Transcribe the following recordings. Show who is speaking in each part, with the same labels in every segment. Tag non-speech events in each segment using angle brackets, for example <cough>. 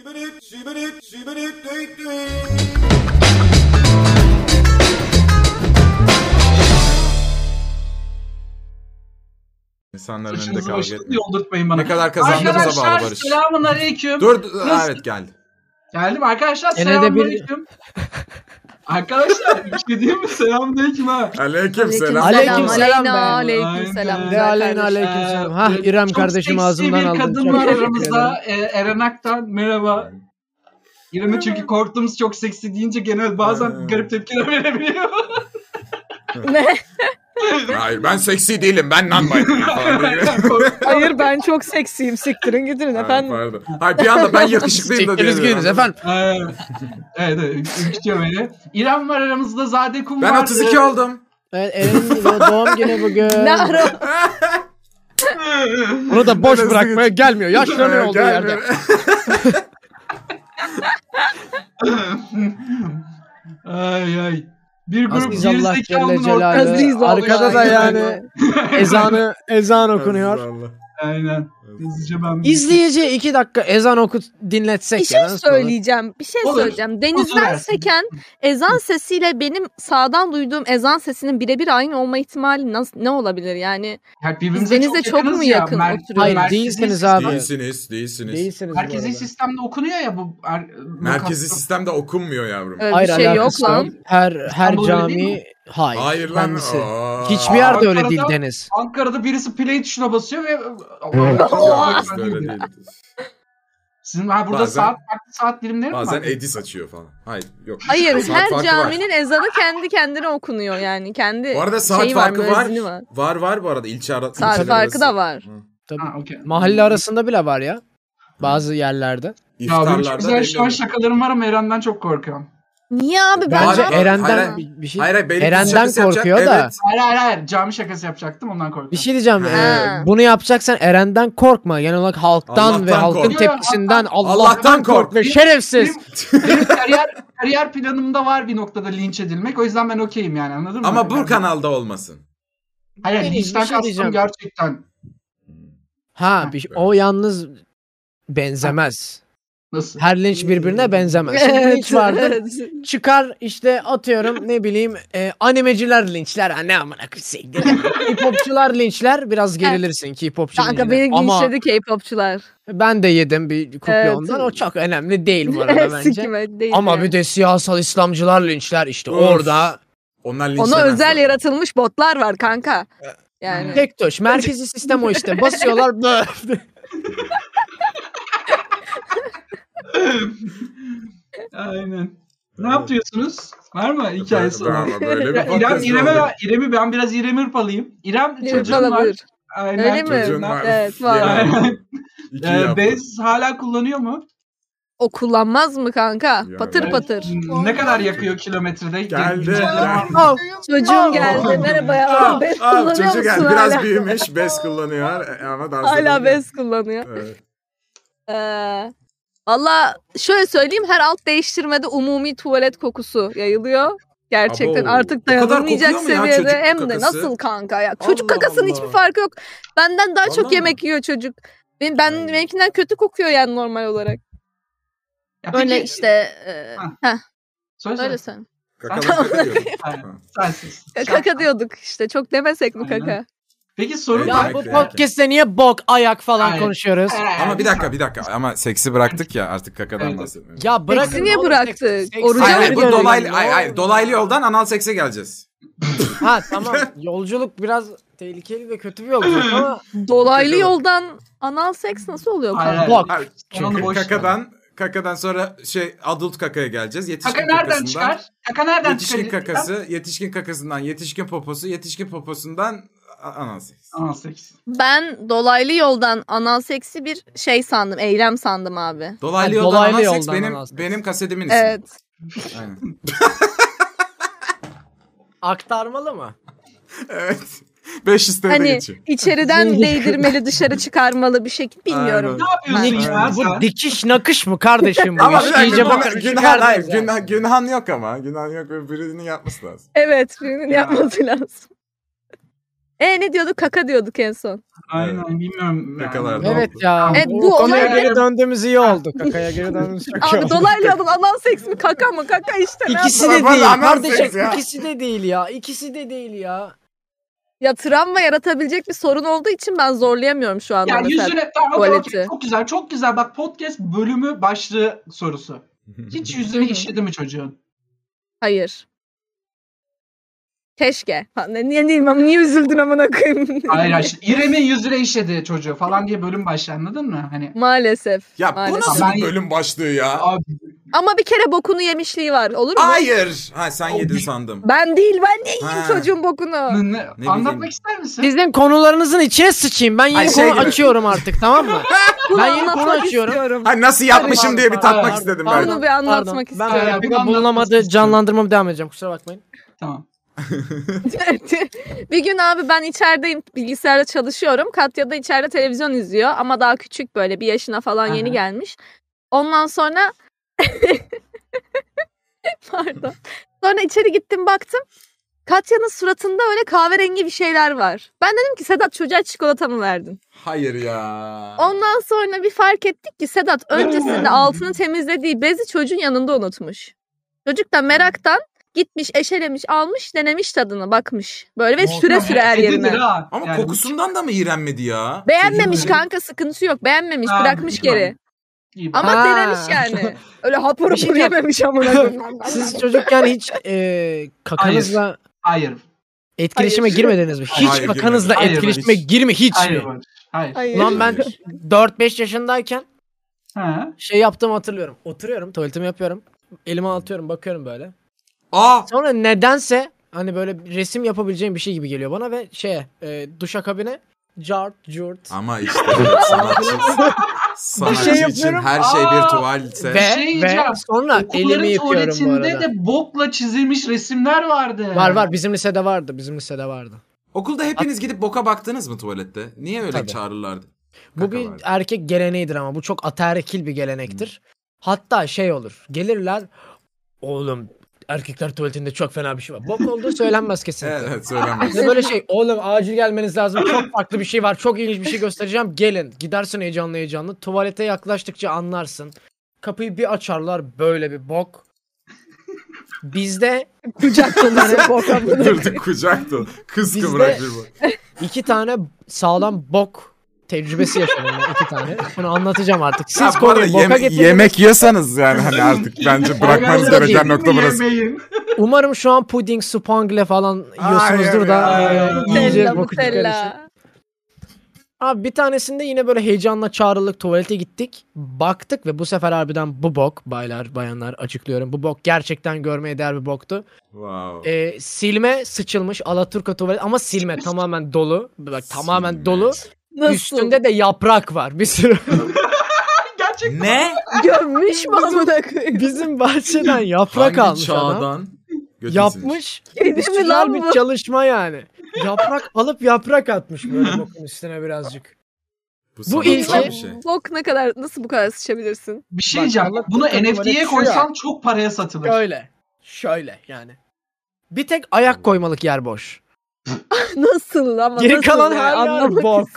Speaker 1: Şibirik, şibirik, şibirik, düik düik.
Speaker 2: İnsanların önünde
Speaker 3: Saçınızı
Speaker 2: kavga
Speaker 3: başını
Speaker 2: etmeyin.
Speaker 3: yoldurtmayın bana.
Speaker 2: Ne kadar kazandığımıza bağlı
Speaker 3: Arkadaşlar
Speaker 2: Barış.
Speaker 3: selamun aleyküm.
Speaker 2: Dur, dur,
Speaker 3: Nasıl-
Speaker 2: evet geldi.
Speaker 3: Geldim arkadaşlar
Speaker 4: Gene de
Speaker 3: selamun
Speaker 4: bir-
Speaker 3: aleyküm. arkadaşlar bir şey diyeyim mi? Selamun aleyküm ha.
Speaker 2: Aleyküm selam.
Speaker 4: Aleyküm selam
Speaker 5: Aleyna,
Speaker 4: be.
Speaker 5: Aleyküm selam.
Speaker 3: Aynen.
Speaker 4: Ne
Speaker 5: güzel
Speaker 4: aleyna
Speaker 5: kardeşim.
Speaker 4: aleyküm selam.
Speaker 3: Ee,
Speaker 4: Hah
Speaker 3: evet,
Speaker 4: İrem
Speaker 3: çok
Speaker 4: kardeşim
Speaker 3: seksi
Speaker 4: ağzından
Speaker 3: bir
Speaker 4: aldım.
Speaker 3: kadın
Speaker 4: Çok
Speaker 3: var
Speaker 4: teşekkür ederim.
Speaker 3: aramızda. Ee, Eren Aktan merhaba. İrem'i çünkü korktuğumuz çok seksi deyince genel bazen
Speaker 2: Aynen.
Speaker 3: garip tepkiler <laughs> verebiliyor.
Speaker 5: Ne?
Speaker 2: Hayır ben seksi değilim ben non
Speaker 3: <laughs> Aynen, kork-
Speaker 5: Hayır ben çok seksiyim. Siktirin gidin efendim.
Speaker 2: Pardon. Hayır bir anda ben yakışıklıyım da
Speaker 4: Çektiniz
Speaker 2: diyemiyorum.
Speaker 4: gidiniz efendim.
Speaker 3: Ee, evet evet ürkütüyor beni. İrem var aramızda Zade Kum
Speaker 2: Ben
Speaker 3: var. Ee,
Speaker 2: 32 oldum.
Speaker 4: Evet, Eren'in do- doğum günü bugün.
Speaker 5: Ne ara?
Speaker 4: Bunu da boş bırakmaya gelmiyor. Yaşlanıyor
Speaker 2: Ee,
Speaker 4: olduğu
Speaker 2: gel
Speaker 4: yerde.
Speaker 2: bir-
Speaker 3: <laughs> ay ay. Bir grup
Speaker 4: Azizallah Celle
Speaker 3: gerizekalının
Speaker 4: Celaluhu.
Speaker 5: Aziz Allah.
Speaker 4: Arkada da yani ezanı ezan okunuyor.
Speaker 2: Allah.
Speaker 3: Aynen. Hızlıca ben...
Speaker 4: İzleyiciye iki dakika ezan oku dinletsek.
Speaker 5: Bir şey
Speaker 4: ya, nasıl olur?
Speaker 5: söyleyeceğim. Bir şey
Speaker 3: Olur.
Speaker 5: söyleyeceğim. Denizden
Speaker 3: versin.
Speaker 5: seken ezan sesiyle benim sağdan duyduğum ezan sesinin birebir aynı olma ihtimali nasıl, ne olabilir yani?
Speaker 3: Ya birbirimize
Speaker 5: Biz denize çok
Speaker 3: yakınız
Speaker 5: mu
Speaker 3: ya.
Speaker 5: yakın
Speaker 3: Mer-
Speaker 5: oturuyoruz?
Speaker 4: Hayır
Speaker 3: merkezi-
Speaker 4: değilsiniz abi.
Speaker 2: Değilsiniz, değilsiniz.
Speaker 4: Değilsiniz bu
Speaker 3: Merkezi
Speaker 4: arada.
Speaker 3: sistemde okunuyor ya bu. Er,
Speaker 2: Merkezi sistemde okunmuyor yavrum.
Speaker 5: Öyle
Speaker 4: Hayır,
Speaker 5: bir şey yok
Speaker 4: alakası
Speaker 5: lan.
Speaker 4: Her her
Speaker 3: İstanbul'da öyle değil
Speaker 4: cami hayır.
Speaker 2: Hayır lan.
Speaker 4: kendisi.
Speaker 2: Aa.
Speaker 4: Hiçbir yerde öyle
Speaker 3: Ankara'da-
Speaker 4: değil Deniz.
Speaker 3: Ankara'da birisi play tuşuna basıyor ve...
Speaker 2: Yok, bizde öyle değil.
Speaker 3: Sizin ha, burada
Speaker 2: Bazen-
Speaker 3: saat farklı saat dilimleri mi
Speaker 2: Bazen
Speaker 3: var?
Speaker 2: Edis açıyor falan. Hayır yok.
Speaker 5: Hayır
Speaker 2: Saat
Speaker 5: her
Speaker 2: farkı var.
Speaker 5: caminin ezanı kendi kendine okunuyor yani. Kendi
Speaker 2: Bu arada saat
Speaker 5: şeyi
Speaker 2: farkı
Speaker 5: şey var,
Speaker 2: var.
Speaker 5: müezzini var.
Speaker 2: Var var bu arada ilçe ara-
Speaker 5: Saat
Speaker 2: ilçeler
Speaker 5: farkı da
Speaker 2: arası.
Speaker 5: var.
Speaker 2: Hı.
Speaker 3: Ha, okey.
Speaker 4: Mahalle arasında bile var ya. Bazı yerlerde.
Speaker 3: Ya benim çok
Speaker 2: İftarlarda
Speaker 3: güzel şu an
Speaker 2: belli
Speaker 3: şakalarım var ama Eren'den çok korkuyorum.
Speaker 5: Niye abi ben
Speaker 4: Bence
Speaker 2: Abi, hayır,
Speaker 4: Eren'den bir bir şey.
Speaker 2: Hayır hayır benim
Speaker 4: Eren'den
Speaker 2: şakası
Speaker 4: korkuyor da.
Speaker 2: Evet.
Speaker 3: Hayır hayır hayır cami şakası yapacaktım ondan korkuyorum.
Speaker 4: Bir şey diyeceğim.
Speaker 2: Ha.
Speaker 4: eee, bunu yapacaksan Eren'den korkma. Genel olarak halktan ve
Speaker 2: Allah'tan
Speaker 4: halkın
Speaker 2: kork.
Speaker 4: tepkisinden Allah'tan,
Speaker 2: Allah'tan
Speaker 4: kork.
Speaker 2: kork.
Speaker 4: ve şerefsiz.
Speaker 3: Benim, benim kariyer, kariyer planımda var bir noktada linç edilmek. O yüzden ben okeyim yani anladın mı?
Speaker 2: Ama bu kanalda olmasın.
Speaker 3: Hayır hayır,
Speaker 4: Deniz, bir
Speaker 3: linçten
Speaker 4: şey
Speaker 3: kastım
Speaker 4: diyeceğim.
Speaker 3: gerçekten.
Speaker 4: Ha, bir, şey- o yalnız benzemez.
Speaker 3: Nasıl?
Speaker 4: Her linç birbirine benzemez. Şimdi linç
Speaker 5: <laughs>
Speaker 4: vardır. Çıkar işte atıyorum ne bileyim eee, animeciler linçler. Ha, ne amına koyayım. K-popçular linçler biraz gerilirsin K-popçu
Speaker 5: Kanka
Speaker 4: linçler.
Speaker 5: beni
Speaker 4: Ama
Speaker 5: linçledi K-popçular.
Speaker 4: ben de yedim bir kuple
Speaker 5: Evet.
Speaker 4: ondan. O çok önemli değil bu
Speaker 5: <laughs>
Speaker 4: arada bence.
Speaker 5: Sikime değil
Speaker 4: Ama
Speaker 5: yani.
Speaker 4: bir de siyasal İslamcılar linçler işte
Speaker 2: Of.
Speaker 4: orada.
Speaker 2: Onlar linçlemez.
Speaker 5: Ona özel yaratılmış botlar var kanka. Yani
Speaker 4: Tek tuş. Merkezi sistem o
Speaker 2: <laughs>
Speaker 4: işte. Basıyorlar. bö-
Speaker 3: Aynen. Ne yapıyorsunuz? Var mı hikayesi? olan?
Speaker 2: Böyle, böyle bir
Speaker 3: Ya İrem,
Speaker 2: podcast oldu.
Speaker 3: İrem'e, İrem'i ben biraz İrem hırpalıyım. İrem çocuğum
Speaker 5: Falan
Speaker 3: var.
Speaker 5: buyur.
Speaker 3: Aynen.
Speaker 5: Öyle mi?
Speaker 2: Çocuğun var.
Speaker 5: Evet, var.
Speaker 2: Aynen. İki
Speaker 3: Ee,
Speaker 2: yaptı.
Speaker 3: bez hala kullanıyor mu?
Speaker 5: O kullanmaz mı kanka?
Speaker 2: Ya
Speaker 5: patır
Speaker 2: ben-
Speaker 5: patır.
Speaker 3: Ne kadar yakıyor kilometrede?
Speaker 2: Geldi.
Speaker 3: Gel-
Speaker 2: geldi.
Speaker 4: Oh,
Speaker 5: Çocuğum geldi.
Speaker 2: Oh.
Speaker 5: Merhaba
Speaker 2: Ah,
Speaker 5: ya. Bez
Speaker 2: ah,
Speaker 5: kullanıyor
Speaker 2: çocuğu
Speaker 5: musun
Speaker 2: geldi.
Speaker 5: hala?
Speaker 2: Biraz büyümüş. Bez kullanıyor e, ama dans
Speaker 5: Hala
Speaker 2: edemiyor.
Speaker 5: bez kullanıyor.
Speaker 2: Evet.
Speaker 5: Ee, Valla şöyle söyleyeyim her alt değiştirmede umumi tuvalet kokusu yayılıyor. Gerçekten
Speaker 2: Abo. O
Speaker 5: artık
Speaker 2: kadar
Speaker 5: dayanamayacak
Speaker 2: kokuyor mu ya
Speaker 5: seviyede.
Speaker 2: çocuk
Speaker 5: Hem de
Speaker 2: kakası?
Speaker 5: nasıl kanka ya. Çocuk
Speaker 2: Allah
Speaker 5: kakasının hiçbir
Speaker 2: Allah.
Speaker 5: farkı yok. Benden daha çok
Speaker 2: Vallahi
Speaker 5: yemek yiyor çocuk. Ben, ben
Speaker 2: Aynen.
Speaker 5: benimkinden kötü kokuyor yani normal olarak.
Speaker 3: Ya peki-
Speaker 5: Öyle işte. e,
Speaker 3: Ha.
Speaker 5: heh,
Speaker 3: Söyle söyle.
Speaker 5: öyle sen.
Speaker 2: Kakalı
Speaker 3: Tamam.
Speaker 2: kaka diyor.
Speaker 3: Aynen.
Speaker 2: Ha.
Speaker 3: Sensiz.
Speaker 5: Kaka diyorduk işte. Çok demesek mi
Speaker 3: Aynen.
Speaker 5: kaka?
Speaker 3: Peki sorun
Speaker 2: Ya
Speaker 3: var.
Speaker 4: ya bu podcast'te niye bok, ayak falan
Speaker 3: Hayır.
Speaker 4: konuşuyoruz?
Speaker 2: Ama bir dakika bir dakika ama seksi bıraktık ya artık kakadan
Speaker 3: Evet.
Speaker 2: bahsetmiyoruz.
Speaker 4: Ya bırakın.
Speaker 5: Seksi niye
Speaker 4: oğlum,
Speaker 5: bıraktık?
Speaker 4: seks- seks-
Speaker 5: Oruca
Speaker 2: Hayır,
Speaker 5: Hocam
Speaker 2: hayır,
Speaker 5: bir
Speaker 2: bu
Speaker 5: dönüyor.
Speaker 2: dolaylı, hayır, hayır, dolaylı yoldan anal sekse geleceğiz.
Speaker 4: Ha tamam. Yolculuk biraz tehlikeli ve kötü bir
Speaker 2: <laughs>
Speaker 4: yolculuk ama
Speaker 5: Dolaylı
Speaker 2: Kaka-
Speaker 5: yoldan anal seks nasıl oluyor
Speaker 3: Aynen.
Speaker 5: kanka?
Speaker 4: bok.
Speaker 2: Hayır,
Speaker 3: Onu boş ver.
Speaker 2: kakadan kakadan sonra şey adult kakaya geleceğiz. Yetişkin
Speaker 3: Kaka nereden
Speaker 2: kakasından-
Speaker 3: çıkar? Kaka nereden çıkar?
Speaker 2: Yetişkin kakası, yetişkin kakasından, yetişkin poposu, yetişkin poposundan a- anal seks.
Speaker 3: Anal seks.
Speaker 5: Ben dolaylı yoldan anal seksi bir şey sandım, eylem sandım abi.
Speaker 2: Dolaylı
Speaker 4: Yani
Speaker 2: yoldan
Speaker 4: dolaylı
Speaker 2: anal seks
Speaker 4: yoldan
Speaker 2: benim
Speaker 4: anal seks.
Speaker 2: benim kasetimin ismi.
Speaker 5: Evet.
Speaker 2: Aynen. <laughs>
Speaker 4: aktarmalı mı?
Speaker 2: evet. 500 TL
Speaker 5: Hani
Speaker 2: geçiyor.
Speaker 5: içeriden
Speaker 4: Zengin.
Speaker 5: değdirmeli, dışarı çıkarmalı bir şekilde bilmiyorum.
Speaker 2: Aynen.
Speaker 3: Ne yapıyorsun
Speaker 2: Ben-
Speaker 3: ya sen?
Speaker 4: Bu dikiş nakış mı kardeşim
Speaker 2: <laughs>
Speaker 4: bu?
Speaker 2: Ama
Speaker 4: iş?
Speaker 2: bir dakika,
Speaker 4: İyice
Speaker 2: günah-
Speaker 4: bakın.
Speaker 2: günah, hayır, günah, günah yok ama. Günah yok ve birinin yapması lazım.
Speaker 5: Evet, birinin
Speaker 3: Ya.
Speaker 5: yapması lazım. E ne diyorduk? Kaka diyorduk en son.
Speaker 3: Aynen bilmiyorum. yani.
Speaker 1: Kakalar da
Speaker 4: Evet
Speaker 1: oldu.
Speaker 4: ya.
Speaker 5: Evet,
Speaker 4: bu
Speaker 5: bu
Speaker 4: konuya
Speaker 3: olay-
Speaker 4: geri döndüğümüz iyi oldu. Kakaya geri döndüğümüz çok iyi
Speaker 5: Abi
Speaker 4: oldu.
Speaker 5: dolaylı yolun anal seks mi kaka mı? Kaka işte ne
Speaker 4: İkisi
Speaker 5: yapalım?
Speaker 4: de
Speaker 2: Bana
Speaker 4: değil.
Speaker 2: anam
Speaker 4: Kardeşim
Speaker 2: sesi ya.
Speaker 4: ikisi de değil ya. İkisi de değil ya.
Speaker 5: Ya travma yaratabilecek bir sorun olduğu için ben zorlayamıyorum şu anda
Speaker 3: Ya
Speaker 5: mesela.
Speaker 3: yüzüne tamam okey,
Speaker 5: tuvaleti.
Speaker 3: okey, çok güzel çok güzel bak podcast bölümü başlığı
Speaker 2: <laughs>
Speaker 3: sorusu. Hiç yüzünü
Speaker 5: Hı hı.
Speaker 3: işledi mi çocuğun?
Speaker 5: Hayır. Keşke. Ha, Ne, niye, niye, niye üzüldün amına koyayım?
Speaker 3: Hayır hayır. İrem'in yüzüne işledi çocuğu falan diye bölüm başlığı anladın mı? Hani
Speaker 5: <laughs> Maalesef.
Speaker 2: Ya bu
Speaker 5: maalesef.
Speaker 2: nasıl
Speaker 3: Ben-
Speaker 2: bir bölüm başlığı ya?
Speaker 3: abi
Speaker 5: Ama bir kere bokunu yemişliği var. Olur mu?
Speaker 2: Hayır. Ha sen yedin sandım.
Speaker 5: Ben değil ben neyim
Speaker 2: Ha.
Speaker 5: çocuğun
Speaker 3: ne-
Speaker 5: bokunu.
Speaker 2: bileyim.
Speaker 3: anlatmak ister misin?
Speaker 4: Sizin konularınızın içine sıçayım. Ben
Speaker 2: Ay,
Speaker 4: yeni
Speaker 2: şey
Speaker 4: konu
Speaker 2: gibi.
Speaker 4: açıyorum artık tamam
Speaker 5: <laughs>
Speaker 4: mı? ben yeni konu
Speaker 5: anlatmak
Speaker 4: açıyorum.
Speaker 5: istiyorum.
Speaker 2: Ha nasıl yapmışım diye bir tatmak
Speaker 4: Pardon,
Speaker 2: istedim
Speaker 4: pardon,
Speaker 2: ben.
Speaker 5: Bunu bir anlatmak
Speaker 4: pardon. Ben
Speaker 3: istiyorum.
Speaker 4: bunu
Speaker 3: Bir anlatmak
Speaker 4: bulamadı
Speaker 3: istiyorum.
Speaker 4: canlandırmamı devam edeceğim kusura bakmayın.
Speaker 3: Tamam.
Speaker 5: <laughs> bir gün abi ben içerideyim bilgisayarda çalışıyorum. Katya da içeride televizyon izliyor ama daha küçük böyle bir yaşına falan
Speaker 3: Aha.
Speaker 5: yeni gelmiş. Ondan sonra <laughs> pardon. Sonra içeri gittim baktım. Katya'nın suratında öyle kahverengi bir şeyler var. Ben dedim ki Sedat çocuğa çikolata mı verdin?
Speaker 2: Hayır ya.
Speaker 5: Ondan sonra bir fark ettik ki Sedat öncesinde altını temizlediği bezi çocuğun yanında unutmuş. Çocuk da meraktan gitmiş, eşelemiş, almış, denemiş tadına bakmış. Böyle ve süre süre her
Speaker 3: Edilir
Speaker 5: yerine.
Speaker 3: ha.
Speaker 2: Ama
Speaker 3: Yani
Speaker 2: kokusundan da mı iğrenmedi ya?
Speaker 5: Beğenmemiş
Speaker 3: Çocuğun-
Speaker 5: kanka sıkıntı yok. Beğenmemiş,
Speaker 3: Ha,
Speaker 5: bırakmış
Speaker 3: tamam.
Speaker 5: geri.
Speaker 3: iyi bak.
Speaker 5: Ama
Speaker 4: Ha.
Speaker 5: denemiş yani. <laughs> Öyle hapur
Speaker 4: Bir şey
Speaker 5: hapur
Speaker 4: diyeceğim. <laughs>
Speaker 5: yememiş amına koyayım.
Speaker 4: Siz çocukken hiç e, kakanızla
Speaker 3: Hayır.
Speaker 4: etkileşime
Speaker 5: Hayır.
Speaker 4: girmediniz mi? Hiç
Speaker 2: Hayır,
Speaker 4: kakanızla
Speaker 3: girmedim. Hayır,
Speaker 4: etkileşime
Speaker 2: hiç.
Speaker 4: girme hiç
Speaker 3: Hayır.
Speaker 4: mi?
Speaker 3: Barış, Hayır.
Speaker 5: Hayır.
Speaker 4: Ulan ben
Speaker 2: Hayır.
Speaker 4: 4-5 yaşındayken
Speaker 3: Ha.
Speaker 4: şey yaptığımı hatırlıyorum. Oturuyorum tuvaletimi yapıyorum. Elimi atıyorum bakıyorum böyle.
Speaker 2: Aa
Speaker 4: Sonra nedense hani böyle bir resim yapabileceğim bir şey gibi geliyor bana ve şeye e, duşakabine cart curt
Speaker 2: Ama
Speaker 4: <laughs>
Speaker 2: işte sanatçı, sanatçı
Speaker 4: Bir şey
Speaker 2: için
Speaker 4: yapıyorum.
Speaker 2: her şey bir
Speaker 3: Aa!
Speaker 2: tuvalse.
Speaker 4: ve,
Speaker 3: şey
Speaker 4: ve
Speaker 3: diyeceğim.
Speaker 4: sonra elimi
Speaker 3: Okulların
Speaker 4: yıkıyorum bu
Speaker 3: tuvaletinde
Speaker 4: arada.
Speaker 3: de bokla çizilmiş resimler vardı.
Speaker 4: Var var bizim lisede vardı bizim lisede vardı.
Speaker 2: Okulda hepiniz gidip boka baktınız mı tuvalette? Niye öyle
Speaker 4: Tabii.
Speaker 2: çağırırlardı?
Speaker 4: Bu
Speaker 2: Kaka
Speaker 4: bir
Speaker 2: vardı. Hmm.
Speaker 4: erkek geleneğidir ama bu çok ataerkil bir gelenektir. Hatta şey olur. Gelirler oğlum erkekler tuvaletinde çok fena bir şey var. Bok olduğu söylenmez
Speaker 2: Evet,
Speaker 4: kesinlikle.
Speaker 2: evet söylemez.
Speaker 4: Bize böyle şey oğlum acil gelmeniz lazım çok farklı bir şey var çok ilginç bir şey göstereceğim gelin gidersin heyecanlı heyecanlı tuvalete yaklaştıkça anlarsın kapıyı bir açarlar böyle bir bok bizde
Speaker 5: Kucak
Speaker 2: <laughs>
Speaker 5: dolusu korkamını.
Speaker 2: Durdu kucak dolu. Kız
Speaker 4: Bizde-
Speaker 2: kıvrak bir bak.
Speaker 4: iki tane sağlam bok tecrübesi yaşadım ben iki tane bunu anlatacağım artık
Speaker 2: Ya
Speaker 4: siz
Speaker 2: bu arada
Speaker 4: konuyu boka
Speaker 2: yeme-
Speaker 4: getirdiniz.
Speaker 2: yemek yiyorsanız yani hani
Speaker 4: <laughs>
Speaker 2: artık bence bırakmanız
Speaker 4: Hayır,
Speaker 2: gereken nokta burası.
Speaker 3: Yemeyin.
Speaker 4: Umarım şu an puding, spangle falan
Speaker 2: Hayır
Speaker 4: yiyorsunuzdur da
Speaker 3: ya.
Speaker 4: e, iyice
Speaker 5: Nutella,
Speaker 4: boku çıkar işin.
Speaker 5: Nutella.
Speaker 4: Abi bir tanesinde yine böyle heyecanla çağrılık tuvalete gittik. Baktık ve bu sefer harbiden bu bok baylar bayanlar açıklıyorum. Bu bok gerçekten görmeye değer bir boktu.
Speaker 2: Wow.
Speaker 4: E, silme sıçılmış Alaturka tuvalet ama
Speaker 5: <laughs>
Speaker 4: silme tamamen dolu. Bak tamamen
Speaker 2: Silme.
Speaker 4: dolu.
Speaker 5: Nasıl?
Speaker 4: Üstünde de yaprak var bir sürü.
Speaker 3: Gerçekten.
Speaker 2: Ne?
Speaker 5: gömmüş mü amına koyayım?
Speaker 4: Bizim bahçeden yaprak
Speaker 2: Hangi
Speaker 4: almış adam.
Speaker 2: çağdan? Götünsünüz?
Speaker 4: Yapmış.
Speaker 5: Kedi mi
Speaker 4: Üstüler
Speaker 5: lan
Speaker 4: bir
Speaker 5: bu?
Speaker 4: çalışma yani. Yaprak alıp yaprak atmış
Speaker 5: <laughs>
Speaker 4: böyle bokun üstüne birazcık.
Speaker 2: Bu,
Speaker 4: ilgi-
Speaker 2: ilginç bir şey.
Speaker 5: Bok ne kadar nasıl bu kadar sıçabilirsin? <laughs>
Speaker 3: Bir şey
Speaker 4: Bak,
Speaker 3: diyeceğim.
Speaker 4: Allah
Speaker 3: Bunu
Speaker 4: korusun,
Speaker 3: NFT'ye
Speaker 4: tuvalet şu
Speaker 3: koysan çok paraya satılır.
Speaker 4: Şöyle. Şöyle yani. Bir tek ayak koymalık yer boş.
Speaker 5: Nasıl ama
Speaker 4: Geri
Speaker 5: nasıl
Speaker 4: kalan
Speaker 5: ya?
Speaker 4: her yer
Speaker 5: Anlamadım.
Speaker 4: bok.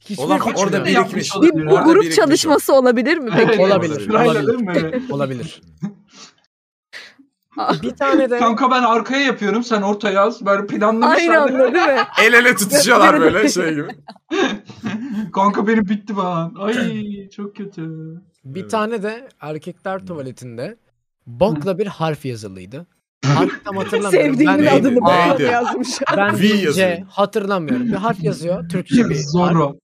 Speaker 4: Hiçbir
Speaker 2: Olan
Speaker 4: güç
Speaker 2: orada
Speaker 4: yok.
Speaker 3: bir- yapmış
Speaker 2: birikmiş.
Speaker 5: Bir,
Speaker 3: olabilir.
Speaker 5: bu
Speaker 3: Orada
Speaker 5: grup
Speaker 2: birikmiş o.
Speaker 5: çalışması olabilir mi
Speaker 3: Evet.
Speaker 5: peki?
Speaker 4: Olabilir,
Speaker 3: Aynen
Speaker 4: olabilir.
Speaker 3: değil mi?
Speaker 5: <laughs>
Speaker 4: olabilir.
Speaker 5: Aa.
Speaker 4: bir tane de
Speaker 3: Kanka ben arkaya yapıyorum sen ortaya yaz. Böyle
Speaker 5: Aynı
Speaker 3: planlamışlar.
Speaker 5: anda değil mi?
Speaker 2: El ele tutuşuyorlar böyle şey gibi.
Speaker 3: Kanka benim bitti falan. Ay çok kötü.
Speaker 4: bir
Speaker 2: Evet.
Speaker 4: tane de erkekler tuvaletinde bokla bir harf yazılıydı.
Speaker 5: <laughs>
Speaker 4: Harf tam hatırlamıyorum.
Speaker 5: Sevdiğimin
Speaker 4: Ben-
Speaker 2: Neydi,
Speaker 5: adını bana
Speaker 2: neydi?
Speaker 5: yazmış.
Speaker 2: V
Speaker 4: Ben C
Speaker 2: yazıyor.
Speaker 4: hatırlamıyorum. Bir harf yazıyor.
Speaker 2: <laughs>
Speaker 4: Türkçe bir harf.
Speaker 3: Zorro.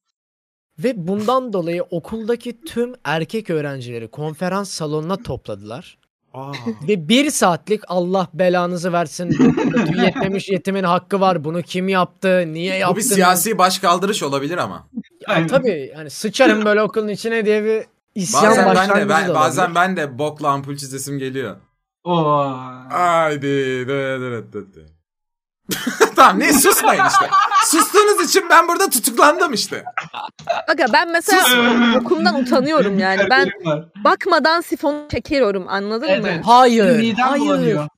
Speaker 4: Ve bundan dolayı okuldaki tüm erkek öğrencileri konferans salonuna topladılar.
Speaker 2: Aa.
Speaker 4: Ve bir saatlik Allah belanızı versin. bu kötü Yetmemiş yetimin hakkı var. Bunu kim yaptı? Niye yaptı?
Speaker 2: Bu bir siyasi başkaldırış olabilir ama.
Speaker 4: Ya tabii yani sıçarım böyle okulun içine diye bir isyan
Speaker 2: Bazen ben de
Speaker 4: başlangıcı
Speaker 2: ben,
Speaker 4: da
Speaker 2: bazen
Speaker 4: olabilir.
Speaker 2: ben de bokla ampul çizesim geliyor.
Speaker 3: Oo.
Speaker 2: Haydi. dö- dö- dö- dö. <laughs> tamam ne susmayın işte. Sustuğunuz için ben burada tutuklandım işte.
Speaker 5: Bakın ben mesela okumdan utanıyorum yani.
Speaker 4: <laughs>
Speaker 5: Ben
Speaker 3: Benim var.
Speaker 5: bakmadan sifonu çekiyorum anladın
Speaker 3: Evet,
Speaker 5: mı?
Speaker 3: evet.
Speaker 4: Hayır.
Speaker 3: Midem
Speaker 4: Hayır.
Speaker 3: bulanıyor.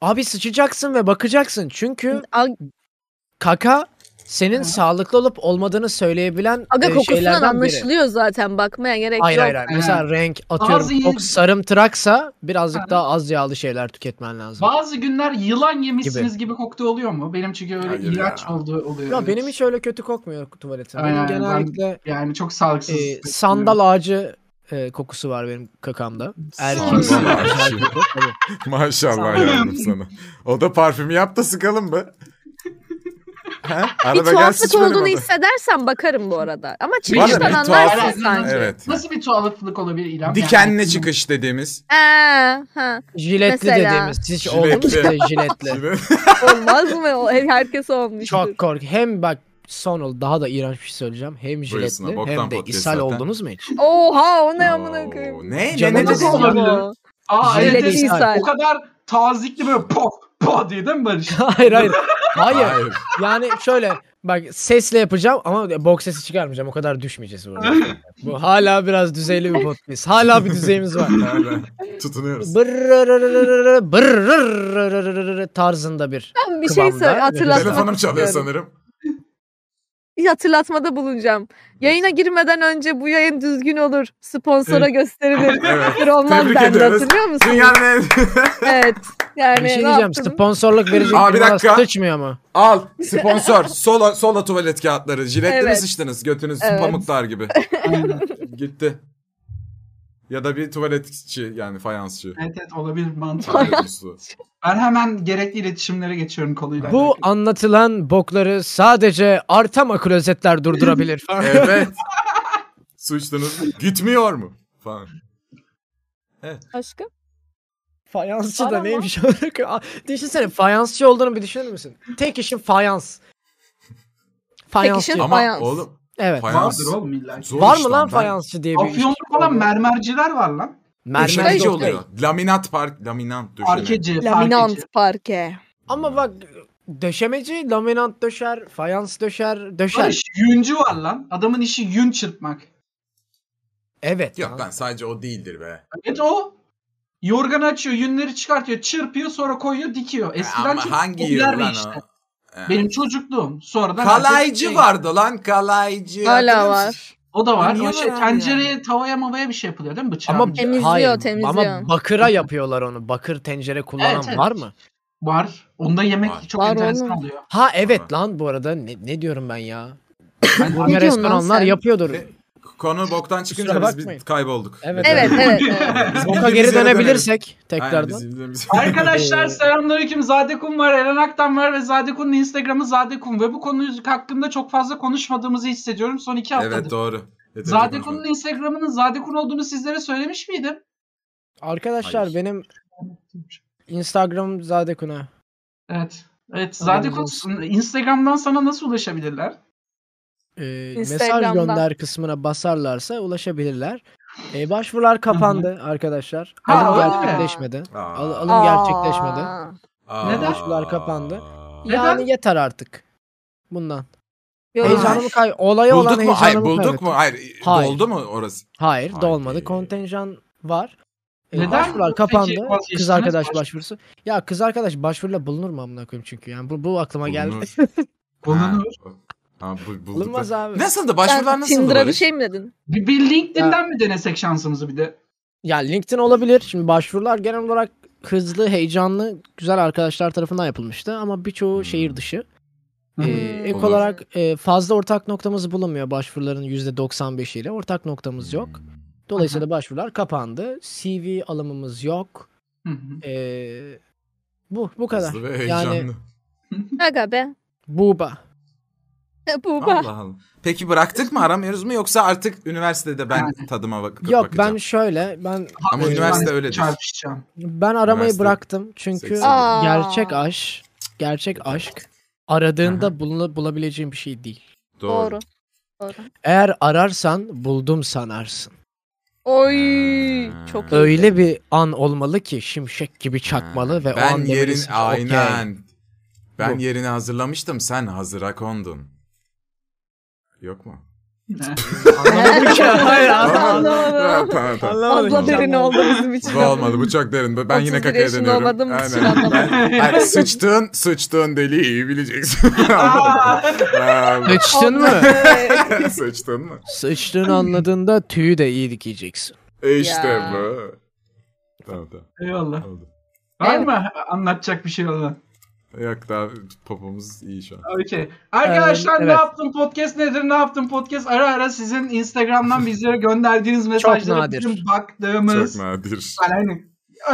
Speaker 4: Abi sıçacaksın ve bakacaksın. Çünkü
Speaker 5: Al-
Speaker 4: kaka senin sağlıklı olup olmadığını söyleyebilen
Speaker 5: Aga
Speaker 4: e,
Speaker 5: kokusundan
Speaker 4: şeylerden biri.
Speaker 5: anlaşılıyor zaten bakmaya gerek
Speaker 4: Hayır
Speaker 5: yok.
Speaker 4: hayır hayır. Mesela renk atıyorum
Speaker 3: Bazı-
Speaker 4: çok sarımtıraksa birazcık
Speaker 3: Ha.
Speaker 4: daha az yağlı şeyler tüketmen lazım.
Speaker 3: Bazı günler yılan yemişsiniz gibi, koktu oluyor mu? Benim çünkü öyle
Speaker 2: Hayır
Speaker 3: iğrenç
Speaker 2: ya.
Speaker 3: olduğu oluyor.
Speaker 4: Ya benim hiç öyle kötü kokmuyor tuvalete. Benim
Speaker 3: Aynen, ben-
Speaker 4: genellikle
Speaker 3: Yani çok sağlıksız.
Speaker 4: e, sandal ağacı e, kokusu var benim kakamda. Erkimsi.
Speaker 2: Sandal ağacı. Maşallah
Speaker 4: Sağ ol.
Speaker 2: yavrum sana. O da parfümü yap da sıkalım <laughs> mı? Ha?
Speaker 5: Bir
Speaker 2: Arada gel
Speaker 5: tuhaflık
Speaker 2: sıç benim
Speaker 5: olduğunu
Speaker 2: odaya.
Speaker 5: hissedersen bakarım bu arada. Ama
Speaker 2: Var
Speaker 5: çıkıştan
Speaker 2: mı? Bir
Speaker 5: anlarsın
Speaker 2: tuhaflık.
Speaker 5: sanki.
Speaker 2: Evet.
Speaker 3: Nasıl bir tuhaflık olabilir İrem?
Speaker 1: Dikenle
Speaker 3: Yani-
Speaker 1: çıkış dediğimiz.
Speaker 5: Ee, ha.
Speaker 4: Jiletli
Speaker 5: Mesela.
Speaker 4: dediğimiz. Hiç oldu mu
Speaker 2: Jiletli.
Speaker 4: size jiletli?
Speaker 2: Şimdi-
Speaker 5: Olmaz mı? O- Herkes olmuş.
Speaker 4: Çok kork. Hem bak Sonul daha da iğrenç bir şey söyleyeceğim. Hem jiletli
Speaker 2: Buyursun, boktan
Speaker 4: hem de
Speaker 2: podcast
Speaker 4: ishal
Speaker 2: zaten.
Speaker 4: oldunuz mu hiç? <laughs>
Speaker 5: Oha o ne amına
Speaker 2: Oo,
Speaker 5: koyayım.
Speaker 1: Ne? Ne,
Speaker 4: Canım
Speaker 1: ne
Speaker 3: Nasıl
Speaker 1: dedin?
Speaker 3: olur?
Speaker 1: ya?
Speaker 3: olabilir?
Speaker 5: Bu.
Speaker 3: Aa,
Speaker 4: Jilet
Speaker 3: evet,
Speaker 5: Jilet
Speaker 3: evet.
Speaker 5: insan.
Speaker 3: O kadar tazikli böyle pop pop diye değil mi
Speaker 5: <laughs>
Speaker 3: Barış?
Speaker 4: hayır hayır. Hayır.
Speaker 2: Hayır.
Speaker 4: Yani şöyle bak sesle yapacağım ama bok sesi çıkarmayacağım. O kadar düşmeyeceğiz burada. Bu hala biraz düzeyli bir podcast. Hala bir düzeyimiz var.
Speaker 2: Hala Tutunuyoruz.
Speaker 4: Bırrrrrrrrrrrrrrrrrrrrrrrrrrrrrrrrrrrrrr tarzında bir.
Speaker 5: Tam bir şey
Speaker 4: Kıvamda.
Speaker 5: söyle hatırlatmak
Speaker 2: Telefonum çalıyor
Speaker 5: istiyorum.
Speaker 2: sanırım.
Speaker 5: Bir hatırlatmada bulunacağım. Yayına girmeden önce bu yayın düzgün olur. Sponsora gösterilir.
Speaker 2: <laughs> Evet.
Speaker 5: Bir olmaz
Speaker 2: Tebrik
Speaker 5: bende
Speaker 2: ediyoruz.
Speaker 5: hatırlıyor musun?
Speaker 2: Dünyanın en...
Speaker 5: Evet. Yani
Speaker 4: Bir şey
Speaker 5: ne
Speaker 4: diyeceğim.
Speaker 5: yaptım?
Speaker 4: Sponsorluk verecek
Speaker 2: Aa, bir
Speaker 4: bir
Speaker 2: dakika.
Speaker 4: sıçmıyor mu?
Speaker 2: <laughs> Al sponsor. Sola, sola tuvalet kağıtları. Jiletle mi
Speaker 5: Evet.
Speaker 2: sıçtınız? Götünüz
Speaker 5: Evet.
Speaker 2: pamuklar
Speaker 5: <laughs>
Speaker 2: gibi.
Speaker 3: Aynen.
Speaker 2: Gitti. Ya da bir tuvaletçi yani
Speaker 5: <laughs>
Speaker 2: fayansçı.
Speaker 3: evet evet olabilir mantıklı.
Speaker 2: Fayansçı.
Speaker 3: Ben hemen gerekli iletişimlere geçiyorum konuyla.
Speaker 4: Bu
Speaker 3: alakalı.
Speaker 4: anlatılan bokları sadece Artama klozetler durdurabilir. falan.
Speaker 2: evet. Suçtunuz. Gitmiyor mu? Falan.
Speaker 5: Aşkım.
Speaker 4: Fayansçı
Speaker 5: Var
Speaker 4: da
Speaker 5: ama.
Speaker 4: neymiş olarak? Aa, Düşünsene fayansçı olduğunu bir düşünür müsün? Tek işin fayans. Fayansçı.
Speaker 5: işin-
Speaker 2: Ama
Speaker 5: Şey, Fayans.
Speaker 2: oğlum
Speaker 4: Evet.
Speaker 2: fayans
Speaker 3: Vardır oğlum illa. ki.
Speaker 2: zor
Speaker 4: Var
Speaker 2: iş
Speaker 4: mı lan
Speaker 2: Ben-
Speaker 4: fayansçı diye bir
Speaker 2: şey
Speaker 4: iş?
Speaker 3: Afyon'da falan mermerciler var lan.
Speaker 4: Mermer
Speaker 2: Döşemeci
Speaker 4: de
Speaker 2: oluyor. Laminat park, laminant döşeme.
Speaker 3: Parkeci, parkeci.
Speaker 5: Laminant parke.
Speaker 4: Ama bak döşemeci laminant döşer, fayans döşer, döşer.
Speaker 3: Barış yüncü var lan. Adamın işi yün çırpmak.
Speaker 4: Evet.
Speaker 2: Yok
Speaker 4: lan.
Speaker 2: lan sadece o değildir be.
Speaker 3: Evet o. Yorganı açıyor, yünleri çıkartıyor, çırpıyor, sonra koyuyor, dikiyor. Eskiden
Speaker 2: Ama
Speaker 3: çok
Speaker 2: hangi yıl
Speaker 3: popüler bir
Speaker 2: lan
Speaker 3: işti.
Speaker 2: o? Ha.
Speaker 3: Benim çocukluğum. Sonradan herkes
Speaker 2: Kalaycı
Speaker 3: şey-
Speaker 2: vardı lan kalaycı.
Speaker 5: Hala
Speaker 2: Hatırlıyor
Speaker 5: var.
Speaker 2: musun?
Speaker 3: O da var.
Speaker 2: Niye
Speaker 3: O şey,
Speaker 2: var abi
Speaker 3: tencereye, tavaya, mavaya bir şey yapılıyor değil mi? Bıçağı.
Speaker 4: Ama
Speaker 3: mıçağı.
Speaker 5: Temizliyor,
Speaker 4: hayır,
Speaker 5: temizliyor.
Speaker 4: Ama bakıra yapıyorlar onu. Bakır tencere kullanan
Speaker 3: Evet, evet.
Speaker 4: var mı?
Speaker 3: var. Onda yemek
Speaker 2: Var.
Speaker 3: çok
Speaker 5: Var
Speaker 3: enteresan
Speaker 5: oğlum.
Speaker 3: oluyor.
Speaker 4: Ha evet
Speaker 2: Var.
Speaker 4: lan bu arada ne, ne diyorum ben ya?
Speaker 3: Ben-
Speaker 4: <laughs> Burger
Speaker 5: diyorsun lan
Speaker 4: restoranlar
Speaker 5: sen?
Speaker 4: yapıyordur.
Speaker 2: Ne- Konu boktan çıkınca
Speaker 4: Kusura
Speaker 2: biz,
Speaker 4: bakmayın.
Speaker 2: biz kaybolduk.
Speaker 4: Evet.
Speaker 5: Evet evet. evet.
Speaker 2: Biz
Speaker 4: Boka
Speaker 2: bildiğimiz
Speaker 4: geri
Speaker 2: yere
Speaker 4: dönebilirsek
Speaker 2: döneriz. Aynen,
Speaker 4: tekrardan.
Speaker 2: biz bildiğimiz-
Speaker 3: Arkadaşlar selamünaleyküm. Zadekun var, Eren Aktan var ve Zadekun'un Instagram'ı Zadekun ve bu konu hakkında çok fazla konuşmadığımızı hissediyorum son iki haftadır.
Speaker 2: Evet doğru. Evet,
Speaker 3: Zadekun'un Instagram'ının Zadekun olduğunu sizlere söylemiş miydim?
Speaker 4: Arkadaşlar
Speaker 2: Hayır.
Speaker 4: benim Instagram Zadekuna.
Speaker 3: Evet. Evet
Speaker 4: Haberiniz
Speaker 3: Zadekun
Speaker 4: olsun. Instagram'dan
Speaker 3: Instagram'dan sana nasıl ulaşabilirler?
Speaker 4: Ee, mesaj
Speaker 5: Instagram'dan.
Speaker 4: gönder kısmına basarlarsa ulaşabilirler. Ee, başvurular kapandı arkadaşlar.
Speaker 3: Ha,
Speaker 4: Alım
Speaker 3: öyle mi?
Speaker 4: gerçekleşmedi.
Speaker 2: Aa.
Speaker 4: Al- alım
Speaker 5: Aa.
Speaker 4: gerçekleşmedi.
Speaker 2: Aa.
Speaker 3: Neden?
Speaker 4: Sular kapandı.
Speaker 3: Neden?
Speaker 4: Yani yeter artık. Bundan.
Speaker 5: Yok.
Speaker 4: Heyecanımı kay olaya olan
Speaker 2: Bulduk mu?
Speaker 4: heyecanımı
Speaker 2: Hayır bulduk
Speaker 4: kaybettim.
Speaker 2: mu? Hayır.
Speaker 4: Hayır.
Speaker 2: Doldu mu orası?
Speaker 4: Hayır,
Speaker 2: Haydi.
Speaker 4: dolmadı. Kontenjan var. Ee,
Speaker 3: Neden?
Speaker 4: Başvurular
Speaker 3: Peki,
Speaker 4: kapandı.
Speaker 3: vazgeçtiniz,
Speaker 4: Kız arkadaş
Speaker 3: baş-
Speaker 4: başvurusu. Ya kız arkadaş başvuruyla bulunur mu amına koyayım çünkü yani bu, bu aklıma geldi.
Speaker 2: Bulunur. Ha,
Speaker 3: Bulunur.
Speaker 2: Ha, bu, bulduk.
Speaker 4: <laughs> Bulunmaz abi.
Speaker 2: Nasıldı?
Speaker 5: Sen
Speaker 2: Başvurular nasıldı?
Speaker 5: Tinder'a bir
Speaker 2: Barış?
Speaker 5: şey mi dedin?
Speaker 3: Bir, bir LinkedIn'den mi denesek şansımızı bir de?
Speaker 4: Ya LinkedIn olabilir. Şimdi başvurular genel olarak hızlı, heyecanlı, güzel arkadaşlar tarafından yapılmıştı ama birçoğu
Speaker 2: Hmm.
Speaker 4: şehir dışı.
Speaker 3: Hı.
Speaker 4: Ee, ek
Speaker 2: Olur.
Speaker 4: olarak e, fazla ortak noktamız bulunmuyor başvuruların %95'iyle. Ortak
Speaker 2: Hmm.
Speaker 4: noktamız yok. Dolayısıyla başvurular kapandı. CV alımımız yok.
Speaker 3: Hı hı.
Speaker 4: Ee, bu bu kadar.
Speaker 2: Hızlı ve heyecanlı.
Speaker 4: Yani
Speaker 5: Aga be.
Speaker 4: buba.
Speaker 5: Bu bak.
Speaker 2: Allah Allah. Peki bıraktık mı aramıyoruz mu yoksa artık üniversitede ben tadıma bak
Speaker 4: Yok
Speaker 2: bakacağım.
Speaker 4: ben şöyle ben
Speaker 2: Ama
Speaker 3: Ee,
Speaker 2: üniversite
Speaker 3: ben
Speaker 2: öyledir.
Speaker 4: <laughs>
Speaker 3: Çarpışacağım.
Speaker 4: ben aramayı
Speaker 2: Üniversite-
Speaker 4: bıraktım çünkü
Speaker 2: Seksen.
Speaker 5: Aa.
Speaker 4: gerçek aşk gerçek aşk aradığında bulunu, bulabileceğin bir şey değil.
Speaker 5: Doğru.
Speaker 4: Eğer ararsan buldum sanarsın.
Speaker 5: Oy.
Speaker 2: Ha.
Speaker 5: Çok iyi. <laughs>
Speaker 4: Öyle bir an olmalı ki şimşek gibi çakmalı ve
Speaker 2: ben
Speaker 4: o an
Speaker 2: yerin
Speaker 4: demelisin ki,
Speaker 2: aynen.
Speaker 4: "Okey."
Speaker 2: Ben
Speaker 4: Bu.
Speaker 5: <laughs>
Speaker 2: yerini hazırlamıştım sen hazıra kondun. Yok mu?
Speaker 4: Anlamadım
Speaker 2: <laughs>
Speaker 4: ki. Hayır anlamadım.
Speaker 5: Anlamadım.
Speaker 2: Tamam, tamam.
Speaker 4: Anlamadım.
Speaker 5: Abla derin oldu bizim için.
Speaker 2: Bu olmadı bu çok derin. Ben yine
Speaker 5: 31
Speaker 2: kakaya
Speaker 5: yaşında
Speaker 2: dönüyorum.
Speaker 5: olmadığım için
Speaker 2: Aynen.
Speaker 5: anlamadım.
Speaker 2: Ben, hayır, sıçtığın, sıçtığın deliği iyi
Speaker 5: <laughs>
Speaker 2: bileceksin.
Speaker 4: <laughs>
Speaker 2: Anladım.
Speaker 4: Sıçtın mı?
Speaker 2: sıçtın mı?
Speaker 4: Sıçtığını anladığında tüyü de iyi dikeceksin.
Speaker 2: E İşte
Speaker 5: Ya.
Speaker 2: bu. Tamam tamam.
Speaker 3: Eyvallah.
Speaker 2: Oldu.
Speaker 3: Var
Speaker 5: Evet.
Speaker 3: mı anlatacak bir şey olan?
Speaker 2: Yok daha popomuz iyi şu an.
Speaker 3: Okey. Arkadaşlar
Speaker 4: Ee,
Speaker 3: ne
Speaker 4: evet.
Speaker 3: yaptın podcast nedir? Ne yaptın podcast? Ara ara sizin Instagram'dan bizlere gönderdiğiniz mesajlara
Speaker 4: nadir.
Speaker 3: bizim
Speaker 2: Çok
Speaker 3: baktığımız.
Speaker 2: nadir.
Speaker 3: Yani hani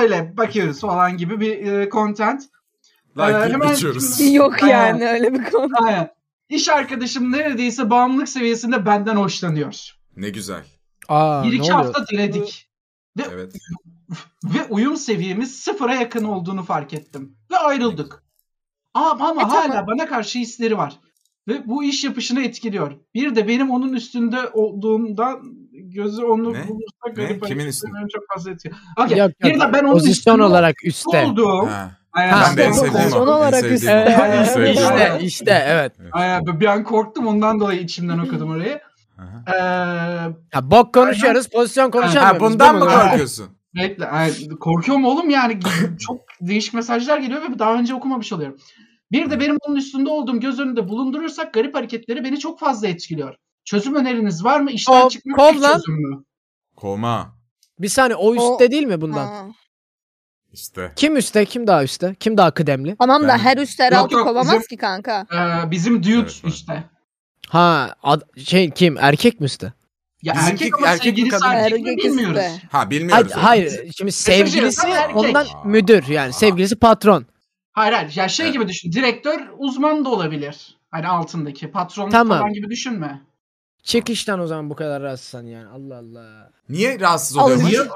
Speaker 3: öyle bakıyoruz falan gibi bir e, content.
Speaker 2: Like
Speaker 3: hemen-
Speaker 2: içiyoruz.
Speaker 5: Yok yani öyle bir konu.
Speaker 3: Aynen. İş arkadaşım neredeyse bağımlılık seviyesinde benden hoşlanıyor.
Speaker 2: Ne güzel.
Speaker 4: Aa
Speaker 3: bir
Speaker 4: ne
Speaker 3: iki
Speaker 4: oluyor?
Speaker 3: hafta diledik
Speaker 2: Evet.
Speaker 3: ve uyum seviyemiz sıfıra yakın olduğunu fark ettim. Ve ayrıldık. Ama,
Speaker 4: E,
Speaker 3: ama hala bana karşı hisleri var. Ve bu iş yapışını etkiliyor. Bir de benim onun üstünde olduğumda gözü onu
Speaker 2: Ne?
Speaker 3: bulursa
Speaker 2: Ne?
Speaker 3: garip.
Speaker 2: Kimin
Speaker 3: Kimin
Speaker 2: üstünde?
Speaker 3: Çok fazla etkiliyor. Okey.
Speaker 4: Yok,
Speaker 3: Bir de
Speaker 4: yok.
Speaker 3: ben onun
Speaker 4: Pozisyon
Speaker 3: üstünde
Speaker 4: olarak üste.
Speaker 3: olduğum.
Speaker 2: Ha.
Speaker 3: Aynen.
Speaker 4: Ha,
Speaker 2: Ben de en
Speaker 4: Son-
Speaker 2: sevdiğim
Speaker 5: son
Speaker 2: o. En
Speaker 5: olarak
Speaker 2: sevdiğim
Speaker 5: üst-
Speaker 2: o. En
Speaker 5: Evet.
Speaker 2: sevdiğim o.
Speaker 4: İşte işte evet.
Speaker 3: Aynen. Ben korktum ondan dolayı içimden okudum orayı.
Speaker 2: Aha.
Speaker 3: Ee,
Speaker 4: Ha, bok konuşuyoruz, pozisyon konuşamıyoruz.
Speaker 2: Ha bundan mı
Speaker 4: Bu
Speaker 2: korkuyorsun?
Speaker 3: Bekle. ay, korkuyorum oğlum yani.
Speaker 4: <laughs>
Speaker 3: Çok değişik mesajlar geliyor ve daha önce okumamış oluyorum. Bir de benim bunun üstünde olduğum göz önünde bulundurursak garip hareketleri beni çok fazla etkiliyor. Çözüm öneriniz var mı? İşten
Speaker 4: Kov-
Speaker 3: çıkmak
Speaker 4: kov
Speaker 3: tek
Speaker 4: lan.
Speaker 3: çözüm mü?
Speaker 2: Koma.
Speaker 4: Bir saniye o üstte değil mi bundan?
Speaker 5: Ha.
Speaker 2: İşte.
Speaker 4: Kim üstte, kim daha üstte? Kim daha kıdemli?
Speaker 5: Tamam da
Speaker 2: Ben-
Speaker 5: her üst her
Speaker 3: Yok,
Speaker 5: altı
Speaker 3: yok,
Speaker 5: kovamaz
Speaker 3: bizim-
Speaker 5: ki kanka.
Speaker 3: Ee, bizim dude
Speaker 2: Evet, var.
Speaker 3: işte.
Speaker 4: Ha ad- şey kim? Erkek mi üstte?
Speaker 3: Ya
Speaker 2: Bizimki
Speaker 3: erkek ama
Speaker 2: erkek mi,
Speaker 3: sevgilisi
Speaker 2: kadın mı?
Speaker 3: erkek mi
Speaker 5: Erkek
Speaker 3: bilmiyoruz.
Speaker 5: üstte.
Speaker 2: Ha bilmiyoruz.
Speaker 4: Hayır, hayır. Şimdi sevgilisi
Speaker 3: Mesajı yazan
Speaker 4: ondan
Speaker 2: erkek.
Speaker 4: müdür yani sevgilisi patron.
Speaker 3: Hayır hayır. Ya şey
Speaker 2: Evet.
Speaker 3: gibi düşün. Direktör uzman da olabilir. Hani altındaki. Patron
Speaker 4: Tamam.
Speaker 3: falan gibi düşünme.
Speaker 4: Çık işten o zaman bu kadar rahatsızsan yani. Allah Allah.
Speaker 2: Niye rahatsız oluyormuş?
Speaker 3: Niye?
Speaker 2: Hayır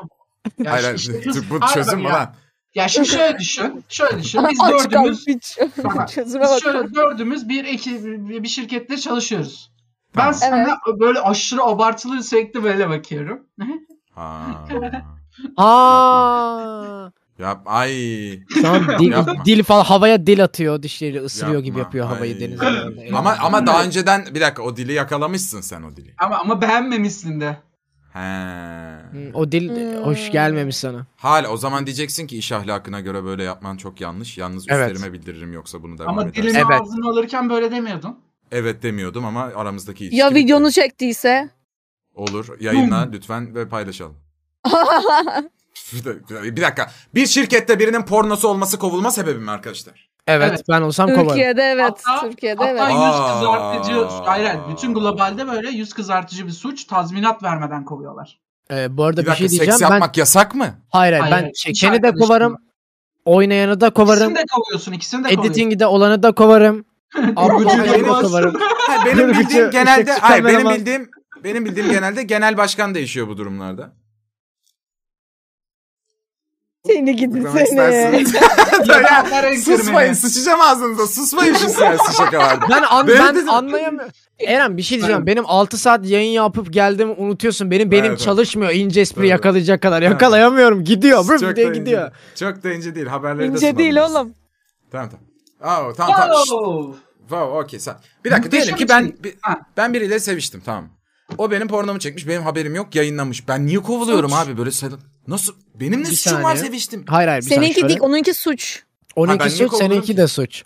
Speaker 3: Ya
Speaker 2: hayır.
Speaker 3: işte-
Speaker 2: <laughs> Bu
Speaker 3: Hayır,
Speaker 2: çözüm mü
Speaker 3: ya.
Speaker 2: lan?
Speaker 3: Ya şimdi şöyle düşün. Şöyle düşün.
Speaker 5: <laughs>
Speaker 3: Biz
Speaker 5: Aç kal
Speaker 3: dördümüz
Speaker 5: piç. <laughs>
Speaker 3: Tamam.
Speaker 5: Çözüme
Speaker 3: Biz
Speaker 5: bak.
Speaker 3: şöyle dördümüz bir ekip bir şirkette çalışıyoruz. Ben
Speaker 2: Tamam.
Speaker 3: sana böyle aşırı abartılı sürekli böyle bakıyorum.
Speaker 2: Ha.
Speaker 4: Aa.
Speaker 2: Yap ay.
Speaker 4: Tamam dil,
Speaker 2: Yapma.
Speaker 4: dil falan havaya dil atıyor dişleriyle ısırıyor gibi
Speaker 2: Yapma.
Speaker 4: yapıyor havayı
Speaker 2: Ay.
Speaker 4: denize. doğru.
Speaker 2: Ama ama daha önceden bir dakika o dili yakalamışsın sen o dili.
Speaker 3: ama ama beğenmemişsin de.
Speaker 2: He.
Speaker 4: Hı, o dil
Speaker 5: Hmm.
Speaker 4: hoş gelmemiş sana.
Speaker 2: Hala o zaman diyeceksin ki iş ahlakına göre böyle yapman çok yanlış. Yalnız
Speaker 4: Evet.
Speaker 2: üstlerime bildiririm yoksa bunu devam
Speaker 3: ama
Speaker 2: edersin.
Speaker 3: dilimi
Speaker 4: Evet.
Speaker 3: ağzına alırken böyle demiyordun.
Speaker 2: Evet demiyordum ama aramızdaki ilişki.
Speaker 5: Ya
Speaker 2: bitti.
Speaker 5: videonu çektiyse?
Speaker 4: <laughs>
Speaker 2: Olur yayınla lütfen ve paylaşalım. Bir dakika- bir dakika. Bir şirkette birinin pornosu olması kovulma sebebi mi arkadaşlar?
Speaker 4: Evet,
Speaker 3: Evet.
Speaker 4: ben olsam kovarım.
Speaker 5: Türkiye'de evet.
Speaker 3: Hatta-
Speaker 5: Türkiye'de
Speaker 3: Hatta
Speaker 5: evet.
Speaker 3: yüz
Speaker 2: Aa.
Speaker 3: kızartıcı, hayır hayır, bütün globalde böyle yüz kızartıcı bir suç tazminat vermeden kovuyorlar.
Speaker 4: Ee, bu arada
Speaker 2: Bir
Speaker 4: bir,
Speaker 2: dakika
Speaker 4: şey diyeceğim.
Speaker 2: seks
Speaker 4: Ben
Speaker 2: yapmak yasak mı?
Speaker 4: hayır, hayır,
Speaker 3: Hayır,
Speaker 4: ben
Speaker 3: hayır.
Speaker 4: çekeni de
Speaker 3: Hiç
Speaker 4: kovarım. Oynayanı da kovarım.
Speaker 3: İkisini de kovuyorsun, ikisini de kovuyorsun. <laughs>
Speaker 4: Editing'i de olanı da kovarım. Ablacığı da
Speaker 2: Korkutucu.
Speaker 4: kovarım.
Speaker 2: <laughs> Ha, benim
Speaker 4: Yürü
Speaker 2: bildiğim
Speaker 4: bitir,
Speaker 2: genelde
Speaker 4: işe
Speaker 2: hayır, benim
Speaker 4: çıkarmayamaz.
Speaker 2: bildiğim benim bildiğim genelde genel başkan değişiyor bu durumlarda.
Speaker 5: Seni gidin
Speaker 2: Kutlamak
Speaker 5: seni.
Speaker 2: istersiniz.
Speaker 3: Yılanlar en
Speaker 2: susmayın
Speaker 3: kırmızı.
Speaker 2: sıçacağım ağzınıza susmayın şu <laughs> siyasi şakalarda.
Speaker 4: Ben, an,
Speaker 2: Benim
Speaker 4: ben
Speaker 2: dedim-
Speaker 4: anlayamıyorum. Eren bir şey diyeceğim. Benim 6 saat yayın yapıp geldiğimi unutuyorsun. Benim benim
Speaker 2: Evet, evet.
Speaker 4: çalışmıyor. ince espri
Speaker 2: Evet.
Speaker 4: yakalayacak kadar. Yakalayamıyorum. Gidiyor.
Speaker 2: Çok
Speaker 4: Vırp diye
Speaker 2: da ince
Speaker 4: gidiyor.
Speaker 2: değil. Çok da ince değil haberleri de
Speaker 5: İnce değil
Speaker 2: sunabiliriz.
Speaker 5: oğlum.
Speaker 2: Tamam tamam. Aa, tamam tamam. Şşt,
Speaker 3: Wow!
Speaker 2: Wow, okey sen. Bir dakika
Speaker 3: Muhteşem
Speaker 2: diyelim ki ben
Speaker 3: içerik.
Speaker 2: bi-
Speaker 3: Ha.
Speaker 2: ben biriyle seviştim tamam. O benim pornomu çekmiş benim haberim yok yayınlamış. Ben niye kovuluyorum
Speaker 4: Suç.
Speaker 2: abi böyle sen nasıl benim ne
Speaker 4: Bir
Speaker 2: suçum var
Speaker 4: saniye.
Speaker 2: seviştim.
Speaker 4: Hayır hayır. Bir saniye
Speaker 5: Seninki
Speaker 4: şöyle.
Speaker 5: dik onunki suç.
Speaker 2: Ha, ben
Speaker 4: Onunki
Speaker 2: niye
Speaker 4: suç,
Speaker 2: kovuldum ki?
Speaker 4: seninki de suç.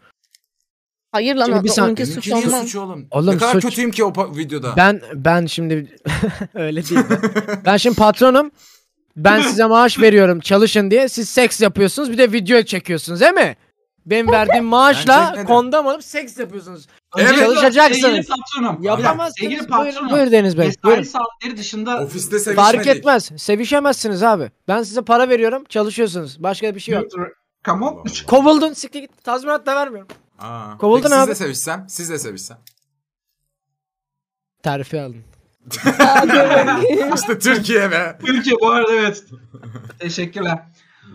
Speaker 5: Hayır lan
Speaker 4: Şimdi bir
Speaker 5: o-
Speaker 4: saniye,
Speaker 5: onunki
Speaker 2: Benimki
Speaker 5: suç
Speaker 2: niye
Speaker 5: olmaz.
Speaker 2: suç oğlum?
Speaker 4: Oğlum,
Speaker 2: ne kadar
Speaker 4: suç.
Speaker 2: kötüyüm ki o pa- videoda.
Speaker 4: Ben ben şimdi <laughs> öyle değil. de. ben şimdi patronum. Ben size maaş veriyorum çalışın diye. Siz seks yapıyorsunuz bir de video çekiyorsunuz değil mi? Benim verdiğim
Speaker 2: Bence
Speaker 4: maaşla
Speaker 2: neden?
Speaker 4: kondom alıp seks yapıyorsunuz.
Speaker 2: Evet.
Speaker 4: Çalışacaksınız.
Speaker 3: Sevgili patronum.
Speaker 4: Yapamazsınız.
Speaker 3: Sevgili
Speaker 4: Buyurun,
Speaker 3: patronum.
Speaker 4: buyur Deniz Bey.
Speaker 3: Mesai
Speaker 4: Buyurun.
Speaker 3: saatleri dışında
Speaker 2: Ofiste sevişmedik.
Speaker 4: Fark etmez. Sevişemezsiniz abi. Ben size para veriyorum. Çalışıyorsunuz. Başka bir şey yok.
Speaker 3: Come
Speaker 2: Allah
Speaker 3: on.
Speaker 2: Allah.
Speaker 4: Kovuldun. Siktir git. Tazminat da vermiyorum.
Speaker 2: Aa.
Speaker 4: Kovuldun
Speaker 2: Peki
Speaker 4: abi.
Speaker 2: Siz de sevişsem, siz de sevişsem.
Speaker 4: Terfi alın.
Speaker 2: işte Türkiye be.
Speaker 3: Türkiye bu
Speaker 2: <laughs>
Speaker 3: arada evet. Teşekkürler.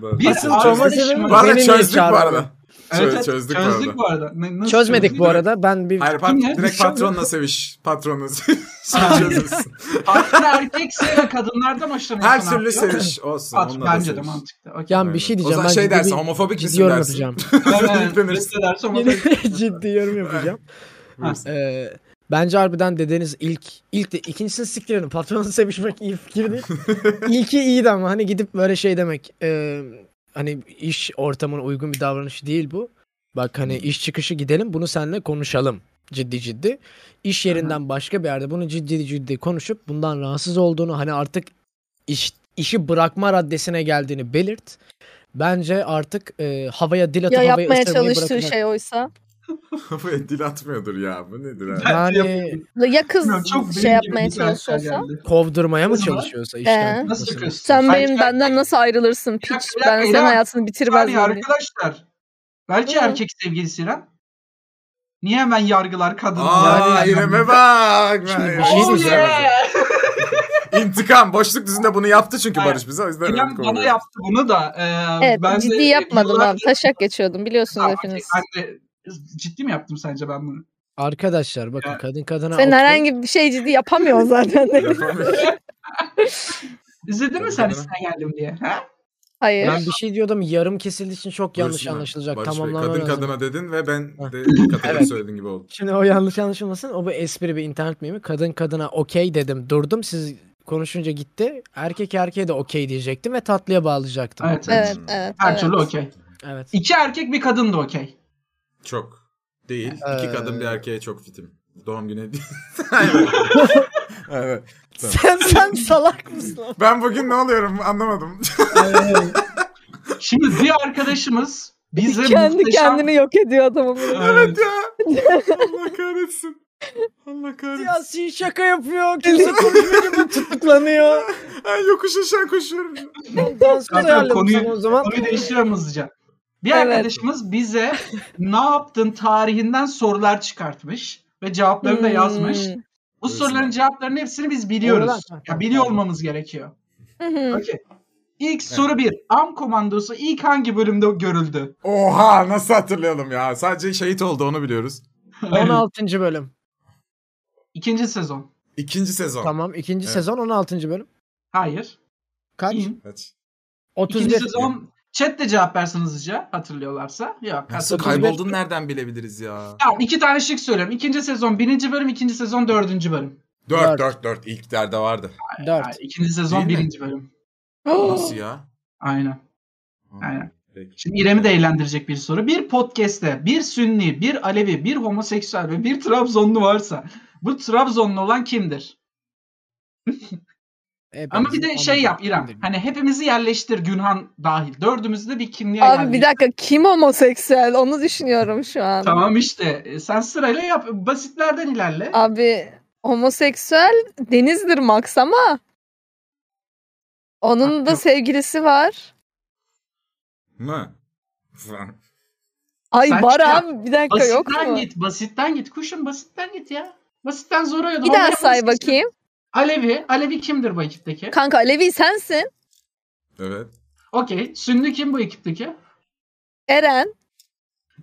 Speaker 3: Bir
Speaker 4: Asıl çözme sebebi
Speaker 3: arkadaşım
Speaker 2: Bu arada
Speaker 4: Beni niye
Speaker 2: çözdük bu
Speaker 4: çağırmadın?
Speaker 2: arada.
Speaker 3: Evet,
Speaker 2: Çö-
Speaker 3: evet,
Speaker 2: çözdük, bu arada.
Speaker 3: bu arada. Ne- nasıl
Speaker 4: Çözmedik
Speaker 3: çözdük?
Speaker 4: bu arada. Ben bir
Speaker 2: Hayır pat-
Speaker 3: Kim ya?
Speaker 2: direkt patronla seviş. Patronla seviş. Çözülsün.
Speaker 3: Partner erkekse ve kadınlardan hoşlanıyorsun.
Speaker 2: Her
Speaker 3: abi.
Speaker 2: türlü
Speaker 3: Yok mu?
Speaker 2: seviş olsun.
Speaker 3: Pat-
Speaker 2: Onunla da
Speaker 3: bence de
Speaker 2: seviş.
Speaker 3: mantıklı. Okay.
Speaker 4: yani bir şey
Speaker 2: O
Speaker 4: diyeceğim.
Speaker 2: zaman
Speaker 4: Ben
Speaker 2: şey
Speaker 4: ciddi
Speaker 2: dersin
Speaker 4: bir-
Speaker 2: homofobik
Speaker 4: ciddi
Speaker 2: misin <laughs>
Speaker 4: yorum
Speaker 2: dersin.
Speaker 3: e,
Speaker 4: yapacağım.
Speaker 3: Evet,
Speaker 2: yükleniriz.
Speaker 4: <laughs>
Speaker 3: reddederse ama
Speaker 4: Ciddi yorum yapacağım.
Speaker 2: Buyursun.
Speaker 4: Ee, Bence harbiden dedeniz ilk ilk de ikincisini siktirin patronla sevişmek iyi fikir değil. İlki iyiydi ama hani gidip böyle şey demek e, hani iş ortamına uygun bir davranış değil bu. Bak hani iş çıkışı gidelim bunu seninle konuşalım ciddi ciddi. İş yerinden başka bir yerde bunu ciddi ciddi konuşup bundan rahatsız olduğunu hani artık iş, işi bırakma raddesine geldiğini belirt. Bence artık e, havaya dil atıp
Speaker 5: Ya
Speaker 4: havaya
Speaker 5: yapmaya
Speaker 4: ısırmayı
Speaker 5: çalıştığı
Speaker 4: bırakacak.
Speaker 5: şey oysa.
Speaker 2: Kafaya dil atmıyordur ya. Bu nedir
Speaker 3: <laughs>
Speaker 2: abi?
Speaker 4: Yani
Speaker 5: Ya kız
Speaker 3: Bilmiyorum, çok benim
Speaker 5: şey
Speaker 3: gibi
Speaker 5: yapmaya
Speaker 3: bir karakter
Speaker 5: çalışıyorsa.
Speaker 3: geldi.
Speaker 4: kovdurmaya mı
Speaker 3: Kız var.
Speaker 4: çalışıyorsa işten?
Speaker 5: Ee?
Speaker 3: Nasıl
Speaker 4: Nasıl?
Speaker 3: çıkıyorsun?
Speaker 5: Sen
Speaker 3: Belki
Speaker 5: benim
Speaker 3: erkek-
Speaker 5: benden nasıl ayrılırsın
Speaker 3: dakika,
Speaker 5: piç?
Speaker 3: bir dakika,
Speaker 5: Ben senin
Speaker 3: İrem.
Speaker 5: hayatını
Speaker 3: Yani
Speaker 5: bitirmezdim. diye.
Speaker 3: arkadaşlar. Belki
Speaker 5: Hı.
Speaker 3: erkek sevgilisi İrem. Niye hemen yargılar kadını?
Speaker 2: Aa
Speaker 3: Yani-
Speaker 2: İrem'e bak.
Speaker 4: Şimdi
Speaker 2: Vay.
Speaker 4: bir şey
Speaker 2: Oh
Speaker 4: diyeceğim.
Speaker 2: yeah. İntikam. Boşluk dizinde bunu yaptı çünkü Barış bize. O yüzden
Speaker 3: İrem
Speaker 2: öyle
Speaker 3: bana
Speaker 2: kovuyor.
Speaker 3: yaptı bunu da. e,
Speaker 5: Evet
Speaker 3: ben de
Speaker 5: ciddi yapmadım
Speaker 3: yıllar-
Speaker 5: ben. Taşak geçiyordum biliyorsunuz
Speaker 3: Tamam,
Speaker 5: hepiniz.
Speaker 3: Ben de- ciddi mi yaptım sence ben bunu?
Speaker 4: Arkadaşlar bakın
Speaker 3: Ya.
Speaker 4: kadın kadına
Speaker 5: Sen
Speaker 4: okey.
Speaker 5: herhangi bir şey ciddi yapamıyorsun
Speaker 3: <laughs>
Speaker 5: zaten.
Speaker 2: Yapamıyor.
Speaker 3: İzledin mi
Speaker 2: Tabii
Speaker 3: sen
Speaker 2: canım.
Speaker 3: üstüne geldim diye? Ha?
Speaker 5: Hayır.
Speaker 4: Ben bir şey diyordum yarım kesildiği için çok yanlış
Speaker 2: Barış'ın-
Speaker 4: anlaşılacak.
Speaker 2: Barış Bey,
Speaker 4: Tamamlanma
Speaker 2: Kadın
Speaker 4: lazım.
Speaker 2: kadına dedin ve ben
Speaker 4: Heh.
Speaker 2: de kadına
Speaker 4: Evet.
Speaker 2: söylediğin gibi oldu.
Speaker 4: Şimdi o yanlış anlaşılmasın. O bir espri bir internet miyim? Kadın kadına okey dedim durdum. Siz konuşunca gitti. Erkek erkeğe de okey diyecektim ve tatlıya bağlayacaktım.
Speaker 3: Evet. evet.
Speaker 5: Evet evet.
Speaker 3: Her
Speaker 5: evet.
Speaker 3: türlü okey.
Speaker 4: Evet.
Speaker 3: İki erkek bir kadın da okey.
Speaker 2: Çok. Değil.
Speaker 4: Ee,
Speaker 2: İki kadın bir erkeğe çok fitim. Doğum günü değil. <laughs> Aynen. evet.
Speaker 4: sen sen salak mısın? lan?
Speaker 2: Ben bugün ne oluyorum anlamadım. <laughs>
Speaker 3: Şimdi bir arkadaşımız bize
Speaker 5: <laughs> Kendi
Speaker 3: muhteşem...
Speaker 5: kendini yok ediyor adamı. bunu. <laughs>
Speaker 3: Evet.
Speaker 2: ya. Allah kahretsin. Allah kahretsin.
Speaker 4: Siyasi şaka yapıyor. Kimse konuşmuyor gibi tutuklanıyor.
Speaker 2: Ay yokuş aşağı koşuyorum.
Speaker 4: Dans
Speaker 3: Kanka,
Speaker 4: ayarlamış
Speaker 3: konuyu-
Speaker 4: ama o zaman.
Speaker 3: Konuyu değiştiriyorum hızlıca. Bir
Speaker 5: Evet.
Speaker 3: arkadaşımız bize ne yaptın tarihinden sorular çıkartmış ve cevaplarını da yazmış.
Speaker 5: Hmm.
Speaker 3: Bu
Speaker 2: Buyursun.
Speaker 3: soruların cevaplarının hepsini biz biliyoruz.
Speaker 4: Doğru lan.
Speaker 3: Ya biliyor olmamız gerekiyor.
Speaker 5: Hı hı.
Speaker 3: Okey. İlk soru bir. Am komandosu ilk hangi bölümde görüldü?
Speaker 2: Oha nasıl hatırlayalım ya. Sadece şehit oldu onu biliyoruz.
Speaker 4: 16. bölüm.
Speaker 3: İkinci sezon.
Speaker 2: İkinci sezon.
Speaker 4: Tamam. ikinci
Speaker 2: Evet.
Speaker 4: sezon 16. bölüm.
Speaker 3: Hayır.
Speaker 4: Kaç?
Speaker 3: İyiyim.
Speaker 2: Kaç?
Speaker 3: İkinci
Speaker 4: 31.
Speaker 3: sezon. Chat de cevap versin hızlıca hatırlıyorlarsa. Yok.
Speaker 2: Nasıl
Speaker 3: hatırlamıyorum.
Speaker 2: kayboldun nereden bilebiliriz ya?
Speaker 3: Tamam iki tane şık söylüyorum. İkinci sezon birinci bölüm, ikinci sezon dördüncü bölüm.
Speaker 2: Dört,
Speaker 4: Dört.
Speaker 2: dört, dört. İlk derde vardı.
Speaker 4: 4.
Speaker 3: Yani ikinci sezon
Speaker 2: Değil mi?
Speaker 3: birinci bölüm.
Speaker 2: Nasıl ya?
Speaker 3: Aynen.
Speaker 2: Ha,
Speaker 3: Aynen.
Speaker 2: peki.
Speaker 3: Şimdi İrem'i de eğlendirecek bir soru. Bir podcast'te bir Sünni, bir Alevi, bir homoseksüel ve bir Trabzonlu varsa bu Trabzonlu olan kimdir? Ama bir de şey yap İrem. Hani hepimizi yerleştir Günhan dahil. Dördümüzü de bir kimliğe
Speaker 5: Abi bir
Speaker 3: yerleştir.
Speaker 5: dakika kim homoseksüel onu düşünüyorum şu an.
Speaker 3: Tamam işte. E, Sen sırayla yap. Basitlerden ilerle.
Speaker 5: Abi homoseksüel Deniz'dir Max ama onun
Speaker 3: Ha,
Speaker 5: da
Speaker 3: yok.
Speaker 5: sevgilisi var.
Speaker 2: Mı? Falan.
Speaker 5: Ay
Speaker 3: Sen
Speaker 5: var
Speaker 3: şey yap.
Speaker 5: abi bir dakika yok
Speaker 3: Basitten
Speaker 5: mu?
Speaker 3: git. Basitten git. Kuşum basitten git ya. Basitten zora ya.
Speaker 5: Bir daha say
Speaker 3: şey.
Speaker 5: bakayım.
Speaker 3: Alevi. Alevi kimdir bu ekipteki?
Speaker 5: Kanka Alevi sensin.
Speaker 2: <laughs> Evet. <laughs>
Speaker 3: Okey. Sünni kim bu ekipteki?
Speaker 5: Eren.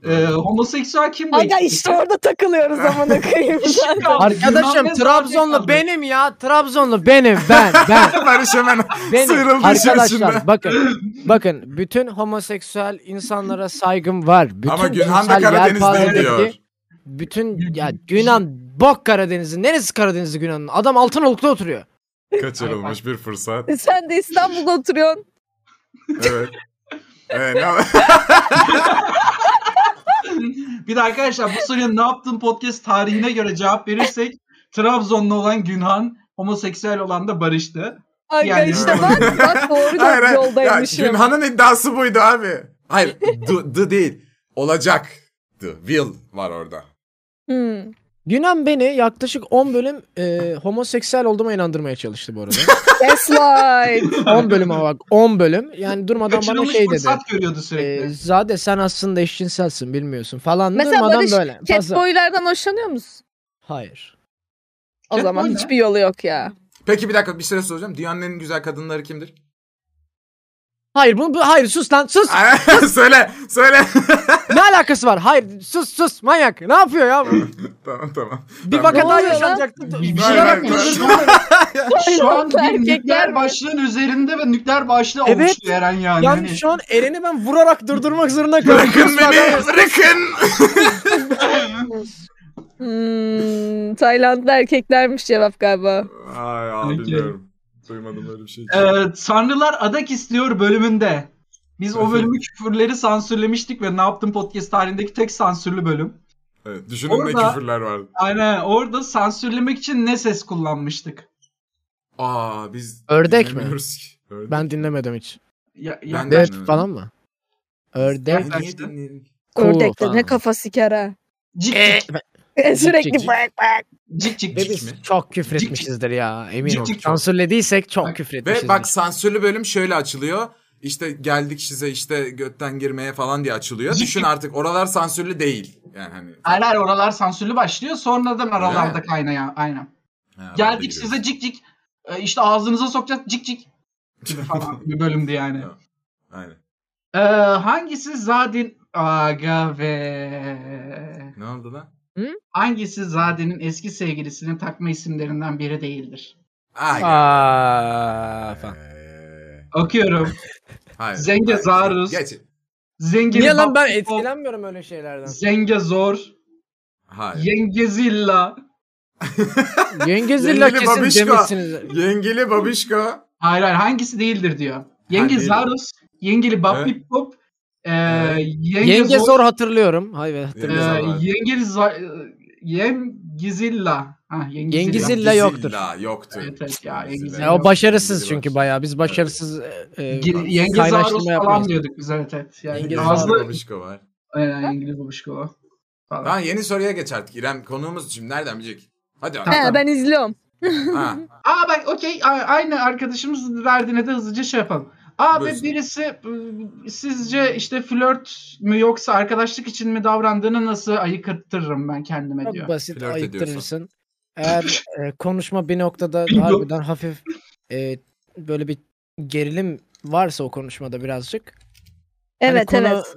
Speaker 3: Ee, homoseksüel kim bu
Speaker 5: Aga
Speaker 3: ekipteki? şey
Speaker 5: işte orada takılıyoruz amına
Speaker 3: <laughs>
Speaker 5: koyayım.
Speaker 3: Şık kaldı. Yunan
Speaker 4: Arkadaşım
Speaker 3: ve
Speaker 4: Trabzonlu
Speaker 3: Sarı kaldı.
Speaker 4: benim ya. Trabzonlu benim ben
Speaker 3: <laughs>
Speaker 4: ben.
Speaker 2: Barış hemen
Speaker 4: Benim.
Speaker 2: Sıyrıldı işin içinden.
Speaker 4: Arkadaşlar bakın bakın bütün homoseksüel insanlara saygım var. Bütün
Speaker 2: Ama Günhan da
Speaker 4: cinsel
Speaker 2: Karadeniz'de
Speaker 4: yelpazedeki-
Speaker 2: diyor.
Speaker 4: Bütün ya Yunan bok Karadeniz'i. Neresi Karadeniz'i Yunan'ın? Adam Altınoluk'ta oturuyor.
Speaker 2: Kaçırılmış bir fırsat.
Speaker 5: E, Sen de İstanbul'da oturuyorsun.
Speaker 2: Evet. Ee, ne-
Speaker 3: Bir de arkadaşlar bu soruya ne yaptın podcast tarihine göre cevap verirsek
Speaker 5: <laughs>
Speaker 3: Trabzonlu olan Günhan, homoseksüel olan da Barış'tı.
Speaker 5: Aga
Speaker 3: Yani-
Speaker 5: işte bak
Speaker 3: <laughs>
Speaker 5: bak doğru
Speaker 2: Hayır, hayır.
Speaker 5: yoldaymışım.
Speaker 2: Ya, Günhan'ın iddiası buydu abi. Hayır the, the değil. Olacak. The will var orada.
Speaker 5: Hmm.
Speaker 4: Yunan beni yaklaşık 10 bölüm e, homoseksüel olduğuma inandırmaya çalıştı
Speaker 3: <laughs>
Speaker 4: bu arada. <laughs>
Speaker 5: Gaslight.
Speaker 4: 10 bölüm ama bak 10 bölüm. Yani durmadan bana
Speaker 3: Kaçırılmış
Speaker 4: şey dedi.
Speaker 3: fırsat görüyordu sürekli.
Speaker 5: Ee,
Speaker 4: E, Zade sen aslında eşcinselsin bilmiyorsun falan.
Speaker 5: Mesela
Speaker 4: durmadan
Speaker 5: Barış
Speaker 4: böyle. Fazla-
Speaker 5: Catboy'lardan hoşlanıyor musun?
Speaker 4: Hayır.
Speaker 5: O
Speaker 3: Catboy
Speaker 5: zaman
Speaker 3: ne?
Speaker 5: hiçbir yolu yok ya.
Speaker 2: Peki bir dakika bir şey soracağım. Dünyanın en güzel kadınları kimdir?
Speaker 4: Hayır bunu bu- hayır sus lan sus.
Speaker 2: <laughs> söyle söyle.
Speaker 4: ne alakası var? Hayır sus sus manyak. Ne yapıyor ya? bu?
Speaker 2: tamam tamam.
Speaker 4: Bir
Speaker 2: Ben-
Speaker 4: vaka
Speaker 5: Ne
Speaker 4: daha
Speaker 5: oluyor lan?
Speaker 4: yaşanacaktı.
Speaker 3: Bir
Speaker 2: Hayır,
Speaker 3: şey
Speaker 2: hayır,
Speaker 3: bakma,
Speaker 2: hayır.
Speaker 3: şu an- <laughs> Şu an
Speaker 5: Yoksa
Speaker 3: bir
Speaker 5: erkekler
Speaker 3: nükleer
Speaker 5: mi?
Speaker 3: başlığın üzerinde ve nükleer başlığı
Speaker 4: Evet.
Speaker 3: oluştu Eren yani.
Speaker 4: Yani
Speaker 3: Hani-
Speaker 4: şu an Eren'i ben vurarak durdurmak zorunda kaldım.
Speaker 2: Bırakın beni bırakın.
Speaker 5: Hmm, Taylandlı erkeklermiş cevap galiba.
Speaker 2: Ay abi
Speaker 3: Peki.
Speaker 2: bilmiyorum. Duymadım öyle bir şey.
Speaker 3: Ee, Tanrılar Adak istiyor bölümünde. Biz o bölümü küfürleri sansürlemiştik ve Ne Yaptın Podcast tarihindeki tek sansürlü bölüm.
Speaker 2: Evet, düşünün ne
Speaker 3: orada-
Speaker 2: küfürler vardı.
Speaker 3: Aynen orada sansürlemek için ne ses kullanmıştık?
Speaker 2: Aa biz
Speaker 4: Ördek mi?
Speaker 2: dinlemiyoruz ki. Ördek.
Speaker 4: Ben dinlemedim hiç.
Speaker 3: Ya, ya-
Speaker 2: Ben de
Speaker 4: Dert
Speaker 2: dinlemedim.
Speaker 4: falan mı? Ördek.
Speaker 2: Ben niye dinleyelim?
Speaker 4: Cool
Speaker 5: Ördek de
Speaker 4: falan.
Speaker 5: ne kafa siker <laughs> ha.
Speaker 3: Cik
Speaker 4: Ee,
Speaker 3: cik
Speaker 5: Sürekli
Speaker 4: cik.
Speaker 5: bak bak.
Speaker 3: cik cik
Speaker 4: Ve
Speaker 3: cik.
Speaker 4: biz çok küfür etmişizdir ya
Speaker 3: Cik
Speaker 4: eminim.
Speaker 3: cik.
Speaker 4: Sansürlediysek çok
Speaker 3: Bak,
Speaker 4: küfür
Speaker 2: Ve
Speaker 4: etmişizdir.
Speaker 2: bak sansürlü bölüm şöyle açılıyor. İşte geldik size işte götten girmeye falan diye açılıyor.
Speaker 3: Ciddi.
Speaker 2: Düşün artık oralar sansürlü değil. Yani hani.
Speaker 3: Hayır hayır oralar sansürlü başlıyor sonradan
Speaker 2: Öyle
Speaker 3: aralarda
Speaker 2: mi?
Speaker 3: kaynayan aynen.
Speaker 2: Ha, orada
Speaker 3: Geldik
Speaker 2: giriyoruz.
Speaker 3: size cik cik Ee, işte ağzınıza sokacağız cik cik
Speaker 2: <laughs>
Speaker 3: gibi falan bir bölümdü yani.
Speaker 2: Evet. Aynen.
Speaker 3: Ee, hangisi Zadin Aga ve
Speaker 2: Ne oldu lan?
Speaker 3: hangisi Zadin'in eski sevgilisinin takma isimlerinden biri değildir?
Speaker 2: Ay,
Speaker 4: Aa,
Speaker 2: ee,
Speaker 4: falan. <laughs>
Speaker 3: Okuyorum.
Speaker 2: hayır.
Speaker 3: Zenge
Speaker 2: Hayır.
Speaker 3: Zarus.
Speaker 2: Geç.
Speaker 3: Zengin
Speaker 4: Niye lan
Speaker 3: Bab-
Speaker 4: ben etkilenmiyorum
Speaker 3: <laughs>
Speaker 4: öyle şeylerden.
Speaker 3: Zenge Zor,
Speaker 2: Hayır.
Speaker 3: Yengezilla.
Speaker 4: Yengezilla
Speaker 2: Yengeli
Speaker 4: kesin
Speaker 2: babişko.
Speaker 4: demişsiniz.
Speaker 2: Yengeli babişko.
Speaker 3: Hayır hayır hangisi değildir diyor. Yenge
Speaker 2: değil.
Speaker 3: Zarus, Yengeli
Speaker 2: Evet.
Speaker 3: Babip Pop, ee,
Speaker 2: Evet.
Speaker 3: Yenge,
Speaker 4: Yenge
Speaker 3: Zor,
Speaker 4: zor hatırlıyorum. Hayır
Speaker 2: Yenge
Speaker 3: ee,
Speaker 2: Zor var.
Speaker 3: Yengeli Za- Yengezilla. Ha, Yengezilla.
Speaker 4: Yengezilla.
Speaker 2: Zilla
Speaker 4: yoktur.
Speaker 2: yoktur.
Speaker 3: Evet, evet ya, Yengezilla
Speaker 4: Ya, o başarısız çünkü bayağı. Biz başarısız e, e,
Speaker 3: Gir- Yenge Zarus
Speaker 4: kaynaştırma
Speaker 3: falan
Speaker 4: yapmayız.
Speaker 3: diyorduk biz evet evet. Yani
Speaker 4: Yenge
Speaker 2: Fazla
Speaker 4: Zarus.
Speaker 3: ağızlı
Speaker 2: babişko var.
Speaker 3: Aynen İngiliz babuşko o. Falan.
Speaker 2: Tamam yeni soruya geç artık. İrem konuğumuz şimdi nereden bilecek? Hadi abi.
Speaker 5: He, ben izliyorum.
Speaker 2: ha.
Speaker 3: Aa bak okey a- aynı arkadaşımız verdiğine de hızlıca şey yapalım. Abi
Speaker 2: Buyursun.
Speaker 3: birisi ıı, sizce işte flört mü yoksa arkadaşlık için mi davrandığını nasıl ayıkırtırım ben kendime
Speaker 4: Çok
Speaker 3: diyor.
Speaker 4: basit
Speaker 2: Flört
Speaker 4: ayıktırırsın. Eğer e, konuşma
Speaker 3: <laughs>
Speaker 4: bir noktada harbiden hafif e, böyle bir gerilim varsa o konuşmada birazcık. Hani
Speaker 5: Evet
Speaker 4: konu-
Speaker 5: evet.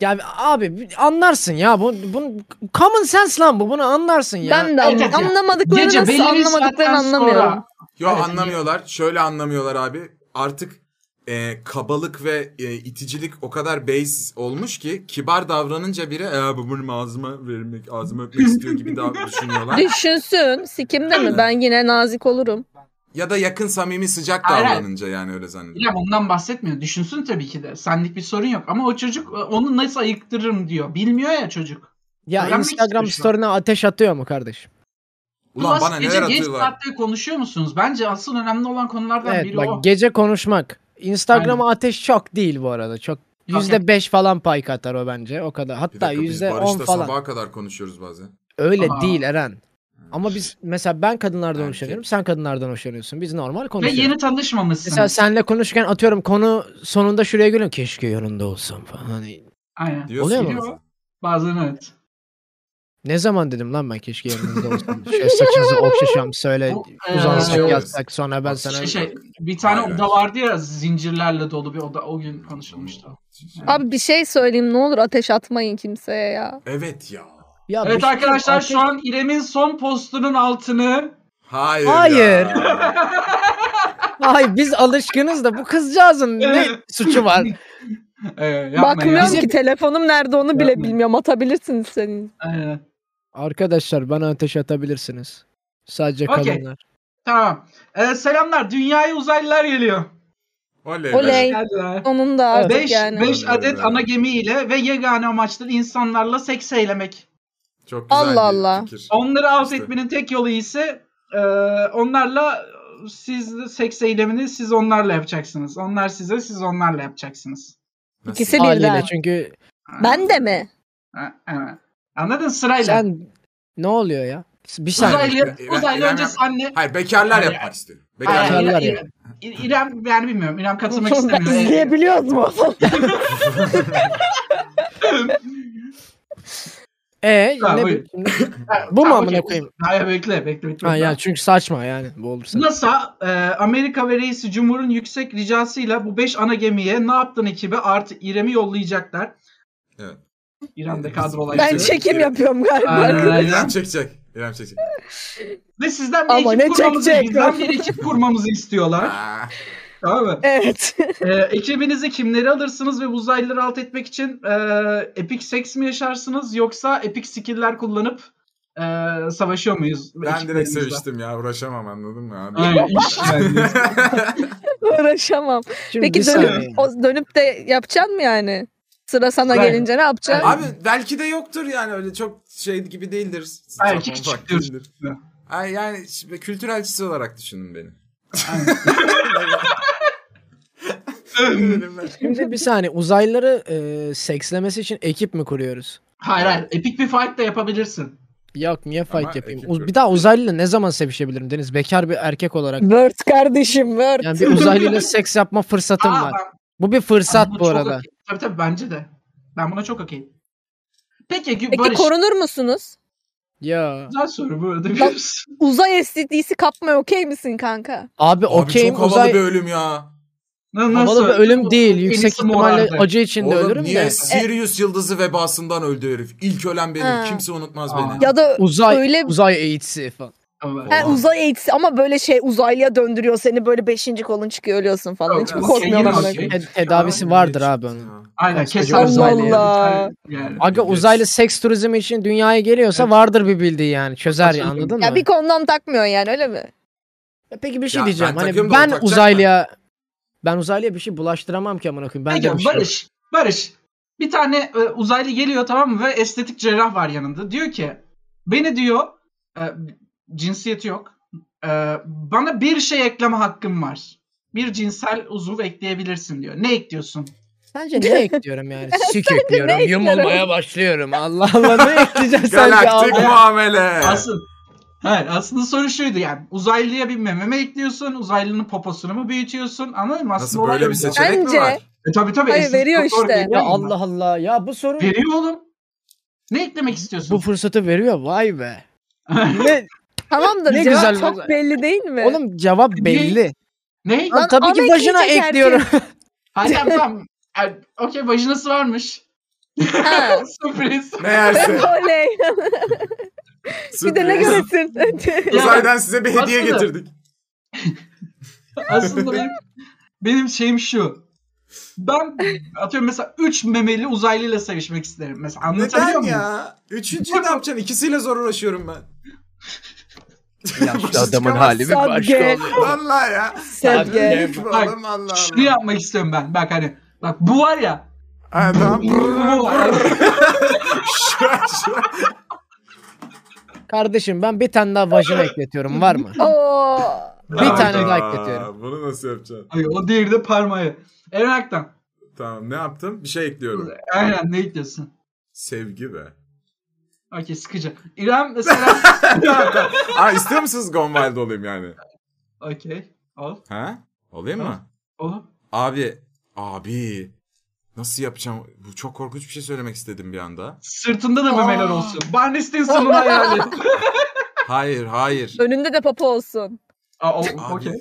Speaker 4: Ya abi anlarsın ya bu bunun common sense lan bu bunu anlarsın ya.
Speaker 5: Ben de
Speaker 3: Evet,
Speaker 5: anla-
Speaker 3: evet, ya.
Speaker 5: anlamadıklarını
Speaker 3: Gece
Speaker 5: nasıl
Speaker 3: belli bir
Speaker 5: anlamadıklarını
Speaker 3: saatten
Speaker 5: anlamıyorum.
Speaker 3: sonra-
Speaker 2: Yo
Speaker 3: Evet.
Speaker 2: anlamıyorlar. Şöyle anlamıyorlar abi. Artık e, kabalık ve e, iticilik o kadar base olmuş ki kibar davranınca biri e, bu benim ağzıma vermek, ağzıma öpmek istiyor gibi
Speaker 3: <laughs>
Speaker 2: daha düşünüyorlar.
Speaker 5: Düşünsün. Sikimde mi? Ben yine nazik olurum.
Speaker 2: ya da yakın samimi sıcak
Speaker 3: Aynen.
Speaker 2: davranınca yani öyle zannediyor.
Speaker 3: İrem ondan bahsetmiyor. Düşünsün tabii ki de. Senlik bir sorun yok. Ama o çocuk ıı, onu nasıl ayıktırırım diyor. Bilmiyor ya çocuk.
Speaker 4: ya
Speaker 3: öğrenmek
Speaker 4: Instagram
Speaker 3: istiyorum şu an.
Speaker 4: story'ne ateş atıyor mu kardeşim?
Speaker 2: Ulan
Speaker 3: Plus
Speaker 2: bana
Speaker 3: gece
Speaker 2: neler
Speaker 3: geç
Speaker 2: atıyorlar.
Speaker 3: saatte konuşuyor musunuz? Bence asıl önemli olan konulardan
Speaker 4: Evet
Speaker 3: biri
Speaker 4: bak
Speaker 3: o.
Speaker 4: gece konuşmak. Instagram'a ateş çok değil bu arada. Çok yüzde beş falan pay katar o bence o kadar.
Speaker 2: Bir
Speaker 4: Hatta
Speaker 2: dakika, biz
Speaker 4: yüzde on
Speaker 2: Barış'la
Speaker 4: falan.
Speaker 2: sabaha kadar konuşuyoruz bazen.
Speaker 4: Öyle
Speaker 3: Aa.
Speaker 4: değil Eren. Ama biz mesela ben kadınlardan
Speaker 2: Hmm. Erkek.
Speaker 4: hoşlanıyorum, sen kadınlardan hoşlanıyorsun. Biz normal
Speaker 3: Ve
Speaker 4: konuşuyoruz.
Speaker 3: yeni tanışmamışsınız.
Speaker 4: Mesela senle konuşurken atıyorum konu sonunda şuraya geliyorum. Keşke yanında olsam falan. Hani
Speaker 3: Aynen.
Speaker 2: Diyorsun
Speaker 4: Oluyor
Speaker 2: ki
Speaker 3: mu?
Speaker 2: bazen.
Speaker 3: Bazen evet.
Speaker 4: ne zaman dedim lan ben keşke yanınızda
Speaker 3: <laughs>
Speaker 4: olsam. Şöyle saçınızı okşaşam söyle
Speaker 3: Bu, eee,
Speaker 4: uzansak
Speaker 2: şey-
Speaker 4: yatsak sonra ben sana
Speaker 3: e, Şey, şey, bir tane
Speaker 2: Vay be.
Speaker 3: oda vardı ya zincirlerle dolu bir oda. O gün konuşulmuştu.
Speaker 5: Abi bir şey söyleyeyim ne olur ateş atmayın kimseye ya.
Speaker 2: Evet ya.
Speaker 4: Ya bir
Speaker 3: Evet
Speaker 4: şey-
Speaker 3: arkadaşlar
Speaker 4: ateş-
Speaker 3: şu an İrem'in son postunun altını
Speaker 2: Hayır.
Speaker 4: Hayır.
Speaker 2: Ya.
Speaker 4: Ay biz alışkınız da bu kızcağızın ne
Speaker 3: Evet.
Speaker 4: suçu var?
Speaker 3: e, yapma
Speaker 5: Bakmıyorum
Speaker 3: ya.
Speaker 5: ki telefonum nerede onu bile
Speaker 3: Yapma.
Speaker 5: bilmiyorum. Atabilirsiniz senin.
Speaker 3: Aynen.
Speaker 4: Arkadaşlar bana ateş atabilirsiniz. Sadece
Speaker 3: Okey.
Speaker 4: kadınlar.
Speaker 3: Tamam. E, selamlar. Dünyaya uzaylılar geliyor.
Speaker 2: Oley. be.
Speaker 5: Oley.
Speaker 3: Geldiler.
Speaker 5: Onun da artık
Speaker 3: 5
Speaker 5: yani.
Speaker 3: adet ana gemi ile ve yegane amaçları insanlarla seks eylemek.
Speaker 2: Çok güzel
Speaker 5: Allah
Speaker 2: bir
Speaker 5: Allah.
Speaker 2: fikir.
Speaker 3: Onları alt
Speaker 2: İşte.
Speaker 3: etmenin tek yolu ise e, onlarla siz seks eylemini siz onlarla yapacaksınız. Onlar size siz onlarla yapacaksınız.
Speaker 2: Nasıl?
Speaker 5: İkisi birden.
Speaker 4: Haliyle çünkü
Speaker 5: Ben de mi?
Speaker 3: Ha, evet. Anladın sırayla.
Speaker 4: sen ne oluyor ya? Bir saniye.
Speaker 3: Uzaylı,
Speaker 2: İrem-
Speaker 3: uzaylı
Speaker 2: İrem
Speaker 3: önce
Speaker 2: yap-
Speaker 3: senle
Speaker 2: Hayır bekarlar
Speaker 3: Hayır.
Speaker 2: yapmak istiyor.
Speaker 3: Hayır,
Speaker 2: Bekarlar.
Speaker 4: Bekarlar
Speaker 3: İrem,
Speaker 4: yani.
Speaker 3: İrem, İ- İrem yani bilmiyorum. İrem katılmak
Speaker 5: Ben
Speaker 3: istemiyor.
Speaker 5: izleyebiliyoruz mu?
Speaker 4: E
Speaker 3: Ha,
Speaker 4: ne
Speaker 3: buyur.
Speaker 4: bileyim. <laughs> Bu mu amına koyayım?
Speaker 3: Hayır bekle bekle. bekle.
Speaker 4: Ha ya çünkü saçma yani bu olursa.
Speaker 3: NASA e, Amerika ve reisi Cumhur'un yüksek ricasıyla bu 5 ana gemiye ne yaptın ekibi artı İrem'i yollayacaklar.
Speaker 2: Evet.
Speaker 3: İrem de kadrolaydı.
Speaker 5: ben çekim yapıyorum galiba.
Speaker 2: İrem çekecek. İrem çekecek.
Speaker 3: Ve sizden bir
Speaker 5: Ama
Speaker 3: ekip
Speaker 5: ne
Speaker 3: kurmamızı,
Speaker 5: çekecek?
Speaker 3: bizden bir ekip kurmamızı
Speaker 2: <laughs>
Speaker 3: istiyorlar.
Speaker 2: Aa,
Speaker 3: tamam mı?
Speaker 5: evet. <laughs>
Speaker 3: E, ekibinize kimleri alırsınız ve bu uzaylıları ee, alt etmek için e, epik seks mi yaşarsınız yoksa epik skill'ler kullanıp Ee, savaşıyor muyuz?
Speaker 2: Ben direkt
Speaker 3: ekiplerimizle?
Speaker 2: seviştim ya uğraşamam anladın mı abi?
Speaker 4: <laughs>
Speaker 3: Aynen, iş güvenliği.
Speaker 5: Uğraşamam.
Speaker 4: Şimdi
Speaker 5: Peki
Speaker 4: bir
Speaker 5: dönüp,
Speaker 4: saniye.
Speaker 5: o, dönüp de yapacaksın mı yani? Sıra sana
Speaker 3: Aynen.
Speaker 5: gelince ne yapacaksın?
Speaker 2: Abi belki de yoktur yani öyle çok şey gibi değildir. Sapan
Speaker 3: Belki küçüktür.
Speaker 2: ufak değildir. Ay yani şimdi kültür elçisi olarak düşünün beni. <laughs>
Speaker 4: Şimdi bir saniye uzaylıları e, sekslemesi için ekip mi kuruyoruz?
Speaker 3: hayır hayır. Epik bir fight da yapabilirsin.
Speaker 4: Yok niye fight
Speaker 2: Ama
Speaker 4: yapayım?
Speaker 2: ekip
Speaker 4: Uz-
Speaker 2: yok.
Speaker 4: bir daha uzaylıyla ne zaman sevişebilirim Deniz? Bekar bir erkek olarak.
Speaker 5: Word kardeşim Word.
Speaker 4: Yani bir uzaylıyla seks yapma fırsatım
Speaker 3: Aa,
Speaker 4: var.
Speaker 3: ben-
Speaker 4: Bu bir fırsat
Speaker 3: ben buna
Speaker 4: bu
Speaker 3: çok
Speaker 4: arada.
Speaker 3: okey. Tabii tabii bence de. Ben buna çok okeyim. Peki,
Speaker 5: Peki
Speaker 3: Barış.
Speaker 5: korunur musunuz?
Speaker 4: Ya.
Speaker 3: Güzel soru bu arada. biliyorsun.
Speaker 4: <laughs>
Speaker 5: Uzay STD'si kapmaya okey misin kanka?
Speaker 4: Abi
Speaker 2: Abi
Speaker 4: okeyim
Speaker 2: çok havalı
Speaker 4: uzay
Speaker 2: bir ölüm ya.
Speaker 3: Na-
Speaker 4: havalı bir ölüm değil.
Speaker 3: Enisi
Speaker 4: Yüksek ihtimalle
Speaker 3: morardı.
Speaker 4: acı içinde
Speaker 2: Oğlum
Speaker 4: ölürüm
Speaker 2: niye
Speaker 4: de. E-
Speaker 2: Sirius yıldızı vebasından öldü herif? İlk ölen benim.
Speaker 5: Ha.
Speaker 2: Kimse unutmaz
Speaker 3: Aa.
Speaker 2: beni.
Speaker 5: Ya da
Speaker 4: Uzay
Speaker 5: öyle
Speaker 4: uzay eğitisi falan.
Speaker 3: Evet.
Speaker 5: Ha, uzay eğitisi ama böyle şey uzaylıya döndürüyor seni böyle beşinci kolun çıkıyor ölüyorsun falan.
Speaker 3: Yok, şey
Speaker 5: Hiç mi
Speaker 2: Ya,
Speaker 3: yok,
Speaker 5: korkmuyor
Speaker 3: yine
Speaker 5: lan?
Speaker 3: okey.
Speaker 4: Ted- tedavisi vardır abi onun.
Speaker 3: Aynen
Speaker 4: Koskoca
Speaker 3: keser
Speaker 5: uzaylı
Speaker 3: uzaylı.
Speaker 5: Allah.
Speaker 3: Yani.
Speaker 4: Aga
Speaker 2: Evet.
Speaker 4: uzaylı seks turizmi için dünyaya geliyorsa
Speaker 3: Evet.
Speaker 4: vardır bir bildiği yani. Çözer ya
Speaker 3: Katılıyorum.
Speaker 4: anladın
Speaker 5: Ya
Speaker 4: mı?
Speaker 5: bir kondom takmıyor yani öyle mi?
Speaker 4: Ya Peki bir şey
Speaker 2: Ya
Speaker 4: diyeceğim.
Speaker 2: ben
Speaker 4: hani
Speaker 2: takıyorum da o
Speaker 4: ben
Speaker 2: takacak
Speaker 4: uzaylıya ben uzaylıya bir şey bulaştıramam ki amına koyayım. Ben de bir
Speaker 3: Peki
Speaker 4: şey.
Speaker 3: Barış, Barış. Bir tane e, uzaylı geliyor tamam mı ve estetik cerrah var yanında. Diyor ki beni diyor e, cinsiyeti yok. E, bana bir şey ekleme hakkım var. Bir cinsel uzuv ekleyebilirsin diyor. Ne ekliyorsun?
Speaker 4: Sence ne ekliyorum yani? Sik ekliyorum.
Speaker 5: eklerim?
Speaker 4: Yumulmaya başlıyorum. Allah Allah ne <laughs> ekleyeceğim sence
Speaker 2: Galaktik
Speaker 4: abi?
Speaker 2: muamele.
Speaker 3: Asıl Hayır aslında soru şuydu yani uzaylıya bir meme mi ekliyorsun, uzaylının poposunu mu büyütüyorsun anladın mı? Aslında
Speaker 2: Nasıl böyle
Speaker 3: olay
Speaker 2: bir
Speaker 3: bu.
Speaker 2: seçenek mi
Speaker 5: Bence-
Speaker 2: var?
Speaker 3: E, tabii tabii.
Speaker 5: Hayır,
Speaker 3: estetik
Speaker 5: veriyor
Speaker 3: doktor
Speaker 5: işte.
Speaker 4: Ya
Speaker 3: geliyor
Speaker 4: Allah Allah. Ya bu soru
Speaker 3: Veriyor oğlum. Ne eklemek istiyorsun?
Speaker 4: bu fırsatı veriyor. Vay be. Ne,
Speaker 5: Tamamdır
Speaker 4: Ne
Speaker 5: cevap
Speaker 4: güzel
Speaker 5: çok
Speaker 4: uzay.
Speaker 5: belli değil mi?
Speaker 4: oğlum cevap belli.
Speaker 3: <laughs> ne?
Speaker 4: Lan tabii
Speaker 5: ama
Speaker 4: ki vajina
Speaker 5: ekleyecek
Speaker 4: ekliyorum.
Speaker 5: <laughs>
Speaker 3: Hayır tamam tamam. Yani, Okey vajinası varmış.
Speaker 5: Ha.
Speaker 3: <laughs> Sürpriz.
Speaker 4: <laughs>
Speaker 2: Meğerse.
Speaker 5: <laughs> Oley. bir de ne
Speaker 2: sürpriz. <laughs>
Speaker 5: göresin.
Speaker 2: Uzaydan size bir hediye
Speaker 3: Aslında-
Speaker 2: getirdik.
Speaker 3: Aslında <laughs> benim, benim şeyim şu. Ben atıyorum mesela 3 memeli uzaylıyla sevişmek isterim. Mesela anlatabiliyor
Speaker 2: Neden
Speaker 3: muyum?
Speaker 2: ya? Üçüncüyü ne yapacaksın? İkisiyle zor uğraşıyorum ben.
Speaker 6: Yaşlı adamın
Speaker 2: Çıkamaz.
Speaker 6: hali bir başka
Speaker 5: Sadge.
Speaker 6: oluyor.
Speaker 2: Vallahi ya.
Speaker 5: Sevgi.
Speaker 2: Büyük bu
Speaker 3: Bak,
Speaker 2: oğlum Allah
Speaker 3: Şunu
Speaker 2: Allah.
Speaker 3: yapmak istiyorum ben. Bak hani bak bu var ya.
Speaker 2: Ha,
Speaker 3: <laughs>
Speaker 2: tamam.
Speaker 3: Bu var.
Speaker 2: Şu an- şu an-
Speaker 4: Kardeşim ben bir tane daha vajina ekletiyorum var mı?
Speaker 5: Oo.
Speaker 4: Bir tane
Speaker 2: Hayda,
Speaker 4: daha ekletiyorum.
Speaker 2: Bunu nasıl yapacaksın?
Speaker 3: Ay, o diğeri de parmağı. Eren Aktan.
Speaker 2: Tamam ne yaptım? Bir şey ekliyorum.
Speaker 3: Aynen ne ekliyorsun?
Speaker 2: Sevgi be.
Speaker 3: Okey sıkıcı. İrem mesela. <laughs>
Speaker 2: Aa istiyor musunuz Gonvalde olayım yani?
Speaker 3: Okey. Al.
Speaker 2: Ha? Olayım mı?
Speaker 3: Al.
Speaker 2: Abi. Abi. Nasıl yapacağım? Bu çok korkunç bir şey söylemek istedim bir anda.
Speaker 3: Sırtında da memeler
Speaker 5: Aa.
Speaker 3: olsun. Barney Stinson'un hayali.
Speaker 2: Hayır
Speaker 4: <laughs>
Speaker 2: hayır.
Speaker 5: Önünde de papa olsun.
Speaker 3: Aa,
Speaker 2: Abi,
Speaker 3: o- Okey.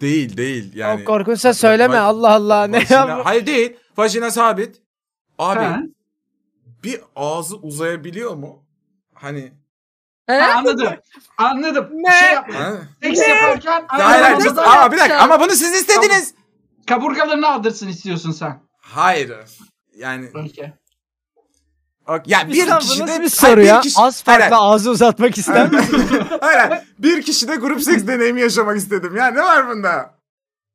Speaker 2: Değil değil yani.
Speaker 4: Çok korkunçsa söyleme
Speaker 2: Va-
Speaker 4: Allah Allah. Ne
Speaker 2: Vajina-
Speaker 4: yap-
Speaker 2: Hayır değil. Vajina sabit. Abi
Speaker 3: Ha.
Speaker 2: bir ağzı uzayabiliyor mu? Hani.
Speaker 3: Ha,
Speaker 5: Ha?
Speaker 3: anladım. Anladım.
Speaker 5: Ne?
Speaker 3: Şey yap.
Speaker 2: Ha?
Speaker 3: Seks yaparken
Speaker 2: Hayır hayır.
Speaker 3: ağzına
Speaker 2: siz-
Speaker 3: da
Speaker 2: Aa, bir dakika ama bunu siz istediniz.
Speaker 3: kaburgalarını aldırsın istiyorsun sen.
Speaker 2: Hayır. Yani
Speaker 3: Okey.
Speaker 2: ok- ya bir
Speaker 4: İnsan bu
Speaker 2: kişi
Speaker 4: nasıl
Speaker 2: de
Speaker 4: bir soru ya?
Speaker 2: Hayır, bir kişi-
Speaker 4: Az
Speaker 2: Hayır,
Speaker 4: farkla ağzı uzatmak ister misin?
Speaker 2: hayır, hayır. bir kişi de grup seks deneyimi yaşamak istedim. Ya ne var bunda?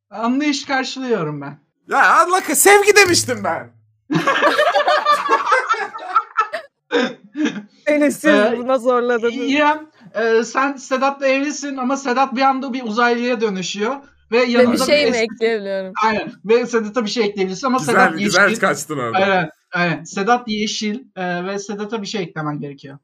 Speaker 3: Anlayış karşılıyorum ben.
Speaker 2: Ya Allah ka- sevgi demiştim ben.
Speaker 5: Enes'im
Speaker 3: Ee,
Speaker 5: buna zorladınız.
Speaker 3: İrem e, sen Sedat'la evlisin ama Sedat bir anda bir uzaylıya dönüşüyor. Ve
Speaker 5: Ve
Speaker 3: yanında
Speaker 5: bir şey mi
Speaker 3: es-
Speaker 5: ekleyebiliyorum?
Speaker 3: Aynen. Ve Sedat'a bir şey ekleyebilirsin ama
Speaker 2: Güzel
Speaker 3: Sedat
Speaker 2: güzel
Speaker 3: yeşil.
Speaker 2: kaçtın orada.
Speaker 3: Aynen, aynen. Sedat yeşil e, ve Sedat'a bir şey eklemen gerekiyor.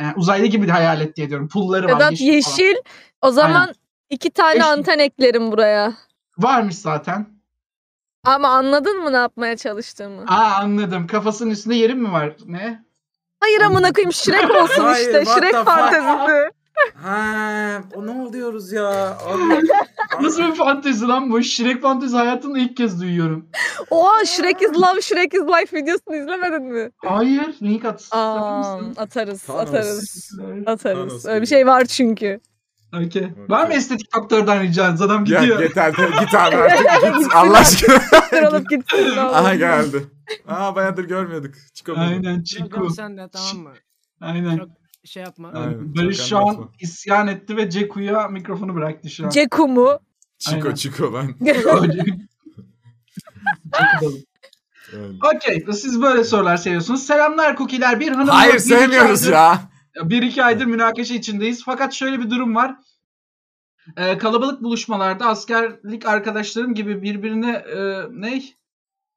Speaker 3: Yani uzaylı gibi de hayal et diye diyorum. Pulları var.
Speaker 5: Sedat
Speaker 3: falan.
Speaker 5: yeşil. O zaman
Speaker 3: Aynen.
Speaker 5: iki tane
Speaker 3: Yeşil.
Speaker 5: anten eklerim buraya.
Speaker 3: Varmış zaten.
Speaker 5: Ama anladın mı ne yapmaya çalıştığımı?
Speaker 3: Aa anladım. Kafasının üstünde yerim mi var? Ne?
Speaker 5: Hayır amına
Speaker 2: <laughs>
Speaker 5: koyayım Şirek olsun
Speaker 2: Hayır,
Speaker 5: işte.
Speaker 2: what
Speaker 5: Şirek
Speaker 2: the fuck?
Speaker 5: fantezisi.
Speaker 2: Ha, o ne oluyoruz ya?
Speaker 3: <laughs> Nasıl bir fantezi lan bu? Shrek fantezi hayatımda ilk kez duyuyorum.
Speaker 5: Oha Shrek is love, Shrek is life videosunu izlemedin mi?
Speaker 3: Hayır. Link at.
Speaker 5: Aa, atarız,
Speaker 2: Thanos.
Speaker 5: atarız.
Speaker 2: Thanos
Speaker 5: Atarız. Öyle
Speaker 2: geliyor.
Speaker 5: bir şey
Speaker 2: <laughs>
Speaker 5: var çünkü.
Speaker 3: Okey. Var mı estetik doktordan ricanız? Adam gidiyor.
Speaker 2: Ya yeter git abi
Speaker 3: <laughs>
Speaker 2: artık git Allah aşkına. <laughs>
Speaker 5: Kırılıp gitsin. ne olur.
Speaker 2: Aha geldi. Aa bayağıdır görmüyorduk. Çıkamadım.
Speaker 3: Aynen Çiko.
Speaker 4: sen de tamam mı?
Speaker 3: Aynen.
Speaker 4: Çok- şey yapma.
Speaker 2: Evet. Aynen,
Speaker 3: Barış şu
Speaker 2: Hakan
Speaker 3: an
Speaker 2: Batman.
Speaker 3: isyan etti ve Ceku'ya mikrofonu bıraktı şu an. <laughs>
Speaker 5: Ceku mu?
Speaker 2: Çiko
Speaker 3: Aynen.
Speaker 2: çiko lan.
Speaker 3: Ceku
Speaker 2: Evet.
Speaker 3: Okey. Siz böyle sorular seviyorsunuz. Selamlar kukiler. Bir hanım.
Speaker 2: Hayır sevmiyoruz ya.
Speaker 3: Bir iki aydır münakaşa içindeyiz. Fakat şöyle bir durum var. Ee, kalabalık buluşmalarda askerlik arkadaşlarım gibi birbirine e, ne?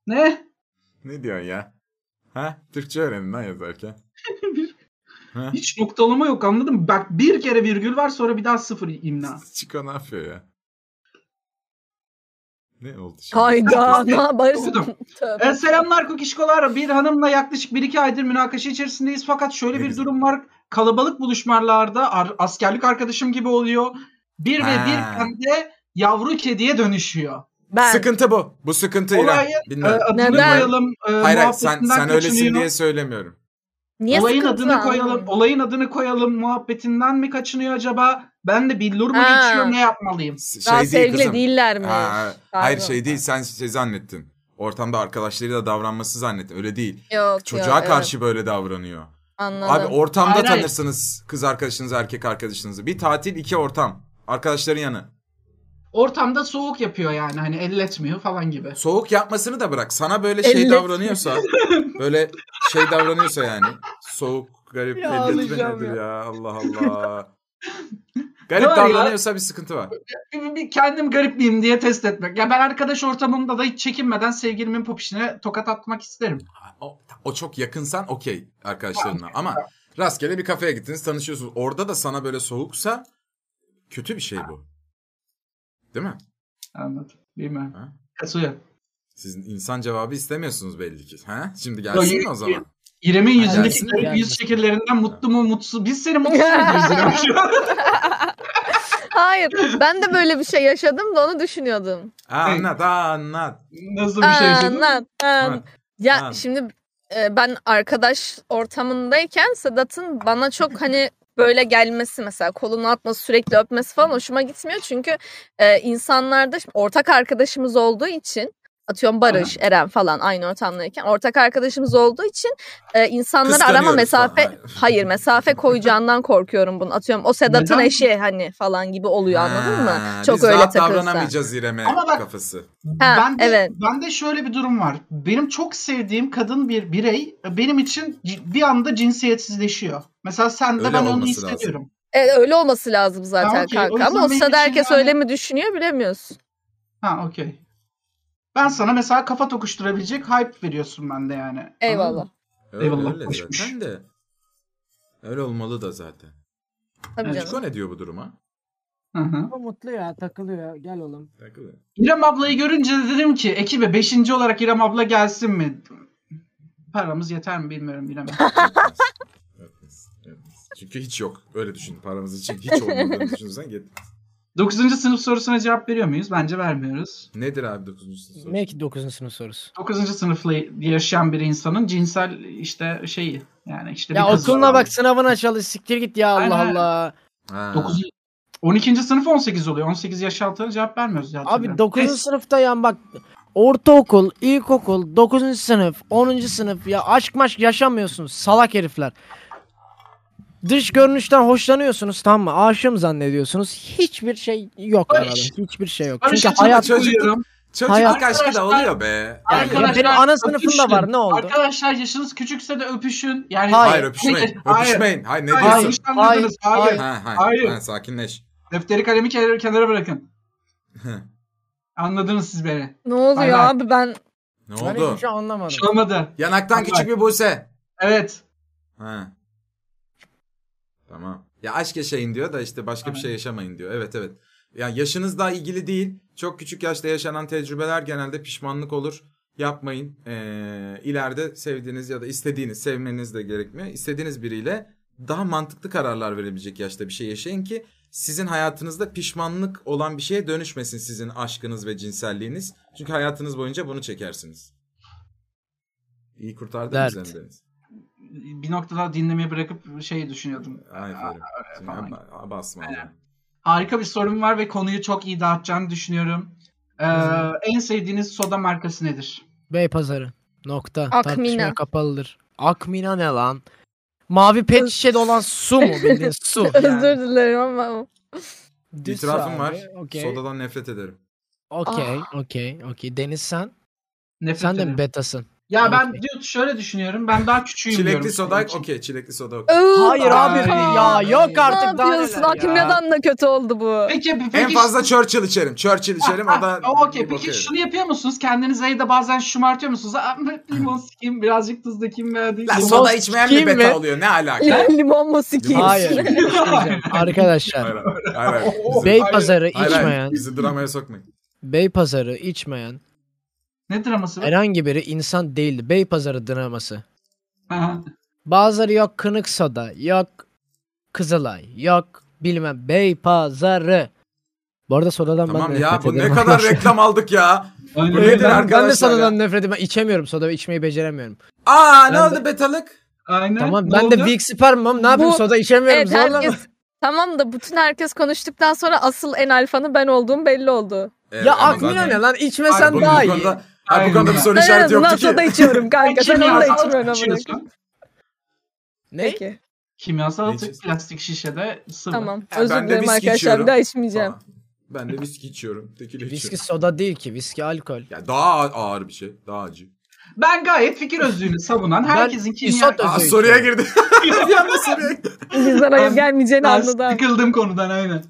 Speaker 3: Ne?
Speaker 2: Ne diyorsun ya? Ha? Türkçe öğrenin lan yazarken.
Speaker 3: Bir-
Speaker 2: Ha?
Speaker 3: Hiç noktalama yok anladın mı? Bak bir kere virgül var sonra bir daha sıfır imla.
Speaker 2: Çiko ne yapıyor ya? Ne oldu şimdi? <laughs>
Speaker 5: Hayda. Ne
Speaker 3: Okudum.
Speaker 5: yaparsın? Tövbe.
Speaker 3: Ee, selamlar kukişkolar. Bir hanımla yaklaşık bir iki aydır münakaşa içerisindeyiz. Fakat şöyle
Speaker 2: Ne
Speaker 3: bir
Speaker 2: güzel.
Speaker 3: durum var. Kalabalık buluşmalarda ar- askerlik arkadaşım gibi oluyor. Bir ve
Speaker 2: Ha.
Speaker 3: birden de yavru kediye dönüşüyor.
Speaker 5: Ben.
Speaker 2: Sıkıntı bu. Bu sıkıntı İrem.
Speaker 3: Olayı e,
Speaker 2: Bilmem.
Speaker 3: adını
Speaker 5: Neden?
Speaker 3: koyalım. E,
Speaker 2: hayır hayır sen,
Speaker 3: muhabbetinden
Speaker 2: sen öylesin
Speaker 3: kaçınıyor.
Speaker 2: diye söylemiyorum.
Speaker 5: Niye
Speaker 3: olayın
Speaker 5: sıkıntı
Speaker 3: adını
Speaker 5: lan?
Speaker 3: koyalım, olayın adını koyalım muhabbetinden mi kaçınıyor acaba? Ben de billur mu
Speaker 5: Ha.
Speaker 3: geçiyorum ne yapmalıyım?
Speaker 2: S-
Speaker 5: Daha
Speaker 2: Şey değil
Speaker 5: sevgili
Speaker 2: kızım.
Speaker 5: değiller mi?
Speaker 2: Ha, hayır
Speaker 5: Pardon.
Speaker 2: şey değil sen şey zannettin. Ortamda arkadaşlarıyla davranması zannettin. Öyle değil.
Speaker 5: Yok,
Speaker 2: Çocuğa
Speaker 5: yok,
Speaker 2: karşı böyle davranıyor.
Speaker 5: evet, anladım.
Speaker 2: Abi ortamda
Speaker 3: Hayır, hayır.
Speaker 2: tanırsınız kız arkadaşınızı, erkek arkadaşınızı. Bir tatil, iki ortam. Arkadaşların yanı.
Speaker 3: Ortamda soğuk yapıyor yani hani elletmiyor falan gibi.
Speaker 2: Soğuk yapmasını da bırak. Sana böyle şey
Speaker 5: Ellet.
Speaker 2: davranıyorsa, böyle şey davranıyorsa yani. Soğuk, garip,
Speaker 4: Ya
Speaker 2: ellet mi
Speaker 4: ağlayacağım
Speaker 2: nedir
Speaker 4: ya.
Speaker 2: ya. Allah Allah.
Speaker 3: Ne
Speaker 2: garip
Speaker 3: var ya?
Speaker 2: davranıyorsa bir sıkıntı var.
Speaker 3: Bir, bir kendim garip miyim diye test etmek. Ya ben arkadaş ortamımda da hiç çekinmeden sevgilimin popişine tokat atmak isterim.
Speaker 2: O, o çok yakınsan okey arkadaşlarına. Ama rastgele bir kafeye gittiniz, tanışıyorsunuz. Orada da sana böyle soğuksa kötü bir şey bu. Değil mi?
Speaker 3: Anladım. Bilmem.
Speaker 2: Ha?
Speaker 3: Kasuya.
Speaker 2: Sizin insan cevabı istemiyorsunuz belli ki. Ha? Şimdi
Speaker 3: Yok,
Speaker 2: gelsin mi
Speaker 3: yok,
Speaker 2: o zaman?
Speaker 3: İrem'in
Speaker 2: Ha,
Speaker 3: yüzündeki
Speaker 2: gelsin
Speaker 4: mi?
Speaker 3: garip yüz
Speaker 4: Gelmesin.
Speaker 3: şekillerinden mutlu mu mutsuz. Biz seni
Speaker 5: <laughs>
Speaker 3: mutsuz mu ediyoruz İrem şu an?
Speaker 5: Hayır. Ben de böyle bir şey yaşadım da onu düşünüyordum.
Speaker 2: Ha, anlat, ha, anlat.
Speaker 3: Nasıl bir şey yaşadın?
Speaker 5: Anlat, an-
Speaker 2: Ha.
Speaker 5: Ya
Speaker 2: Ha.
Speaker 5: şimdi e, ben arkadaş ortamındayken Sedat'ın bana çok hani böyle gelmesi mesela kolunu atması sürekli öpmesi falan hoşuma gitmiyor. Çünkü e, insanlarda şimdi ortak arkadaşımız olduğu için atıyorum Barış, Eren falan aynı ortamdayken ortak arkadaşımız olduğu için e, insanları arama
Speaker 2: Kıskanıyoruz
Speaker 5: mesafe
Speaker 2: falan.
Speaker 5: hayır mesafe koyacağından korkuyorum bunu. Atıyorum o Sedat'ın
Speaker 3: Neden?
Speaker 5: eşi hani falan gibi oluyor anladın mı?
Speaker 2: Ha,
Speaker 5: Çok
Speaker 2: biz
Speaker 5: öyle
Speaker 2: rahat
Speaker 5: takılırsa.
Speaker 2: davranamayacağız İrem'e
Speaker 3: Ama bak-
Speaker 2: kafası.
Speaker 5: Ha,
Speaker 3: ben de,
Speaker 5: evet.
Speaker 3: ben de şöyle bir durum var. Benim çok sevdiğim kadın bir birey benim için c- bir anda cinsiyetsizleşiyor. Mesela sen de
Speaker 2: Öyle
Speaker 3: ben onu
Speaker 2: olması lazım.
Speaker 3: hissediyorum.
Speaker 5: E, öyle olması lazım zaten
Speaker 3: Ha, okey. O
Speaker 5: kanka. Ama
Speaker 3: yüzden
Speaker 5: o
Speaker 3: benim
Speaker 5: sırada
Speaker 3: için
Speaker 5: herkes
Speaker 3: yani-
Speaker 5: öyle mi düşünüyor bilemiyorsun.
Speaker 3: Ha okey. Ben sana mesela kafa tokuşturabilecek hype veriyorsun bende yani. Anladın
Speaker 5: Eyvallah.
Speaker 3: mı?
Speaker 2: Öyle,
Speaker 3: Eyvallah,
Speaker 2: öyle
Speaker 3: hoşmuş.
Speaker 2: zaten de. Öyle olmalı da zaten.
Speaker 5: Tabii
Speaker 3: Evet.
Speaker 5: canım.
Speaker 2: Çiko ne diyor bu duruma?
Speaker 3: Hı hı.
Speaker 4: Bu mutlu ya takılıyor ya. Gel oğlum.
Speaker 2: Takılıyor.
Speaker 3: İrem ablayı görünce dedim ki ekibe 5. olarak İrem abla gelsin mi? Paramız yeter mi bilmiyorum
Speaker 5: <laughs>
Speaker 3: İrem.
Speaker 2: Yapmaz. Yapmaz. Yapmaz. Çünkü hiç yok. Öyle düşün. Paramız için hiç olmadığını düşünürsen git.
Speaker 3: 9. sınıf sorusuna cevap veriyor muyuz? Bence vermiyoruz.
Speaker 2: Nedir abi 9. soru?
Speaker 4: Belki 9. sınıf sorusu.
Speaker 3: 9. sınıfla yaşayan bir insanın cinsel işte şeyi yani işte
Speaker 4: Ya
Speaker 3: bir kız-
Speaker 4: okuluna bak sınavına çalış siktir git ya Allah
Speaker 3: Aynen.
Speaker 4: Allah.
Speaker 2: Ha.
Speaker 3: 9. 12. sınıf 18 oluyor. 18 yaş altına cevap vermiyoruz zaten.
Speaker 4: Abi 9. sınıfta yani bak ortaokul, ilkokul, 9. sınıf, 10. sınıf ya aşk maşk yaşamıyorsunuz salak herifler. Dış görünüşten hoşlanıyorsunuz tamam mı? Aşığım zannediyorsunuz. Hiçbir şey yok
Speaker 3: Barış.
Speaker 4: arada. Hiçbir şey yok.
Speaker 3: Barış
Speaker 4: Çünkü
Speaker 3: açıp
Speaker 4: hayat
Speaker 2: çocuk-
Speaker 4: <laughs>
Speaker 3: hatırlıyorum.
Speaker 2: Çocukluk
Speaker 4: Hayat-
Speaker 2: aşkı da oluyor be.
Speaker 4: Ya
Speaker 2: Hayır,
Speaker 3: Arkadaşlar,
Speaker 4: benim ana
Speaker 3: öpüşün.
Speaker 4: sınıfımda var ne oldu?
Speaker 3: Arkadaşlar yaşınız küçükse de öpüşün. Yani
Speaker 4: Hayır.
Speaker 2: hayır öpüşmeyin. Öpüşmeyin. Hayır ne
Speaker 3: Hayır.
Speaker 2: diyorsun?
Speaker 3: Yanlış anladınız. Hayır.
Speaker 4: Hayır. Hayır.
Speaker 2: Ha, hayır.
Speaker 3: Hayır.
Speaker 2: Ha, sakinleş.
Speaker 3: Defteri kalemi kenara, kenara bırakın.
Speaker 2: Hı.
Speaker 3: Anladınız siz beni.
Speaker 5: Ne oluyor
Speaker 3: Bay bay.
Speaker 5: abi ben
Speaker 2: Ne
Speaker 4: Ben
Speaker 2: oldu?
Speaker 4: hiçbir şey anlamadım.
Speaker 3: Olmadı.
Speaker 2: Yanaktan küçük bir Buse.
Speaker 3: Evet.
Speaker 2: Ha. Tamam. Ya aşk yaşayın diyor da işte başka bir şey yaşamayın diyor. Evet evet. Ya yaşınızla ilgili değil. Çok küçük yaşta yaşanan tecrübeler genelde pişmanlık olur. Yapmayın. Ee, ileride sevdiğiniz ya da istediğiniz, sevmeniz de gerekmiyor. İstediğiniz biriyle daha mantıklı kararlar verebilecek yaşta bir şey yaşayın ki sizin hayatınızda pişmanlık olan bir şeye dönüşmesin sizin aşkınız ve cinselliğiniz. Çünkü hayatınız boyunca bunu çekersiniz. İyi kurtardınız
Speaker 4: Dert.
Speaker 2: hem de.
Speaker 3: Bir noktada dinlemeyi bırakıp şey düşünüyordum.
Speaker 2: Aferin. Şimdi
Speaker 3: falan.
Speaker 2: ab- ab- basma oğlum.
Speaker 3: Harika bir sorum var ve konuyu çok iyi dağıtacağını düşünüyorum. Ee, en sevdiğiniz soda markası nedir?
Speaker 4: Bey pazarı. Nokta.
Speaker 5: Akmina.
Speaker 4: Tartışmaya kapalıdır. Akmina ne lan? Mavi pet şişede olan su mu bildiğin su.
Speaker 5: Özür dilerim ama.
Speaker 4: Düz
Speaker 2: İtirafım
Speaker 4: abi,
Speaker 2: var.
Speaker 4: Okey.
Speaker 2: Sodadan nefret ederim.
Speaker 4: Okey, okey, okey. Deniz sen?
Speaker 3: Nefret
Speaker 4: Sen de
Speaker 3: ederim.
Speaker 4: mi betasın?
Speaker 3: Ya ben
Speaker 4: Okey.
Speaker 3: diyor şöyle düşünüyorum. Ben daha küçüğüm diyorum.
Speaker 2: Çilekli soda okey çilekli soda okey.
Speaker 4: Hayır abi
Speaker 5: Aa,
Speaker 4: ya yok
Speaker 5: Ne
Speaker 4: artık daha
Speaker 5: yapıyorsun?
Speaker 4: neler
Speaker 5: Hakim
Speaker 4: ya.
Speaker 5: neden de kötü oldu bu?
Speaker 3: Peki, peki
Speaker 2: En fazla Churchill içerim. Churchill içerim o da
Speaker 3: Aa, <laughs> Okey peki
Speaker 2: Okey.
Speaker 3: şunu yapıyor musunuz? Kendinize evde bazen şımartıyor musunuz? Aa,
Speaker 2: <laughs>
Speaker 3: limon sikeyim birazcık tuz dökeyim veya değil.
Speaker 2: Lan
Speaker 3: Limon-
Speaker 2: soda içmeyen mi
Speaker 4: sikeyim mi?
Speaker 2: beta oluyor? Ne alaka?
Speaker 5: Limon mu sikeyim?
Speaker 4: Hayır. şey
Speaker 5: <laughs>
Speaker 4: Arkadaşlar.
Speaker 2: Hayır, hayır, hayır.
Speaker 3: <laughs>
Speaker 2: Bizi-
Speaker 4: Bey pazarı
Speaker 2: hayır, hayır.
Speaker 4: içmeyen,
Speaker 2: Bizi dramaya sokmayın.
Speaker 4: Bey pazarı içmeyen
Speaker 3: Ne draması? var?
Speaker 4: herhangi biri insan değildi. Bey pazarı draması.
Speaker 3: Aha.
Speaker 4: Bazıları yok kınık soda, yok Kızılay, yok bilmem Bey pazarı. Bu arada sodadan ben
Speaker 2: Tamam
Speaker 4: de
Speaker 2: ya
Speaker 4: nefret
Speaker 2: bu ne
Speaker 4: ederim
Speaker 2: kadar
Speaker 4: arkadaşlar.
Speaker 2: reklam aldık ya.
Speaker 3: Aynen.
Speaker 2: Bu nedir
Speaker 4: Ben, ben de
Speaker 2: arkadaşlar ya?
Speaker 4: sodadan nefret ediyorum. Ben içemiyorum soda ve içmeyi beceremiyorum.
Speaker 2: Aa ne
Speaker 4: Ben
Speaker 2: oldu betalık?
Speaker 3: Aynen.
Speaker 4: Tamam
Speaker 3: Ne
Speaker 4: ben de
Speaker 3: oldu?
Speaker 4: Big Sperm'ım. Ne yapayım
Speaker 5: Bu-
Speaker 4: soda içemiyorum.
Speaker 5: Evet,
Speaker 4: zorla
Speaker 5: herkes, tamam da bütün herkes konuştuktan sonra asıl en alfanın ben olduğum belli oldu.
Speaker 2: Evet,
Speaker 4: Ya
Speaker 2: ama
Speaker 4: aklına
Speaker 2: zaten-
Speaker 4: ne lan
Speaker 2: Ay,
Speaker 4: içmesen
Speaker 2: bu-
Speaker 4: daha
Speaker 2: bu
Speaker 4: iyi.
Speaker 2: konuda- Ay, bu konuda bir
Speaker 3: Aynen.
Speaker 2: soru
Speaker 5: Ben en
Speaker 2: işareti
Speaker 5: azından
Speaker 2: yoktu ki.
Speaker 5: soda içiyorum kanka. Sen onu da
Speaker 3: kimyasal
Speaker 5: içmiyorsun amına koyayım.
Speaker 3: içiyorsun.
Speaker 4: Ne?
Speaker 5: Peki.
Speaker 3: Kimyasal
Speaker 2: Ne
Speaker 3: atık
Speaker 2: içiyorsun?
Speaker 3: plastik şişede sıvı.
Speaker 5: Tamam.
Speaker 2: Ha,
Speaker 5: Özür
Speaker 2: ben de
Speaker 5: dilerim
Speaker 2: viski
Speaker 5: arkadaşlar.
Speaker 2: içiyorum.
Speaker 5: Bir daha içmeyeceğim.
Speaker 2: Aa, Ben de viski içiyorum. Tekila
Speaker 4: Viski
Speaker 2: içiyorum.
Speaker 4: soda değil ki. Viski alkol.
Speaker 2: Ya daha ağ- ağır bir şey. Daha acı.
Speaker 3: Ben gayet fikir özlüğünü savunan herkesin kimya... <laughs>
Speaker 4: isot-
Speaker 2: <laughs> Aa,
Speaker 4: Özür
Speaker 2: soruya
Speaker 4: dilerim.
Speaker 2: girdi. bir anda soruya girdi.
Speaker 5: Bizden hayır
Speaker 3: Ben-
Speaker 5: gelmeyeceğini
Speaker 3: Ben
Speaker 5: anladı abi.
Speaker 3: sıkıldım konudan aynen.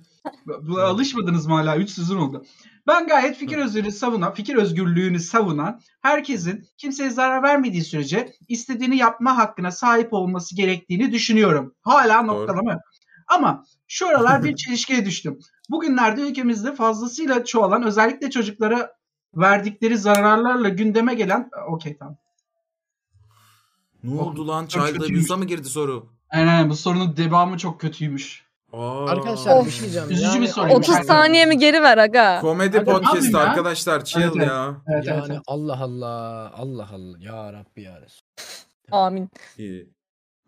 Speaker 3: Buna alışmadınız mı hala? 3 sezon oldu. Ben gayet fikir özgürlüğünü savunan, fikir özgürlüğünü savunan, herkesin kimseye zarar vermediği sürece istediğini yapma hakkına sahip olması gerektiğini düşünüyorum. Hala noktalama. yok. Ama şu aralar bir çelişkiye düştüm. Bugünlerde ülkemizde fazlasıyla çoğalan özellikle çocuklara verdikleri zararlarla gündeme gelen okey tamam.
Speaker 2: Ne oldu lan?
Speaker 3: Çok
Speaker 2: Child
Speaker 3: kötüymüş.
Speaker 2: abuse'a mı girdi soru?
Speaker 3: Aynen bu sorunun devamı çok kötüymüş.
Speaker 2: Aa.
Speaker 4: Arkadaşlar bir
Speaker 5: Of.
Speaker 4: şey diyeceğim.
Speaker 3: Üzücü bir soru.
Speaker 5: 30
Speaker 3: Aynen.
Speaker 5: saniye mi geri ver aga?
Speaker 2: Komedi podcast
Speaker 3: ya.
Speaker 2: arkadaşlar chill
Speaker 3: Evet, evet.
Speaker 2: ya.
Speaker 3: Evet, evet,
Speaker 4: Yani
Speaker 3: evet.
Speaker 4: Allah Allah. Allah Allah. Ya Rabbi ya Resul.
Speaker 5: Amin.
Speaker 2: İyi.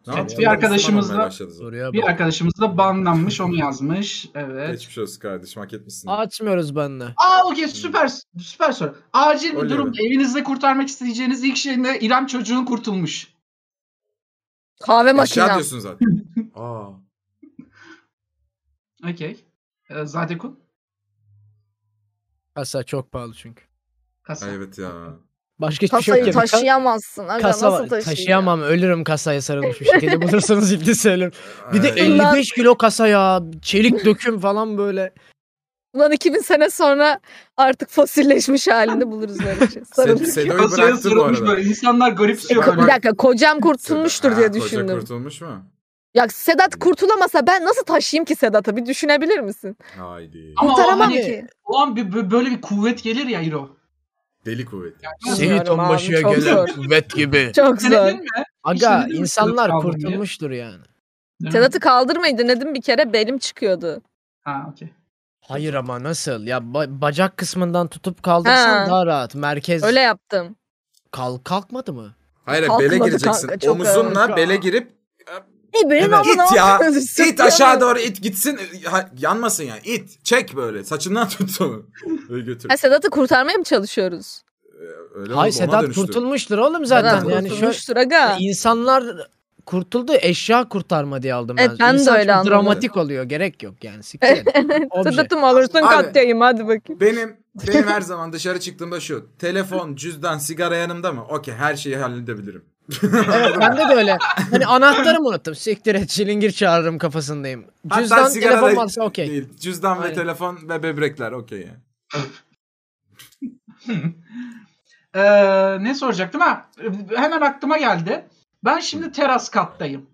Speaker 3: Evet,
Speaker 2: yapacağız?
Speaker 3: bir arkadaşımızla-
Speaker 2: Müslüman olmaya başladı zaten.
Speaker 4: Soruya
Speaker 3: Bir
Speaker 4: bak.
Speaker 3: arkadaşımız da banlanmış onu yazmış. Evet.
Speaker 2: Geçmiş olsun kardeşim hak etmişsin.
Speaker 4: Açmıyoruz benle.
Speaker 3: Aa okey süper süper soru. Acil bir
Speaker 2: Oley
Speaker 3: durum.
Speaker 2: be.
Speaker 3: Evinizde kurtarmak isteyeceğiniz ilk şey ne? İrem çocuğun kurtulmuş.
Speaker 5: Kahve
Speaker 2: Eşya
Speaker 5: makinem.
Speaker 2: diyorsun
Speaker 3: <laughs>
Speaker 2: zaten. Aa.
Speaker 3: Okey. Ee, Zadekun.
Speaker 4: Kasa çok pahalı çünkü.
Speaker 3: Kasa.
Speaker 2: Ay, evet ya.
Speaker 4: Başka hiçbir şey yok.
Speaker 5: Kasayı
Speaker 4: ya. Bir ka-
Speaker 5: taşıyamazsın. Aga
Speaker 4: Kasa
Speaker 5: nasıl
Speaker 4: var.
Speaker 5: taşıyacağım?
Speaker 4: Taşıyamam. Ölürüm kasaya sarılmış bir şekilde. Bulursanız ilgi söylerim. Bir de
Speaker 2: Ay.
Speaker 4: 55 kilo kasa ya. Çelik döküm falan böyle.
Speaker 5: Ulan 2000 sene sonra artık fosilleşmiş halinde buluruz böyle
Speaker 2: <laughs>
Speaker 5: şey.
Speaker 2: Sed-
Speaker 5: Sarıldık.
Speaker 2: Sedo'yu
Speaker 3: Kasaya
Speaker 2: bıraktı bu
Speaker 3: sarılmış
Speaker 2: arada.
Speaker 3: böyle. İnsanlar garipsiyor
Speaker 5: Ko-
Speaker 3: böyle.
Speaker 5: bir dakika kocam kurtulmuştur
Speaker 2: Ha,
Speaker 5: diye
Speaker 2: koca
Speaker 5: düşündüm.
Speaker 2: kurtulmuş mu?
Speaker 5: Ya Sedat kurtulamasa ben nasıl taşıyayım ki Sedat'ı bir düşünebilir misin?
Speaker 2: Haydi.
Speaker 3: Ama o,
Speaker 5: Kurtaramam
Speaker 3: hani,
Speaker 5: ki.
Speaker 3: o an bir, bir- böyle bir kuvvet gelir ya Hiro.
Speaker 2: Deli kuvveti.
Speaker 4: Seni tombaşıya
Speaker 5: çok
Speaker 4: gelen
Speaker 5: zor.
Speaker 4: kuvvet gibi.
Speaker 5: <laughs> Çok zor.
Speaker 3: Denedin mi?
Speaker 4: Aga
Speaker 3: İşte dedim,
Speaker 4: insanlar
Speaker 3: sınıf kaldım diye.
Speaker 4: kurtulmuştur yani.
Speaker 5: Sedat'ı kaldırmayı denedim bir kere belim çıkıyordu.
Speaker 3: Ha okey.
Speaker 4: Hayır ama nasıl? Ya ba- bacak kısmından tutup kaldırsan
Speaker 5: Ha.
Speaker 4: daha rahat. Merkez
Speaker 5: Öyle yaptım.
Speaker 4: Kalk kalkmadı mı?
Speaker 2: Hayır
Speaker 5: Kalkmadı
Speaker 2: bele gireceksin.
Speaker 5: kanka, çok
Speaker 2: Omuzunla
Speaker 4: ağır.
Speaker 2: bele girip
Speaker 5: İbrin
Speaker 2: Evet.
Speaker 5: amına
Speaker 2: İt ya.
Speaker 5: koyuyorsun,
Speaker 2: it aşağı
Speaker 5: sürtüyorum.
Speaker 2: doğru it gitsin. Ha, yanmasın yani. It. Çek böyle. Saçından <laughs> tut onu. Öyle götür.
Speaker 5: Ha, Sedat'ı kurtarmaya mı çalışıyoruz?
Speaker 2: Ee, Öyle
Speaker 4: Hayır
Speaker 2: oldu, ona
Speaker 4: Sedat
Speaker 2: dönüştü.
Speaker 4: kurtulmuştur oğlum zaten.
Speaker 5: Sedat
Speaker 4: yani şöyle
Speaker 5: kurtulmuştur aga.
Speaker 4: insanlar kurtuldu eşya kurtarma diye aldım
Speaker 5: Evet, E, ben de
Speaker 4: İnsan
Speaker 5: öyle
Speaker 4: çok
Speaker 5: anladım.
Speaker 4: dramatik oluyor. Gerek yok yani.
Speaker 5: <laughs>
Speaker 4: Siktir. Obje.
Speaker 5: Sedat'ım alırsın
Speaker 2: Abi.
Speaker 5: katlayayım hadi bakayım.
Speaker 2: Benim benim her zaman dışarı çıktığımda şu. Telefon, cüzdan, sigara yanımda mı? Okey her şeyi halledebilirim.
Speaker 4: evet, bende de öyle. Hani anahtarımı unuttum. Siktir et çilingir çağırırım kafasındayım.
Speaker 2: Hatta
Speaker 4: Cüzdan
Speaker 2: sigara da
Speaker 4: telefon varsa okey.
Speaker 2: Değil. Cüzdan
Speaker 4: Aynen.
Speaker 2: ve telefon ve böbrekler okey yani.
Speaker 3: Ee, ne soracaktım ha? Hemen aklıma geldi. Ben şimdi teras kattayım.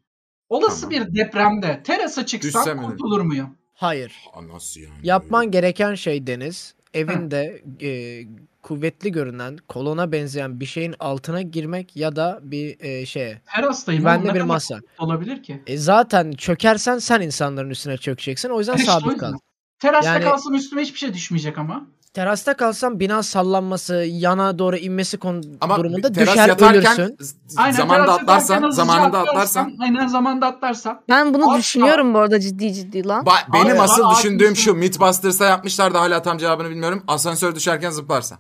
Speaker 3: Olası
Speaker 2: Tamam.
Speaker 3: bir depremde terasa çıksam
Speaker 2: Düşsem mi?
Speaker 3: kurtulur muyum?
Speaker 4: Hayır.
Speaker 2: Aa, nasıl yani?
Speaker 4: Yapman gereken şey Deniz, evinde e, kuvvetli görünen, kolona benzeyen bir şeyin altına girmek ya da bir e, şeye,
Speaker 3: Terastayım. oğlum, ne
Speaker 4: güvenli bir
Speaker 3: kadar
Speaker 4: masa.
Speaker 3: olabilir ki?
Speaker 4: E, zaten çökersen sen insanların üstüne çökeceksin. O yüzden
Speaker 3: İşte o
Speaker 4: sabit
Speaker 3: yüzden.
Speaker 4: kal.
Speaker 3: Terasta
Speaker 4: Yani-
Speaker 3: kalsam üstüme hiçbir şey düşmeyecek ama.
Speaker 4: Terasta kalsan bina sallanması, yana doğru inmesi kon-
Speaker 2: Ama
Speaker 4: durumunda
Speaker 2: teras
Speaker 4: düşer
Speaker 2: yatarken
Speaker 4: ölürsün.
Speaker 2: z-
Speaker 3: Aynen,
Speaker 2: zamanında
Speaker 3: terasta kalkarken
Speaker 2: atlarsan,
Speaker 3: hızlıca
Speaker 2: zamanında
Speaker 3: atlarsam,
Speaker 2: atlarsan
Speaker 3: Aynen zamanında atlarsam.
Speaker 5: Ben bunu
Speaker 3: Asla.
Speaker 5: düşünüyorum bu arada ciddi ciddi lan.
Speaker 2: Ba- benim
Speaker 3: Abi,
Speaker 2: asıl
Speaker 3: abi,
Speaker 2: düşündüğüm
Speaker 3: abi.
Speaker 2: şu. Mythbusters'ta yapmışlar da hala tam cevabını bilmiyorum. Asansör düşerken <laughs> zıplarsan.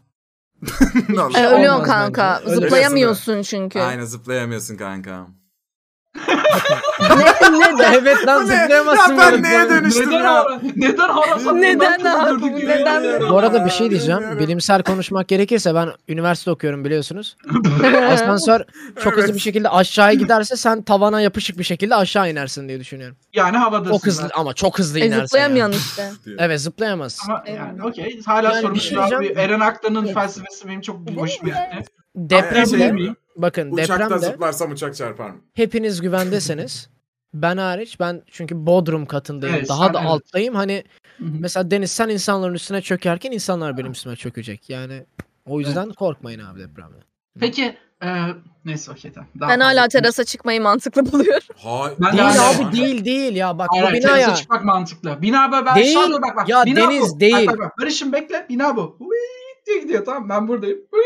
Speaker 2: ne olur.
Speaker 5: E,
Speaker 4: Olmaz
Speaker 2: Şey
Speaker 5: ölüyorsun
Speaker 4: bence.
Speaker 5: kanka.
Speaker 4: Ölüyorsun.
Speaker 5: Zıplayamıyorsun çünkü.
Speaker 2: Aynen zıplayamıyorsun kanka.
Speaker 4: ne, ne, evet lan
Speaker 2: <laughs> Bu ne? Ya
Speaker 4: zıplayamazsın.
Speaker 2: ben
Speaker 4: böyle.
Speaker 2: neye dönüştüm
Speaker 3: Neden
Speaker 2: ya?
Speaker 3: ara, neden ara
Speaker 5: Neden ara- neden-
Speaker 4: Bu arada bir şey diyeceğim.
Speaker 2: Bilmiyorum.
Speaker 4: Bilimsel konuşmak gerekirse ben üniversite okuyorum biliyorsunuz.
Speaker 5: <laughs>
Speaker 4: Asansör çok hızlı bir şekilde aşağıya giderse sen tavana yapışık bir şekilde aşağı inersin diye düşünüyorum.
Speaker 3: Yani havadasın.
Speaker 4: Çok hızlı ama çok hızlı
Speaker 5: E,
Speaker 4: inersin. yani.
Speaker 5: zıplayamayan işte.
Speaker 4: Evet zıplayamazsın.
Speaker 3: Ama yani okey. Hala
Speaker 4: Yani
Speaker 3: sorun
Speaker 4: bir şey
Speaker 3: cevap yok.
Speaker 4: diyeceğim.
Speaker 3: Eren Aktan'ın
Speaker 5: Evet.
Speaker 3: felsefesi benim çok hoşuma gitti.
Speaker 2: Şey-
Speaker 4: Depremde
Speaker 3: Bilemeyeyim.
Speaker 4: bakın
Speaker 2: Uçaktan
Speaker 4: depremde
Speaker 2: zıplarsam uçak çarpar mı?
Speaker 4: hepiniz güvendesiniz. Ben hariç ben çünkü Bodrum katındayım.
Speaker 3: Evet,
Speaker 4: daha
Speaker 3: sen
Speaker 4: da
Speaker 3: evet.
Speaker 4: alttayım. Hani
Speaker 3: Hı hı.
Speaker 4: mesela Deniz sen insanların üstüne çökerken insanlar benim üstüme çökecek. Yani o yüzden korkmayın abi depremde.
Speaker 3: Peki e, neyse okey tamam. Daha
Speaker 5: Ben
Speaker 3: fazla-
Speaker 5: hala terasa çıkmayı mantıklı buluyorum.
Speaker 2: Hayır.
Speaker 3: Ben de
Speaker 4: Değil
Speaker 3: hala-
Speaker 4: abi değil değil ya bak
Speaker 3: Hayır,
Speaker 4: bu
Speaker 3: hayır,
Speaker 4: bina
Speaker 3: terasa
Speaker 4: ya.
Speaker 3: çıkmak mantıklı. Bina bu ben
Speaker 4: Değil.
Speaker 3: şu anda bak bak.
Speaker 4: Ya
Speaker 3: bina
Speaker 4: Deniz,
Speaker 3: bu.
Speaker 4: değil.
Speaker 3: Bak, bak, bak. Barış'ım bekle bina bu. Uyyy diye gidiyor tamam ben buradayım. Uyyy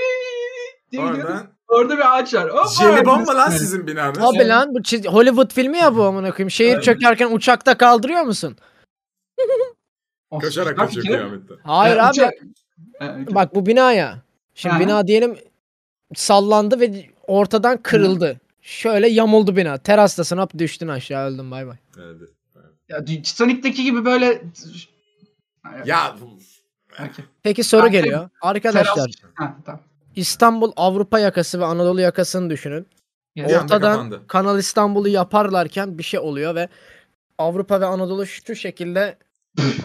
Speaker 3: diye gidiyor.
Speaker 2: Oradan-
Speaker 3: Orada bir ağaç var. Hop,
Speaker 2: Jelibon mu lan
Speaker 3: Evet.
Speaker 2: sizin binanız?
Speaker 4: Abi lan bu çiz- Hollywood filmi ya bu amına koyayım. Şehir çökerken uçakta kaldırıyor musun?
Speaker 3: Of,
Speaker 2: Koşarak
Speaker 3: bak
Speaker 2: kaçıyor
Speaker 3: fikir.
Speaker 2: kıyamette.
Speaker 4: Hayır
Speaker 3: Ya, şey-
Speaker 4: abi.
Speaker 3: uçak- Evet.
Speaker 4: Bak bu bina ya. Şimdi
Speaker 3: Aha.
Speaker 4: bina diyelim sallandı ve ortadan kırıldı. Şöyle yamuldu bina. Terastasın hop düştün aşağı öldün bay bay.
Speaker 2: Evet.
Speaker 3: Ya, Titanic'teki gibi böyle
Speaker 2: Ya
Speaker 3: Okey.
Speaker 4: Peki soru
Speaker 3: Abi,
Speaker 4: geliyor. Arkadaşlar
Speaker 3: teras- Ha, tamam.
Speaker 4: İstanbul Avrupa yakası ve Anadolu yakasını düşünün.
Speaker 2: Bir anda
Speaker 4: Ortadan
Speaker 2: kapandı.
Speaker 4: Kanal İstanbul'u yaparlarken bir şey oluyor ve Avrupa ve Anadolu şu şekilde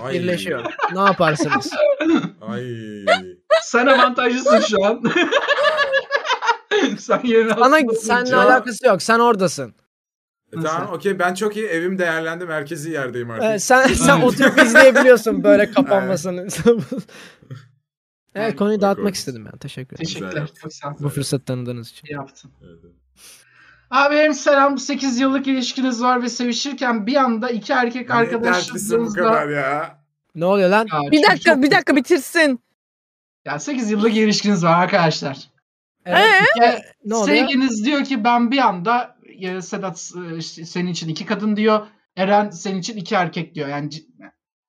Speaker 2: ay,
Speaker 4: birleşiyor. ne
Speaker 2: <laughs>
Speaker 4: yaparsınız?
Speaker 2: Ay. E,
Speaker 3: Sen avantajlısın
Speaker 2: <laughs>
Speaker 3: şu an. sen yerin
Speaker 4: Ana
Speaker 3: altında
Speaker 4: seninle
Speaker 3: olunca-
Speaker 4: alakası yok. Sen oradasın.
Speaker 2: E, tamam okey ben çok iyi evim değerlendi merkezi yerdeyim artık. Hani
Speaker 3: <laughs>
Speaker 4: Ee, sen sen oturup izleyebiliyorsun böyle kapanmasını. <laughs> evet
Speaker 3: Aynen.
Speaker 4: konuyu dağıtmak
Speaker 2: Korkunç.
Speaker 4: istedim ben. Teşekkür ederim.
Speaker 2: Güzel
Speaker 3: Teşekkürler.
Speaker 2: yaptın.
Speaker 3: Çok sağ ol.
Speaker 4: Bu fırsatı tanıdığınız için.
Speaker 3: İyi şey yaptın.
Speaker 2: Evet, evet.
Speaker 3: Abi benim selam. 8 yıllık ilişkiniz var ve sevişirken bir anda iki erkek
Speaker 2: Ne dertlisin bu kadar
Speaker 3: arkadaşlarınızla...
Speaker 2: ya.
Speaker 4: Ne oluyor lan?
Speaker 3: Ya
Speaker 5: Bir
Speaker 3: çok-
Speaker 5: dakika
Speaker 3: çok-
Speaker 5: bir dakika bitirsin.
Speaker 3: Ya 8 yıllık ilişkiniz var arkadaşlar.
Speaker 4: Evet, Ee, hikaye- ne oluyor?
Speaker 3: Sevginiz diyor ki ben bir anda e, Sedat e, işte senin için iki kadın diyor. Eren senin için iki erkek diyor. Yani cid-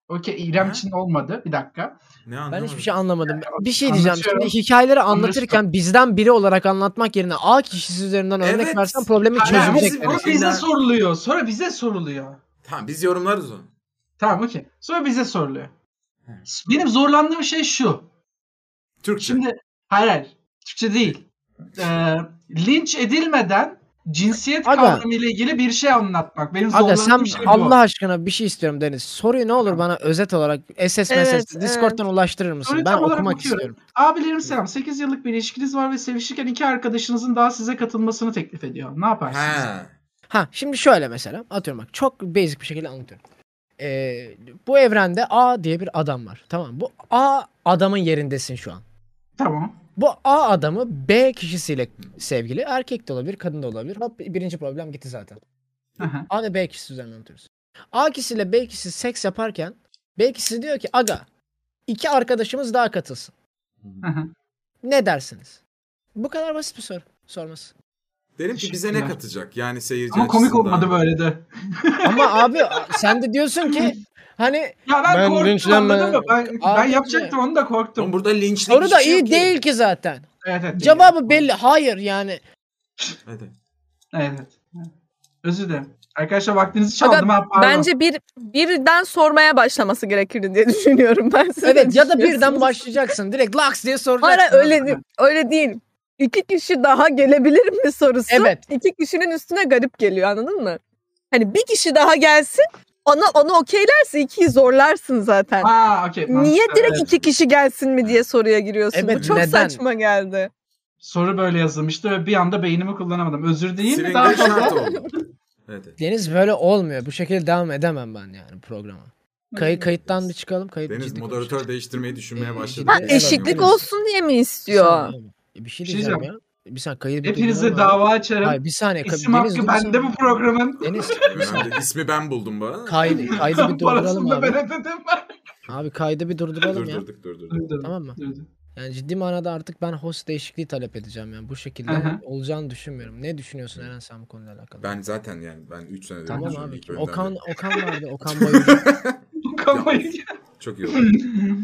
Speaker 3: Okey İrem
Speaker 2: Hı.
Speaker 3: için olmadı. Bir dakika.
Speaker 2: Ne
Speaker 4: Ben
Speaker 2: anlamadım.
Speaker 4: hiçbir şey anlamadım. Bir şey diyeceğim. Şimdi
Speaker 3: Anlatıyorum.
Speaker 4: hikayeleri anlatırken bizden biri olarak anlatmak yerine A kişisi üzerinden örnek
Speaker 2: Evet.
Speaker 4: versen problemi
Speaker 2: Aynen.
Speaker 4: çözülecek.
Speaker 2: Bizim-
Speaker 3: Ama
Speaker 2: yani.
Speaker 3: bize
Speaker 2: Şeyler-
Speaker 3: soruluyor. Sonra bize soruluyor.
Speaker 2: Tamam biz yorumlarız onu.
Speaker 3: Tamam okey. Sonra bize soruluyor.
Speaker 2: Evet.
Speaker 3: Benim zorlandığım şey şu.
Speaker 2: Türkçe.
Speaker 3: Şimdi hayır hayır. Türkçe değil. Ee, linç edilmeden cinsiyet
Speaker 4: Aga.
Speaker 3: kavramı ile ilgili bir şey anlatmak. Benim
Speaker 4: Aga
Speaker 3: zorlandığım
Speaker 4: sen
Speaker 3: şey bu.
Speaker 4: Allah aşkına bir şey istiyorum Deniz. Soruyu ne olur bana özet olarak SS
Speaker 5: Evet,
Speaker 4: mesaj Discord'dan ulaştırır mısın?
Speaker 3: Soruyu
Speaker 4: Ben
Speaker 3: tam olarak
Speaker 4: okumak
Speaker 3: okuyorum.
Speaker 4: istiyorum.
Speaker 3: Abilerim selam. 8 yıllık bir ilişkiniz var ve sevişirken iki arkadaşınızın daha size katılmasını teklif ediyor. Ne yaparsınız?
Speaker 2: Ha.
Speaker 4: Ha şimdi şöyle mesela atıyorum bak çok basic bir şekilde anlatıyorum. Ee, bu evrende A diye bir adam var. Tamam bu A adamın yerindesin şu an.
Speaker 3: Tamam.
Speaker 4: Bu A adamı B kişisiyle sevgili erkek de olabilir kadın da olabilir. Hop birinci problem gitti zaten.
Speaker 3: Aha.
Speaker 4: A ve B kişisi üzerinden anlatıyoruz. A kişisiyle B kişisi seks yaparken B kişisi diyor ki aga iki arkadaşımız daha katılsın.
Speaker 3: Aha.
Speaker 4: Ne dersiniz? Bu kadar basit bir soru sorması.
Speaker 2: Derim ki bize ne
Speaker 3: Teşekkürler.
Speaker 2: katacak? Yani seyirci
Speaker 3: Ama komik
Speaker 2: açısından.
Speaker 3: olmadı böyle de.
Speaker 4: Ama abi sen de diyorsun ki hani
Speaker 3: Ya ben,
Speaker 4: Ben
Speaker 3: korktum
Speaker 4: linçlenme-
Speaker 3: anladın mı? Ben, ben
Speaker 4: Abi-
Speaker 3: yapacaktım onu da
Speaker 2: Oğlum
Speaker 3: korktum.
Speaker 2: burada linçlik
Speaker 4: soru da
Speaker 2: hiçbir şey
Speaker 4: iyi
Speaker 2: yok ki.
Speaker 4: değil ki zaten.
Speaker 3: Evet, evet,
Speaker 4: Cevabı belli. Hayır yani.
Speaker 2: Evet, evet.
Speaker 3: Evet. evet. Özür dilerim. Arkadaşlar vaktinizi
Speaker 5: Aga,
Speaker 3: çaldım. ha, pardon.
Speaker 5: Bence bir birden sormaya başlaması gerekirdi diye <laughs> düşünüyorum ben. Siz ne
Speaker 4: Evet ya da birden
Speaker 5: düşünüyorsunuz?
Speaker 4: başlayacaksın. Direkt laks diye soracaksın.
Speaker 5: Hayır öyle değil. Öyle değil. İki kişi daha gelebilir mi sorusu.
Speaker 4: Evet.
Speaker 5: İki kişinin üstüne garip geliyor anladın mı? Hani bir kişi daha gelsin ona onu okeylerse ikiyi zorlarsın zaten.
Speaker 3: Ha, okey,
Speaker 5: Niye
Speaker 3: mantıklı,
Speaker 5: direkt
Speaker 3: evet.
Speaker 5: iki kişi gelsin mi diye soruya giriyorsun?
Speaker 4: Evet,
Speaker 5: Bu çok
Speaker 4: neden?
Speaker 5: saçma geldi.
Speaker 3: Soru böyle yazılmıştı ve bir anda beynimi kullanamadım. Özür dileyim mi? Daha
Speaker 2: Swinger şart
Speaker 3: fazla.
Speaker 2: oldu. Evet, evet.
Speaker 4: Deniz böyle olmuyor. Bu şekilde devam edemem ben yani programa. Kayı kayıttan bir çıkalım. Kayıt
Speaker 2: Deniz
Speaker 4: ciddi
Speaker 2: moderatör
Speaker 4: konuşalım.
Speaker 2: değiştirmeyi düşünmeye başladı.
Speaker 4: Ha,
Speaker 5: Ha,
Speaker 4: Evet,
Speaker 5: eşitlik
Speaker 4: evet.
Speaker 5: olsun diye mi
Speaker 4: Bir saniye
Speaker 5: istiyor?
Speaker 4: ama. E, Bir şey
Speaker 3: Bir şey
Speaker 4: diyeceğim ya. Bir saniye kayıt bir
Speaker 3: Hepinize
Speaker 4: durduralım.
Speaker 3: dava açarım.
Speaker 4: Hayır bir saniye. Ka-
Speaker 3: İsim
Speaker 4: Deniz,
Speaker 3: hakkı
Speaker 4: Deniz,
Speaker 3: bende bu programın.
Speaker 4: Deniz
Speaker 2: Önemli. İsmi ben buldum bana.
Speaker 4: kaydı, kaydı bir durduralım
Speaker 3: <laughs> Parasını da
Speaker 4: abi.
Speaker 3: ben ödedim.
Speaker 4: Abi kaydı bir durduralım ya.
Speaker 2: Durdurduk durdurduk.
Speaker 3: Özür dilerim,
Speaker 4: Tamam mı?
Speaker 3: özür dilerim.
Speaker 4: Yani ciddi manada artık ben host değişikliği talep edeceğim yani bu şekilde
Speaker 3: Aha.
Speaker 4: olacağını düşünmüyorum. Ne düşünüyorsun Eren sen bu konuyla alakalı?
Speaker 2: Ben zaten yani ben 3 senedir
Speaker 4: tamam
Speaker 2: yapıyorum
Speaker 4: abi.
Speaker 2: ilk
Speaker 4: kim?
Speaker 2: bölümden
Speaker 4: Okan
Speaker 2: beri.
Speaker 4: Okan
Speaker 2: <laughs>
Speaker 4: vardı. Okan bayıldı.
Speaker 3: <laughs> Kafayı-
Speaker 2: Çok iyi
Speaker 4: <laughs>
Speaker 2: oldu.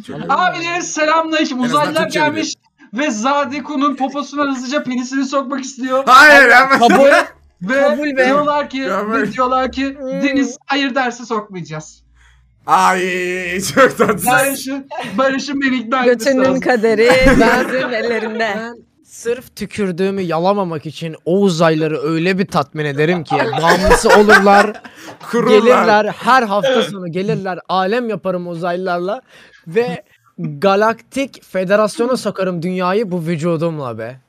Speaker 2: Çok iyi oldu.
Speaker 3: Abilerin selamünaleyküm.
Speaker 2: En azından
Speaker 3: Uzaylılar
Speaker 2: Türkçe
Speaker 3: gelmiş ve Zadeku'nun poposuna hızlıca penisini sokmak istiyor.
Speaker 2: Hayır ama.
Speaker 4: Kabul
Speaker 3: Ve
Speaker 4: Kabul be.
Speaker 3: diyorlar ki,
Speaker 2: Kabul.
Speaker 3: ve diyorlar ki
Speaker 4: Hmm.
Speaker 3: Deniz hayır dersi sokmayacağız.
Speaker 2: Ay çok tatlı.
Speaker 3: Barış'ın Barış'ın beni ikna etmesi
Speaker 5: Götünün
Speaker 3: lazım.
Speaker 5: <laughs> kaderi
Speaker 4: Ben-
Speaker 5: bizim ellerinde.
Speaker 4: Ben sırf tükürdüğümü yalamamak için o uzayları öyle bir tatmin ederim ki bağımlısı olurlar,
Speaker 2: Kururlar.
Speaker 4: gelirler her hafta sonu gelirler alem yaparım uzaylılarla ve galaktik federasyona sokarım dünyayı bu vücudumla be.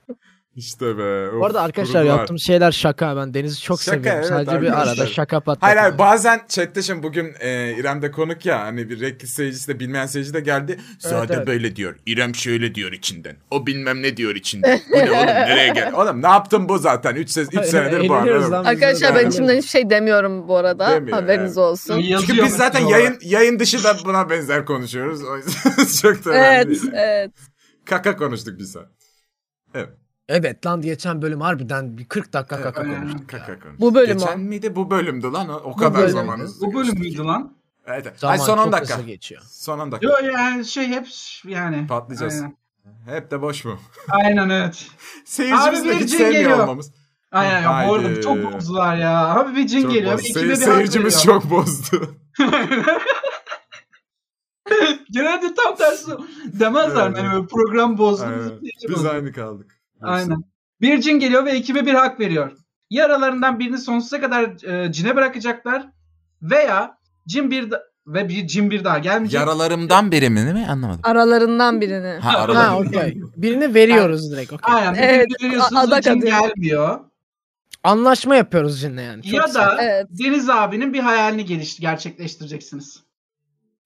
Speaker 2: İşte be.
Speaker 4: Bu arada arkadaşlar yaptığım şeyler şaka ben Deniz'i çok
Speaker 2: Şaka,
Speaker 4: seviyorum
Speaker 2: evet
Speaker 4: sadece bir
Speaker 2: arkadaşlar.
Speaker 4: arada şaka
Speaker 2: Hayır
Speaker 4: patlatıyorum.
Speaker 2: hayır bazen chatte şimdi bugün e, İrem de konuk ya hani bir rekli seyircisi de bilmeyen seyirci de geldi. Zaten
Speaker 4: evet.
Speaker 2: böyle diyor. İrem şöyle diyor içinden. O bilmem ne diyor içinden. Bu ne
Speaker 4: <laughs>
Speaker 2: oğlum nereye gel? Oğlum ne yaptın bu zaten? 3
Speaker 4: Hayır,
Speaker 2: senedir bu
Speaker 4: eğleniyoruz
Speaker 2: arada.
Speaker 4: lan.
Speaker 5: Arkadaşlar ben
Speaker 2: Demiyorum.
Speaker 5: içimden hiçbir şey demiyorum bu arada.
Speaker 2: Demiyor,
Speaker 5: Haberiniz olsun.
Speaker 3: Yazıyor
Speaker 2: Çünkü biz zaten
Speaker 3: mesela.
Speaker 2: yayın yayın dışı da buna benzer konuşuyoruz. O yüzden <laughs> çok da önemli.
Speaker 5: Evet,
Speaker 2: değil.
Speaker 5: evet.
Speaker 2: Kaka konuştuk biz ha.
Speaker 4: Evet lan geçen bölüm harbiden bir 40 dakika kaka
Speaker 2: Ee,
Speaker 4: konuştuk.
Speaker 2: Kaka konuştuk.
Speaker 5: Bu bölüm
Speaker 2: Geçen
Speaker 5: o.
Speaker 2: miydi? Bu bölümdü lan. O, o kadar
Speaker 4: bölümdü.
Speaker 2: zamanımız.
Speaker 3: Bu bölüm müydü lan?
Speaker 2: Evet. evet.
Speaker 4: Zaman
Speaker 2: Ay, son 10
Speaker 4: çok
Speaker 2: dakika.
Speaker 4: hızlı geçiyor.
Speaker 2: Son 10 dakika.
Speaker 3: Yo yani şey hep yani.
Speaker 2: Patlayacağız.
Speaker 3: Aynen,
Speaker 2: Hep de boş mu?
Speaker 3: Aynen evet.
Speaker 2: Seyircimiz
Speaker 3: Abi
Speaker 2: de
Speaker 3: bir
Speaker 2: hiç
Speaker 3: cin
Speaker 2: sevmiyor
Speaker 3: geliyor.
Speaker 2: olmamız.
Speaker 3: Aynen ya bu arada
Speaker 2: Haydi.
Speaker 3: çok bozdular ya. Abi bir cin
Speaker 2: Çok
Speaker 3: geliyor.
Speaker 2: bozdu.
Speaker 3: Abi, ikide
Speaker 2: Seyir-
Speaker 3: bir
Speaker 2: seyircimiz
Speaker 3: hak veriyor.
Speaker 2: çok bozdu. <laughs>
Speaker 3: <laughs> Genelde tam tersi demezler.
Speaker 2: Evet,
Speaker 3: Yani
Speaker 2: evet.
Speaker 3: böyle program bozdunuz.
Speaker 2: Aynen.
Speaker 3: seyirci
Speaker 2: Biz
Speaker 3: bozdu.
Speaker 2: aynı kaldık.
Speaker 3: Aynen. Bir cin geliyor ve ekibe bir hak veriyor. Ya aralarından birini sonsuza kadar e, cine bırakacaklar veya cin bir da- ve bir cin bir daha gelmeyecek.
Speaker 2: Yaralarımdan biri mi değil mi? Anlamadım.
Speaker 5: Aralarından birini.
Speaker 2: Ha <laughs>
Speaker 4: Ha okey. Birini veriyoruz direkt. okey.
Speaker 3: Aynen. birini
Speaker 5: Evet,
Speaker 3: veriyorsunuz,
Speaker 5: adak
Speaker 3: o cin
Speaker 5: adıyor.
Speaker 3: gelmiyor.
Speaker 4: Anlaşma yapıyoruz cinle yani. Çok
Speaker 3: ya
Speaker 4: sert.
Speaker 3: da
Speaker 5: Evet.
Speaker 3: Deniz abinin bir hayalini geliş gerçekleştireceksiniz.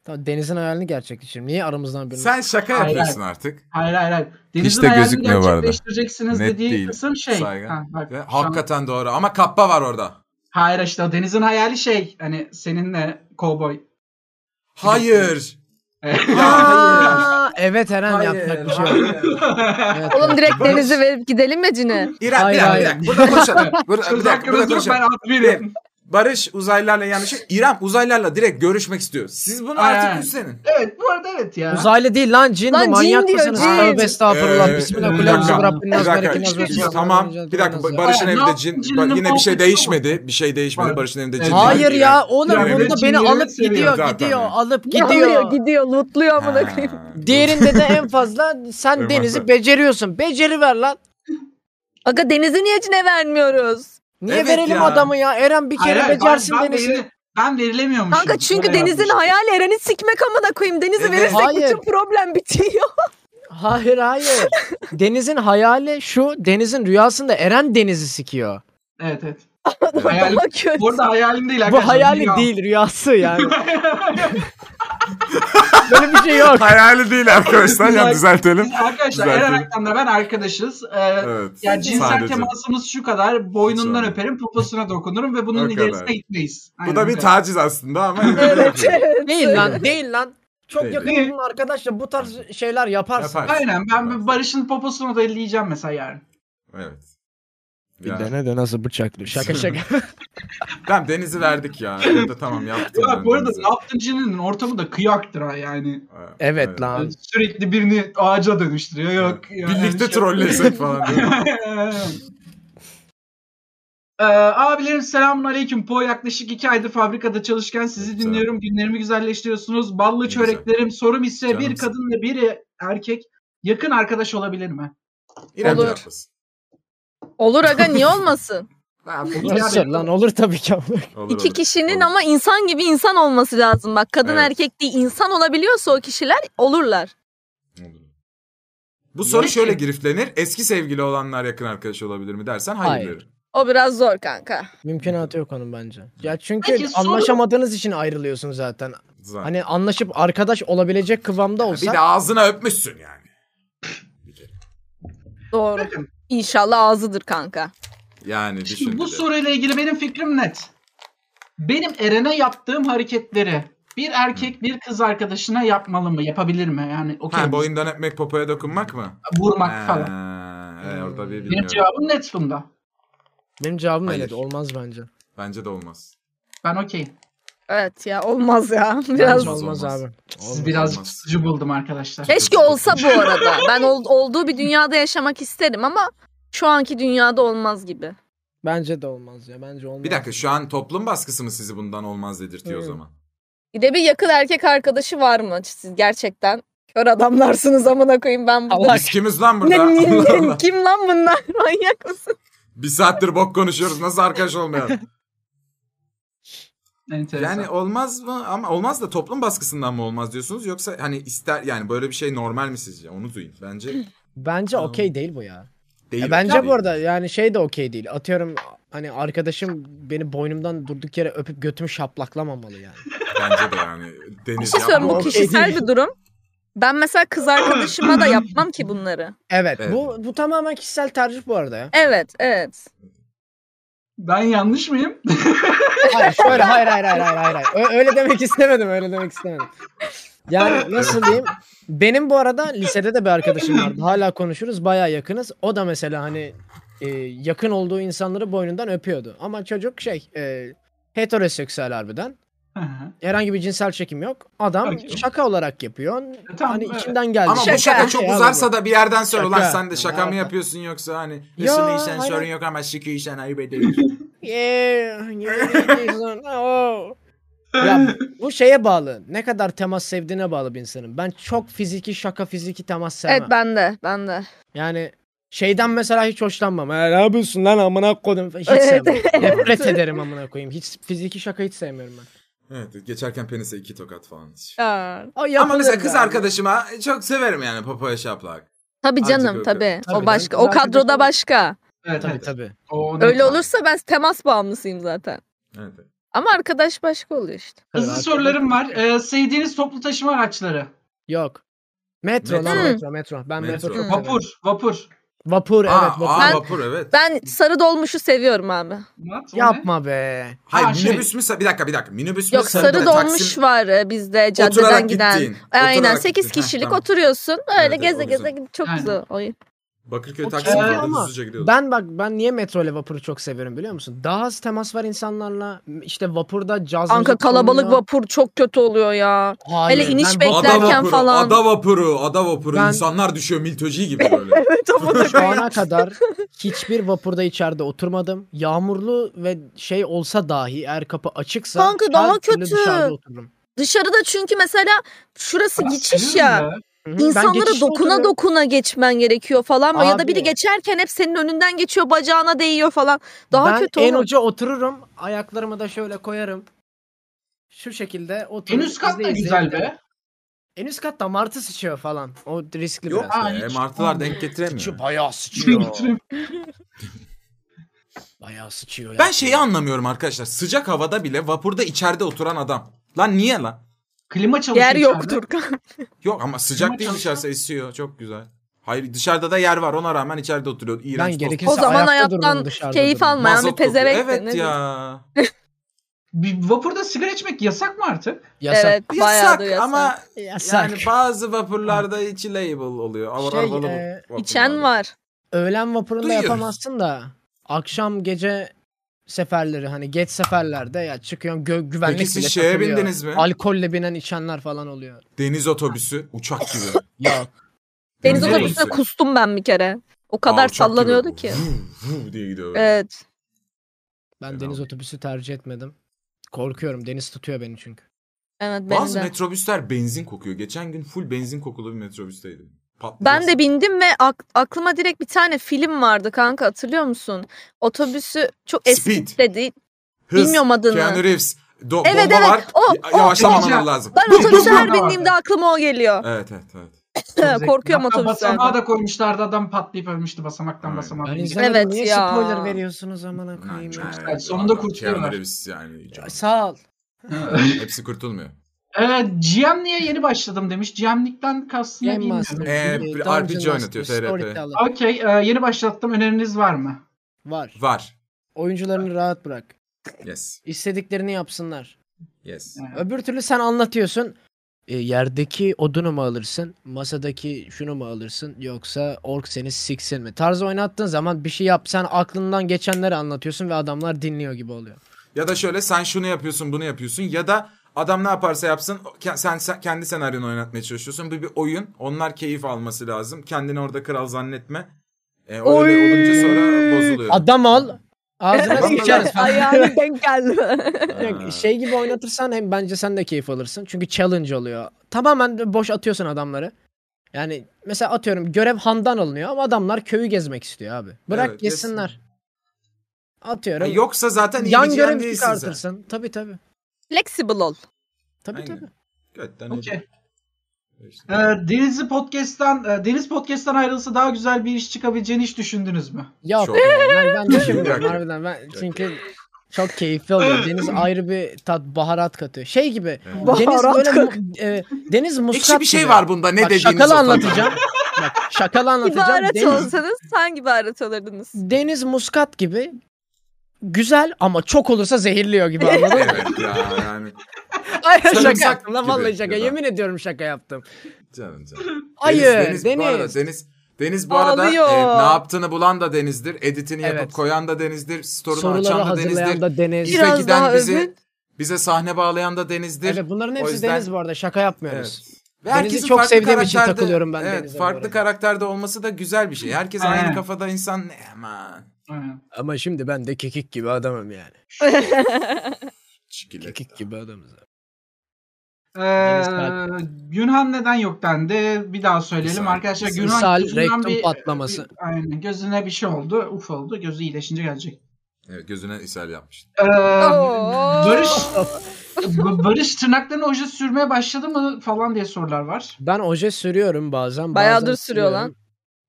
Speaker 4: Tamam, Deniz'in hayalini gerçekleştireyim. Niye aramızdan birini?
Speaker 2: Sen şaka
Speaker 3: Aynen.
Speaker 2: yapıyorsun artık.
Speaker 3: Hayır hayır hayır.
Speaker 2: de
Speaker 3: Deniz'in hayalini
Speaker 2: gözükmüyor bu arada.
Speaker 3: gerçekleştireceksiniz
Speaker 2: Net
Speaker 3: dediği
Speaker 2: değil.
Speaker 3: kısım şey.
Speaker 2: Saygı.
Speaker 3: Ha, bak,
Speaker 2: Ve
Speaker 3: şu an-
Speaker 2: hakikaten doğru ama kappa var orada.
Speaker 3: Hayır işte o Deniz'in hayali şey hani seninle
Speaker 2: <laughs>
Speaker 3: kovboy.
Speaker 2: Hayır.
Speaker 3: <laughs>
Speaker 4: Aa, evet Eren
Speaker 2: Hayır.
Speaker 4: yapacak bir
Speaker 2: <laughs>
Speaker 4: şey yok. Evet,
Speaker 5: Oğlum
Speaker 4: evet.
Speaker 5: direkt denize verip gidelim mi Cine?
Speaker 2: İrem
Speaker 4: Hayır,
Speaker 2: bir dakika,
Speaker 4: hayır.
Speaker 2: bir dakika. Burada
Speaker 3: <laughs>
Speaker 2: konuşalım. Burada, bir
Speaker 3: Söz
Speaker 2: dakika, burada
Speaker 3: hakkınız yok ben
Speaker 2: konuşalım.
Speaker 3: adminim.
Speaker 2: Barış uzaylılarla yanlış. İrem uzaylılarla direkt görüşmek istiyor. Siz bunu
Speaker 3: Aynen.
Speaker 2: artık üstlenin.
Speaker 3: Evet bu arada evet ya.
Speaker 4: Uzaylı değil lan cin
Speaker 5: Lan
Speaker 4: bu
Speaker 5: cin
Speaker 4: manyak
Speaker 5: diyor,
Speaker 4: mısınız?
Speaker 5: cin.
Speaker 4: Tövbe estağfurullah.
Speaker 2: Ee,
Speaker 4: Bismillahirrahmanirrahim.
Speaker 3: bir
Speaker 4: Rabbin
Speaker 2: Bir
Speaker 4: nazarı
Speaker 2: dakika,
Speaker 4: ki nazarı.
Speaker 2: işte,
Speaker 4: Bismillahirrahmanirrahim.
Speaker 2: tamam. Bir dakika Ba- Barış'ın
Speaker 3: Aynen,
Speaker 2: evinde
Speaker 3: ne
Speaker 2: cin.
Speaker 3: yaptın?
Speaker 2: Ba- Yine bir şey
Speaker 3: Cinin
Speaker 2: değişmedi. Bir şey değişmedi.
Speaker 3: Var.
Speaker 2: Barış'ın evinde
Speaker 3: Evet.
Speaker 2: cin.
Speaker 4: Hayır
Speaker 2: var.
Speaker 4: ya oğlum
Speaker 2: Yani
Speaker 4: burada
Speaker 3: cin
Speaker 4: beni
Speaker 3: yerini
Speaker 4: alıp
Speaker 3: seviyor
Speaker 4: gidiyor
Speaker 2: zaten.
Speaker 4: gidiyor. Alıp
Speaker 5: Alıyor,
Speaker 4: gidiyor.
Speaker 5: gidiyor, lootluyor amına
Speaker 2: Ha. <laughs>
Speaker 5: koyayım.
Speaker 4: Diğerinde de en fazla sen
Speaker 2: Irmak'ta.
Speaker 4: denizi beceriyorsun. Beceri ver lan.
Speaker 5: Aga denizi niye Cine vermiyoruz?
Speaker 4: Niye
Speaker 2: Evet
Speaker 4: verelim
Speaker 2: ya.
Speaker 4: adamı ya? Eren bir
Speaker 3: Hayır,
Speaker 4: kere
Speaker 3: hayır,
Speaker 4: becersin
Speaker 3: ben, ben,
Speaker 4: denizi.
Speaker 3: verili- ben verilemiyormuşum.
Speaker 5: Kanka çünkü
Speaker 3: Öyle
Speaker 5: denizin
Speaker 3: yapmış.
Speaker 5: hayali Eren'i sikmek amına koyayım. Denizi
Speaker 2: Evet.
Speaker 5: verirsek
Speaker 4: Hayır.
Speaker 5: bütün problem bitiyor.
Speaker 4: Hayır hayır. Deniz'in hayali şu. Deniz'in rüyasında Eren denizi sikiyor.
Speaker 3: Evet
Speaker 4: <laughs>
Speaker 3: evet. Hayal-
Speaker 5: Adama kötü.
Speaker 3: Bu arada hayalim değil
Speaker 4: Bu
Speaker 3: arkadaşlar.
Speaker 4: hayali
Speaker 3: biliyorum.
Speaker 4: değil rüyası yani.
Speaker 2: <laughs>
Speaker 4: Böyle bir şey yok.
Speaker 2: Hayali değil arkadaşlar. Ya düzeltelim.
Speaker 3: Arkadaşlar
Speaker 2: Güzel
Speaker 3: Eren
Speaker 2: film.
Speaker 3: Aktan'la ben arkadaşız. Ee,
Speaker 2: Evet.
Speaker 3: Ya cinsel
Speaker 2: sadece.
Speaker 3: temasımız şu kadar. Boynundan
Speaker 2: Sonra.
Speaker 3: öperim, poposuna dokunurum ve
Speaker 2: O
Speaker 3: bunun
Speaker 2: kadar.
Speaker 3: ilerisine gitmeyiz.
Speaker 2: Bu
Speaker 3: Aynen
Speaker 2: da bir
Speaker 3: öyle.
Speaker 2: taciz aslında ama.
Speaker 5: Evet, evet.
Speaker 4: Değil lan değil lan. Çok
Speaker 2: Değil.
Speaker 4: yakın bunun arkadaşla bu tarz şeyler yaparsın.
Speaker 2: Yapar.
Speaker 3: Aynen ben Barış'ın poposunu da elleyeceğim mesela yarın.
Speaker 2: Evet.
Speaker 4: Bir
Speaker 2: Ya,
Speaker 4: dene de nasıl bıçaklıyor. Şaka şaka.
Speaker 2: tamam Deniz'i verdik ya.
Speaker 3: <laughs>
Speaker 2: Burada tamam yaptım.
Speaker 3: Ya
Speaker 2: ben
Speaker 3: bu arada
Speaker 2: Deniz'i.
Speaker 3: Laptıncı'nın ortamı da kıyaktır ha yani.
Speaker 2: Evet,
Speaker 4: <laughs> Evet lan.
Speaker 3: Yani Sürekli birini ağaca dönüştürüyor. Yok. yani
Speaker 2: Birlikte
Speaker 3: şey-
Speaker 2: trollesek falan. değil mi?
Speaker 3: <laughs> Ee, abilerim selamun aleyküm. Po yaklaşık iki aydır fabrikada çalışken sizi
Speaker 2: Evet,
Speaker 3: dinliyorum. Günlerimi güzelleştiriyorsunuz. Ballı
Speaker 2: Ne
Speaker 3: çöreklerim. Sorum ise bir
Speaker 2: Canımsın.
Speaker 3: kadınla bir erkek yakın arkadaş olabilir mi?
Speaker 2: İrem
Speaker 5: Olur.
Speaker 2: yapmasın.
Speaker 5: Olur aga niye olmasın?
Speaker 4: Nasıl lan olur tabii ki.
Speaker 2: Olur,
Speaker 5: İki
Speaker 2: olur.
Speaker 5: kişinin
Speaker 2: Olur.
Speaker 5: ama insan gibi insan olması lazım. Bak kadın
Speaker 2: Evet.
Speaker 5: erkek değil insan olabiliyorsa o kişiler olurlar.
Speaker 2: Olur. Bu soru şöyle giriflenir. Eski sevgili olanlar yakın arkadaş olabilir mi dersen hayır,
Speaker 4: Hayır.
Speaker 2: derim.
Speaker 5: O biraz zor kanka.
Speaker 4: Mümkünatı yok onun bence. Ya çünkü
Speaker 3: Peki, sonra-
Speaker 4: anlaşamadığınız için ayrılıyorsun zaten.
Speaker 2: Zaten.
Speaker 4: Hani anlaşıp arkadaş olabilecek kıvamda
Speaker 2: bir
Speaker 4: olsa
Speaker 2: de ağzına öpmüşsün yani.
Speaker 5: Doğru. İnşallah ağzıdır kanka.
Speaker 2: Yani
Speaker 3: Şimdi
Speaker 2: düşün.
Speaker 3: bu
Speaker 2: bir de.
Speaker 3: soruyla ilgili benim fikrim net. Benim Eren'e yaptığım hareketleri bir erkek bir kız arkadaşına yapmalı mı? Yapabilir mi? Yani okey
Speaker 2: Ha, boyundan öpmek popoya dokunmak mı?
Speaker 3: vurmak falan.
Speaker 2: Ha, e, orada bir
Speaker 3: Benim
Speaker 2: bilmiyorum.
Speaker 3: cevabım net bunda.
Speaker 4: benim cevabım
Speaker 2: Hayır.
Speaker 4: öyle de olmaz bence.
Speaker 2: Bence de olmaz.
Speaker 3: Ben okeyim.
Speaker 5: Evet ya olmaz ya. Biraz
Speaker 2: Olmaz,
Speaker 4: Olmaz,
Speaker 2: olmaz.
Speaker 4: abi.
Speaker 3: Sizi
Speaker 2: Olmaz,
Speaker 3: birazcık
Speaker 2: olmaz.
Speaker 3: tutucu buldum arkadaşlar.
Speaker 5: <laughs> keşke olsa bu arada. Ben ol- olduğu bir dünyada yaşamak isterim ama şu anki dünyada olmaz gibi.
Speaker 4: Bence de olmaz ya. Bence olmaz.
Speaker 2: Bir dakika şu an toplum baskısı mı sizi bundan olmaz dedirtiyor o
Speaker 4: Hı.
Speaker 2: zaman?
Speaker 5: Bir de bir yakın erkek arkadaşı var mı? Siz gerçekten kör adamlarsınız amına koyayım ben burada.
Speaker 4: Allah
Speaker 2: Biz kimiz lan
Speaker 5: Ne,
Speaker 2: burada?
Speaker 5: ne-
Speaker 2: Allah
Speaker 5: ne-
Speaker 2: <laughs> Allah.
Speaker 5: kim lan bunlar? <laughs> Manyak mısın?
Speaker 2: Bir saattir bok konuşuyoruz. Nasıl arkadaş olmayalım?
Speaker 3: Enteresan.
Speaker 2: yani olmaz mı? Ama olmaz da toplum baskısından mı olmaz diyorsunuz? Yoksa hani ister yani böyle bir şey normal mi sizce? Onu duyun. Bence
Speaker 4: Bence
Speaker 2: Tamam.
Speaker 4: okey değil bu ya.
Speaker 2: değil.
Speaker 4: Ya bence
Speaker 2: Değil.
Speaker 4: bu arada yani şey de okey değil. Atıyorum hani arkadaşım beni boynumdan durduk yere öpüp götümü şapaklamamalı yani.
Speaker 2: Bence de yani.
Speaker 5: Bir
Speaker 2: Deniz
Speaker 5: şey söyleyeyim bu
Speaker 2: yapma.
Speaker 4: okey
Speaker 5: kişisel
Speaker 4: değil.
Speaker 5: bir durum. Ben mesela kız arkadaşıma da yapmam ki bunları.
Speaker 4: Evet,
Speaker 2: Evet.
Speaker 4: bu bu tamamen kişisel tercih bu arada ya.
Speaker 5: Evet evet.
Speaker 3: Ben yanlış
Speaker 2: <laughs>
Speaker 3: mıyım?
Speaker 4: Hayır şöyle hayır hayır hayır hayır hayır. hayır. Ö- öyle demek istemedim öyle demek istemedim. Yani nasıl diyeyim? Benim bu arada lisede de bir arkadaşım vardı. Hala konuşuruz bayağı yakınız. O da mesela hani e, yakın olduğu insanları boynundan öpüyordu. Ama çocuk şey e, heteroseksüel harbiden.
Speaker 3: Hı hı.
Speaker 4: Herhangi bir cinsel çekim yok. Adam
Speaker 3: Okey.
Speaker 4: şaka olarak yapıyor.
Speaker 3: tamam,
Speaker 4: hani
Speaker 3: evet.
Speaker 4: içimden geldi.
Speaker 2: E, Ama bu şaka çok
Speaker 4: Şey abi
Speaker 2: uzarsa
Speaker 4: bu.
Speaker 2: da bir yerden sonra
Speaker 4: Şaka.
Speaker 2: ulan sen de şaka mı
Speaker 4: Ya.
Speaker 2: yapıyorsun yoksa hani
Speaker 4: Ya,
Speaker 2: ısınıysan
Speaker 4: aynen.
Speaker 2: sorun yok ama sikiysen ayıp
Speaker 5: <laughs>
Speaker 2: ediyorsun. <laughs>
Speaker 4: Yeah, yeah, yeah, oh. ya bu şeye bağlı. Ne kadar temas sevdiğine bağlı bir insanın. Ben çok fiziki şaka fiziki temas sevmem.
Speaker 5: Evet ben de ben de.
Speaker 4: Yani şeyden mesela hiç hoşlanmam. "Ha, ne yapıyorsun lan amına koydum. Hiç sevmem.
Speaker 5: <laughs>
Speaker 4: Nefret ederim amına koyayım. Hiç fiziki şaka hiç sevmiyorum ben.
Speaker 2: Evet geçerken penise iki tokat falan.
Speaker 5: Aa,
Speaker 4: Ay,
Speaker 2: Ama mesela kız
Speaker 4: yapılır yani.
Speaker 2: arkadaşıma "E, çok severim yani popoya şaplak.
Speaker 5: Tabii
Speaker 2: Azıcık
Speaker 5: canım
Speaker 2: öpüyorum.
Speaker 5: tabii.
Speaker 4: Tabii
Speaker 5: O başka.
Speaker 4: canım.
Speaker 5: O kadroda başka.
Speaker 3: Evet,
Speaker 4: Tabii
Speaker 3: evet.
Speaker 4: tabii.
Speaker 3: O ne-
Speaker 5: Öyle olursa ben temas bağımlısıyım zaten.
Speaker 2: Evet.
Speaker 5: Ama arkadaş başka oluyor işte.
Speaker 3: Hızlı
Speaker 4: Arkadaş-
Speaker 3: sorularım var. Ee, sevdiğiniz toplu taşıma araçları.
Speaker 4: Yok. Metro, lan
Speaker 2: Metro.
Speaker 4: metro metro. Ben metro,
Speaker 2: Metro.
Speaker 4: çok severim.
Speaker 3: Vapur, vapur.
Speaker 4: Vapur
Speaker 2: Aa,
Speaker 4: evet vapur.
Speaker 2: aa,
Speaker 5: Ben-
Speaker 2: vapur evet.
Speaker 5: Ben sarı dolmuşu seviyorum abi.
Speaker 3: Murat, o ne?
Speaker 4: Yapma be.
Speaker 2: Hayır
Speaker 3: Ha, şey.
Speaker 2: minibüs mü? sa- Bir dakika bir dakika. Minibüs mü?
Speaker 5: Yok
Speaker 2: sen
Speaker 5: sarı
Speaker 2: de
Speaker 5: dolmuş
Speaker 2: Taksim-
Speaker 5: var e, bizde caddeden
Speaker 2: Oturarak
Speaker 5: giden.
Speaker 2: gittiğin,
Speaker 5: Aynen
Speaker 2: oturarak
Speaker 5: 8
Speaker 2: gittiğin, ha,
Speaker 5: kişilik
Speaker 2: tamam.
Speaker 5: oturuyorsun.
Speaker 2: Evet,
Speaker 5: Öyle
Speaker 2: evet,
Speaker 5: geze
Speaker 2: o
Speaker 5: geze
Speaker 2: güzel.
Speaker 5: gid- çok
Speaker 3: Aynen.
Speaker 5: güzel. Oy.
Speaker 2: Bakırköy
Speaker 4: O
Speaker 2: Taksim'e
Speaker 3: keyifli
Speaker 2: doğru
Speaker 4: ama
Speaker 2: hızlıca gidiyorduk.
Speaker 4: Ben bak ben niye metro ile vapuru çok severim biliyor musun? Daha az temas var insanlarla. İşte vapurda caz
Speaker 5: Anka
Speaker 4: müzik
Speaker 5: kalabalık
Speaker 4: çalıyor.
Speaker 5: vapur çok kötü
Speaker 2: <laughs>
Speaker 5: oluyor ya.
Speaker 4: Hayır,
Speaker 5: Hele iniş
Speaker 4: ben
Speaker 5: bekle-
Speaker 4: vapur-
Speaker 2: Ada
Speaker 5: beklerken
Speaker 2: vapuru,
Speaker 5: falan.
Speaker 2: ada vapuru, ada vapuru.
Speaker 4: Ben-
Speaker 2: İnsanlar düşüyor milteci
Speaker 4: <laughs>
Speaker 2: gibi böyle.
Speaker 5: Evet
Speaker 4: Şu
Speaker 5: <laughs>
Speaker 4: ana kadar hiçbir vapurda içeride oturmadım. Yağmurlu ve şey olsa dahi eğer kapı açıksa
Speaker 5: Kanka
Speaker 4: her
Speaker 5: daha
Speaker 4: türlü
Speaker 5: kötü.
Speaker 4: dışarıda otururum.
Speaker 5: Dışarıda çünkü mesela şurası
Speaker 3: Murat,
Speaker 5: geçiş
Speaker 3: seviyorum
Speaker 5: ya.
Speaker 4: Hı hı, ben
Speaker 5: İnsanlara
Speaker 4: geçişte
Speaker 5: dokuna
Speaker 4: oturuyorum.
Speaker 5: dokuna geçmen gerekiyor falan. Ya da
Speaker 4: Abi.
Speaker 5: biri geçerken hep senin önünden geçiyor bacağına değiyor falan. Daha
Speaker 4: ben
Speaker 5: kötü
Speaker 4: en
Speaker 5: olur.
Speaker 4: uca otururum. Ayaklarımı da şöyle koyarım. Şu şekilde
Speaker 3: En
Speaker 4: otururum.
Speaker 3: üst kat da
Speaker 4: izleye izleye
Speaker 3: güzel
Speaker 4: giderim.
Speaker 3: be.
Speaker 4: En üst katta martı sıçıyor falan. O riskli
Speaker 2: Yok
Speaker 4: biraz.
Speaker 3: Aa,
Speaker 2: be,
Speaker 3: hiç
Speaker 2: martılar denk getiremiyor.
Speaker 4: Sıçıyor, bayağı sıçıyor.
Speaker 3: Götüreyim.
Speaker 4: bayağı sıçıyor ya.
Speaker 2: Ben şey- şeyi anlamıyorum arkadaşlar. Sıcak havada bile vapurda içeride oturan adam. Lan niye lan?
Speaker 3: Klima çalışıyor.
Speaker 5: Yer
Speaker 3: içeride.
Speaker 5: yoktur kanka.
Speaker 2: Yok ama sıcak
Speaker 3: Ama
Speaker 2: değil
Speaker 3: çalışan-
Speaker 2: dışarısı esiyor. Çok güzel. Hayır dışarıda da yer var ona rağmen içeride oturuyor. İğrenç
Speaker 4: Ben
Speaker 2: tost.
Speaker 4: gerekirse
Speaker 5: O zaman
Speaker 4: ayakta
Speaker 5: hayattan
Speaker 4: dururum, dışarıda
Speaker 5: keyif
Speaker 4: dururum.
Speaker 5: almayan bir
Speaker 2: Mazot kokuyor.
Speaker 5: hani pezevenk. de, ne
Speaker 2: Evet
Speaker 5: diyeyim.
Speaker 2: ya.
Speaker 3: Bir vapurda sigara içmek yasak mı artık?
Speaker 4: Yasak.
Speaker 5: Evet bayağı da
Speaker 2: Yasak
Speaker 5: yasak.
Speaker 2: ama
Speaker 4: Yasak.
Speaker 2: yani bazı vapurlarda içi label oluyor. Avar
Speaker 4: Şey,
Speaker 2: avralı
Speaker 4: e,
Speaker 2: vapurlarda.
Speaker 5: İçen var.
Speaker 4: Öğlen vapurunda
Speaker 2: Duyuyoruz.
Speaker 4: yapamazsın da akşam gece seferleri hani geç seferlerde ya çıkıyorsun gö- güvenlik
Speaker 2: Peki siz
Speaker 4: bile
Speaker 2: şeye
Speaker 4: takılıyor.
Speaker 2: bindiniz mi?
Speaker 4: Alkolle binen içenler falan oluyor.
Speaker 2: Deniz otobüsü uçak
Speaker 5: <laughs>
Speaker 2: gibi.
Speaker 4: Yok.
Speaker 5: Deniz
Speaker 2: Deniz
Speaker 5: otobüsüne
Speaker 2: otobüsü.
Speaker 5: kustum ben bir kere. O
Speaker 2: Aa,
Speaker 5: kadar
Speaker 2: uçak gibi
Speaker 5: sallanıyordu
Speaker 2: bu.
Speaker 5: ki. Ee,
Speaker 2: Vuv, vuv diye gidiyor. böyle.
Speaker 5: Evet.
Speaker 4: Ben
Speaker 2: Fena
Speaker 4: deniz
Speaker 2: olmuş.
Speaker 4: otobüsü tercih etmedim. Korkuyorum. Deniz tutuyor beni çünkü.
Speaker 5: Evet benim
Speaker 2: Bazı
Speaker 5: de.
Speaker 2: metrobüsler benzin kokuyor. Geçen gün full benzin kokulu bir metrobüsteydim. Patlıyorsun.
Speaker 5: Ben de bindim ve ak- aklıma direkt bir tane film vardı kanka hatırlıyor musun? Otobüsü çok eski
Speaker 2: Speed.
Speaker 5: dedi.
Speaker 2: Hız,
Speaker 5: bilmiyorum adını.
Speaker 2: Keanu Reeves. Do-
Speaker 5: Evet,
Speaker 2: bomba
Speaker 5: evet.
Speaker 2: var.
Speaker 5: O-
Speaker 2: Ya-
Speaker 5: o-
Speaker 2: Yavaşlamaman
Speaker 3: Gideceğim.
Speaker 2: lazım.
Speaker 5: Ben
Speaker 2: Bum, bum,
Speaker 5: otobüse her
Speaker 2: bum.
Speaker 3: bum.
Speaker 5: bindiğimde aklıma o geliyor.
Speaker 2: Evet evet evet.
Speaker 5: Korkuyorum
Speaker 3: Hatta
Speaker 5: otobüslerden.
Speaker 3: Basamağa da koymuşlardı adam patlayıp ölmüştü basamaktan
Speaker 2: Aynen.
Speaker 3: basamağa.
Speaker 4: Ben
Speaker 3: binecek.
Speaker 4: izlemedim.
Speaker 5: Evet
Speaker 4: Niye
Speaker 5: ya.
Speaker 4: spoiler veriyorsunuz amına koyayım?
Speaker 2: Aynen,
Speaker 4: ya?
Speaker 2: evet.
Speaker 3: güzel. Sonunda
Speaker 2: Adam Keanu
Speaker 3: kurtuluyorlar.
Speaker 2: Reeves yani.
Speaker 4: Ya, Sağ ol.
Speaker 2: Hepsi kurtulmuyor.
Speaker 3: Ee, GM niye yeni başladım demiş. GM'likten kastını
Speaker 4: Game
Speaker 3: bilmiyorum.
Speaker 4: Master.
Speaker 2: Ee,
Speaker 4: Game-
Speaker 2: RPG
Speaker 4: Dungeon
Speaker 2: oynatıyor,
Speaker 4: Master,
Speaker 2: TRP.
Speaker 4: Storyteller.
Speaker 3: Okey e, yeni başlattım öneriniz var mı?
Speaker 4: Var.
Speaker 2: Var.
Speaker 4: Oyuncularını rahat bırak.
Speaker 2: Yes.
Speaker 4: İstediklerini yapsınlar.
Speaker 2: Yes.
Speaker 4: Öbür türlü sen anlatıyorsun. E, yerdeki odunu mu alırsın? Masadaki şunu mu alırsın? Yoksa ork seni siksin mi? Tarzı oynattığın zaman bir şey yap. Sen aklından geçenleri anlatıyorsun ve adamlar dinliyor gibi oluyor.
Speaker 2: Ya da şöyle sen şunu yapıyorsun bunu yapıyorsun ya da adam ne yaparsa yapsın o- ke- sen, sen kendi senaryonu oynatmaya çalışıyorsun. Bu bir oyun onlar keyif alması lazım kendini orada kral zannetme. E, öyle
Speaker 5: Oy!
Speaker 2: olunca sonra bozuluyor.
Speaker 4: Adam al. Ağzına sıçarız falan.
Speaker 5: <laughs> Ayağını denk geldi.
Speaker 4: <laughs> Yok, şey gibi oynatırsan hem bence sen de keyif alırsın. Çünkü challenge oluyor. Tamamen boş atıyorsun adamları. Yani mesela atıyorum görev handan alınıyor ama adamlar köyü gezmek istiyor abi. Bırak
Speaker 2: Evet,
Speaker 4: yesinler.
Speaker 2: Ha,
Speaker 4: Atıyorum.
Speaker 2: yoksa zaten
Speaker 4: yan
Speaker 2: ilgilen
Speaker 4: görev
Speaker 2: değilsin sen.
Speaker 4: çıkartırsın. Tabii tabii.
Speaker 5: Flexible ol.
Speaker 4: Tabii
Speaker 2: Aynen.
Speaker 4: tabii.
Speaker 2: Götten
Speaker 3: Okey.
Speaker 2: edin. İşte.
Speaker 3: Ee, Denizli Podcast'tan e, Deniz Podcast'tan ayrılsa daha güzel bir iş çıkabileceğini hiç düşündünüz mü?
Speaker 4: Yok
Speaker 2: Çok.
Speaker 4: ben, ben düşünmüyorum
Speaker 2: Yok.
Speaker 4: harbiden. Ben, çünkü çok keyifli oluyor. Deniz ayrı bir tat baharat katıyor. Şey gibi.
Speaker 2: Evet.
Speaker 4: Deniz
Speaker 5: Baharat
Speaker 4: böyle
Speaker 5: kak-
Speaker 4: mu- e, deniz muskat
Speaker 2: Ekşi bir şey
Speaker 4: gibi.
Speaker 2: var bunda ne
Speaker 4: Bak,
Speaker 2: dediğiniz
Speaker 4: şakalı
Speaker 2: o tabii.
Speaker 4: anlatacağım. Bak, şakalı anlatacağım.
Speaker 5: İbaret
Speaker 4: Deniz,
Speaker 5: olsanız hangi ibaret <laughs> olurdunuz?
Speaker 4: deniz muskat gibi güzel ama çok olursa zehirliyor gibi
Speaker 2: <laughs>
Speaker 4: anladın mı?
Speaker 2: <laughs> evet ya yani.
Speaker 4: Aynen
Speaker 2: Sarımsak
Speaker 4: şaka yaptım lan
Speaker 2: gibi
Speaker 4: vallahi şaka.
Speaker 2: ya da-
Speaker 4: Yemin ediyorum şaka yaptım.
Speaker 2: Canım canım.
Speaker 4: Hayır
Speaker 2: Deniz,
Speaker 4: Deniz.
Speaker 2: Deniz, bu arada Deniz Deniz bu arada
Speaker 5: Ağlıyor.
Speaker 2: e, ne yaptığını bulan da Deniz'dir. Editini yapıp
Speaker 4: Evet.
Speaker 2: koyan da Deniz'dir. Story'unu
Speaker 4: Soruları
Speaker 2: açan da
Speaker 4: hazırlayan
Speaker 2: Deniz'dir.
Speaker 4: da Deniz.
Speaker 2: Bize
Speaker 5: Biraz
Speaker 2: giden
Speaker 5: daha
Speaker 2: bizi
Speaker 5: övün.
Speaker 2: bize sahne bağlayan da Deniz'dir.
Speaker 4: Evet bunların
Speaker 2: O
Speaker 4: hepsi
Speaker 2: yüzden-
Speaker 4: Deniz bu arada şaka yapmıyoruz.
Speaker 2: Evet.
Speaker 4: Deniz'i
Speaker 2: herkesin
Speaker 4: çok
Speaker 2: farklı
Speaker 4: sevdiğim için
Speaker 2: karakterde-
Speaker 4: takılıyorum ben
Speaker 2: Evet,
Speaker 4: Deniz'e bu
Speaker 2: farklı
Speaker 4: arada.
Speaker 2: karakterde olması da güzel bir şey. Herkes aynı
Speaker 3: Aynen.
Speaker 2: kafada insan ne aman.
Speaker 3: Aynen.
Speaker 4: Ama şimdi ben de kekik gibi adamım yani.
Speaker 2: Çikilet.
Speaker 4: gibi adamız.
Speaker 3: Ee,
Speaker 4: Saat.
Speaker 3: Günhan neden yok dendi. Bir daha söyleyelim
Speaker 2: Saat.
Speaker 3: arkadaşlar. Günhan
Speaker 4: İshal,
Speaker 3: gözünden
Speaker 4: rektum
Speaker 3: bir-
Speaker 4: patlaması.
Speaker 3: bir- aynen, gözüne bir şey oldu. Uf oldu. Gözü iyileşince gelecek.
Speaker 2: Evet, gözüne ishal yapmış.
Speaker 3: Ee,
Speaker 5: Oo.
Speaker 3: Barış Barış tırnaklarına oje sürmeye başladı mı falan diye sorular var.
Speaker 4: Ben oje sürüyorum bazen.
Speaker 5: Bayağıdır
Speaker 4: bazen
Speaker 5: sürüyor lan.
Speaker 4: sürmüyorum.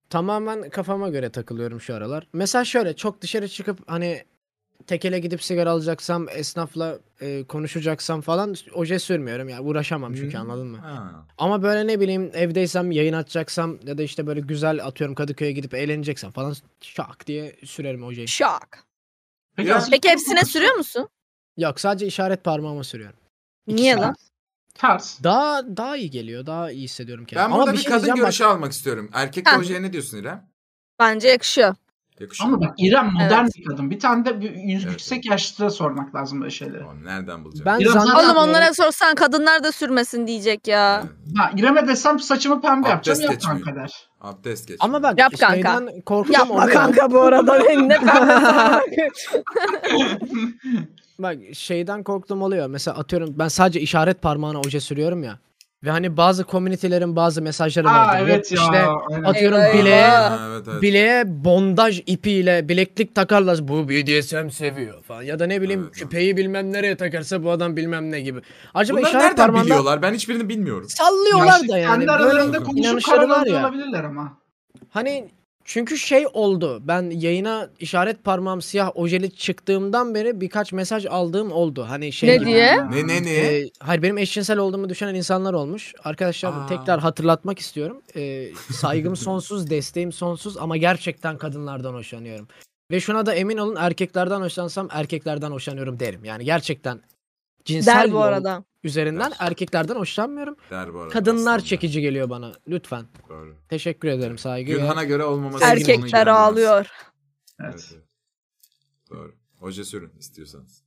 Speaker 4: Tamamen kafama göre takılıyorum şu aralar. Mesela şöyle çok dışarı çıkıp hani tekele gidip sigara alacaksam, esnafla e, konuşacaksam falan oje sürmüyorum. Yani uğraşamam çünkü
Speaker 2: Hmm.
Speaker 4: anladın mı?
Speaker 2: Ha.
Speaker 4: Ama böyle ne bileyim evdeysem yayın açacaksam ya da işte böyle güzel atıyorum Kadıköy'e gidip eğleneceksem falan şak diye sürerim ojeyi.
Speaker 5: Şak.
Speaker 3: Peki,
Speaker 2: Ya.
Speaker 3: aslında-
Speaker 5: Peki hepsine sürüyor musun?
Speaker 4: Yok sadece işaret parmağıma sürüyorum.
Speaker 5: Niye lan?
Speaker 3: Ters.
Speaker 4: Daha daha iyi geliyor. Daha iyi
Speaker 2: Ben
Speaker 4: hissediyorum kendimi.
Speaker 2: burada
Speaker 4: Ama
Speaker 2: bir,
Speaker 4: bir şey
Speaker 2: kadın
Speaker 4: diyeceğim bak.
Speaker 2: görüşü almak istiyorum. Erkek
Speaker 5: Ha.
Speaker 2: projeye ne diyorsun İrem?
Speaker 5: Bence yakışıyor.
Speaker 2: Yakışıyor
Speaker 3: Ama
Speaker 2: mu?
Speaker 3: bak İrem modern
Speaker 5: Evet.
Speaker 3: bir kadın. Bir tane de bir- yüz-
Speaker 2: Evet,
Speaker 3: yüksek yaşta sormak lazım böyle şeyleri.
Speaker 2: Oğlum, Nereden bulacağım?
Speaker 4: Ben
Speaker 3: Biraz daha-
Speaker 5: Oğlum
Speaker 4: zannetmiyorum.
Speaker 5: onlara sorsan kadınlar da sürmesin diyecek
Speaker 2: Ee,
Speaker 5: ya.
Speaker 3: Ha, İrem'e desem saçımı pembe
Speaker 2: Abdest
Speaker 3: yapacağım. Yap
Speaker 2: geçmiyor.
Speaker 3: kanka der.
Speaker 2: Abdest geç.
Speaker 4: Ama bak
Speaker 5: Yap kanka.
Speaker 4: şeyden korktum
Speaker 5: Yapma
Speaker 4: oluyor.
Speaker 5: kanka bu arada ne <laughs> kadar.
Speaker 4: Bak şeyden korktum oluyor. Mesela atıyorum ben sadece işaret parmağına oje sürüyorum ya. Ve hani bazı komünitelerin bazı mesajları
Speaker 3: Aa
Speaker 4: vardır. Yok
Speaker 3: evet ya.
Speaker 4: işte
Speaker 3: aynen.
Speaker 4: atıyorum
Speaker 5: Eyvah,
Speaker 4: bileğe
Speaker 5: eyvah.
Speaker 2: Ha, evet, evet.
Speaker 4: bileğe bondaj ipiyle bileklik takarlar. Bu BDSM seviyor falan. Ya da ne bileyim
Speaker 2: Evet,
Speaker 4: küpeyi bilmem nereye takarsa bu adam bilmem ne gibi. Acaba
Speaker 2: Bunları
Speaker 4: işaret
Speaker 2: nereden
Speaker 4: parmağında
Speaker 2: biliyorlar? Ben hiçbirini bilmiyorum.
Speaker 4: sallıyorlar
Speaker 3: Yaşlı
Speaker 4: da yani.
Speaker 3: Kendi
Speaker 4: Böyle
Speaker 3: aralarında
Speaker 2: bir
Speaker 3: konuşup
Speaker 4: inanışları
Speaker 3: karar
Speaker 4: var ya.
Speaker 3: alıyor olabilirler ama.
Speaker 4: Hani çünkü şey oldu. Ben yayına işaret parmağım siyah ojeli çıktığımdan beri birkaç mesaj aldığım oldu. Hani şey
Speaker 5: Ne
Speaker 4: gibi.
Speaker 5: diye?
Speaker 2: Ne ne ne?
Speaker 4: Ee, hayır benim eşcinsel olduğumu düşünen insanlar olmuş. Arkadaşlar
Speaker 2: Aa.
Speaker 4: tekrar hatırlatmak istiyorum. Ee, saygım sonsuz, desteğim sonsuz ama gerçekten kadınlardan hoşlanıyorum. Ve şuna da emin olun erkeklerden hoşlansam erkeklerden hoşlanıyorum derim. Yani gerçekten cinsel
Speaker 5: Der
Speaker 4: bir
Speaker 5: bu
Speaker 4: yol
Speaker 5: arada.
Speaker 4: üzerinden erkeklerden hoşlanmıyorum.
Speaker 2: Der bu arada
Speaker 4: Kadınlar
Speaker 2: aslanlar.
Speaker 4: çekici geliyor bana. Lütfen.
Speaker 2: Doğru.
Speaker 4: Teşekkür ederim saygıyla.
Speaker 2: Gülhan'a göre olmaması. onun
Speaker 5: Erkekler
Speaker 2: ilgilenmez.
Speaker 5: ağlıyor.
Speaker 2: Evet,
Speaker 3: Evet.
Speaker 2: evet. Doğru. Hoca sürün istiyorsanız.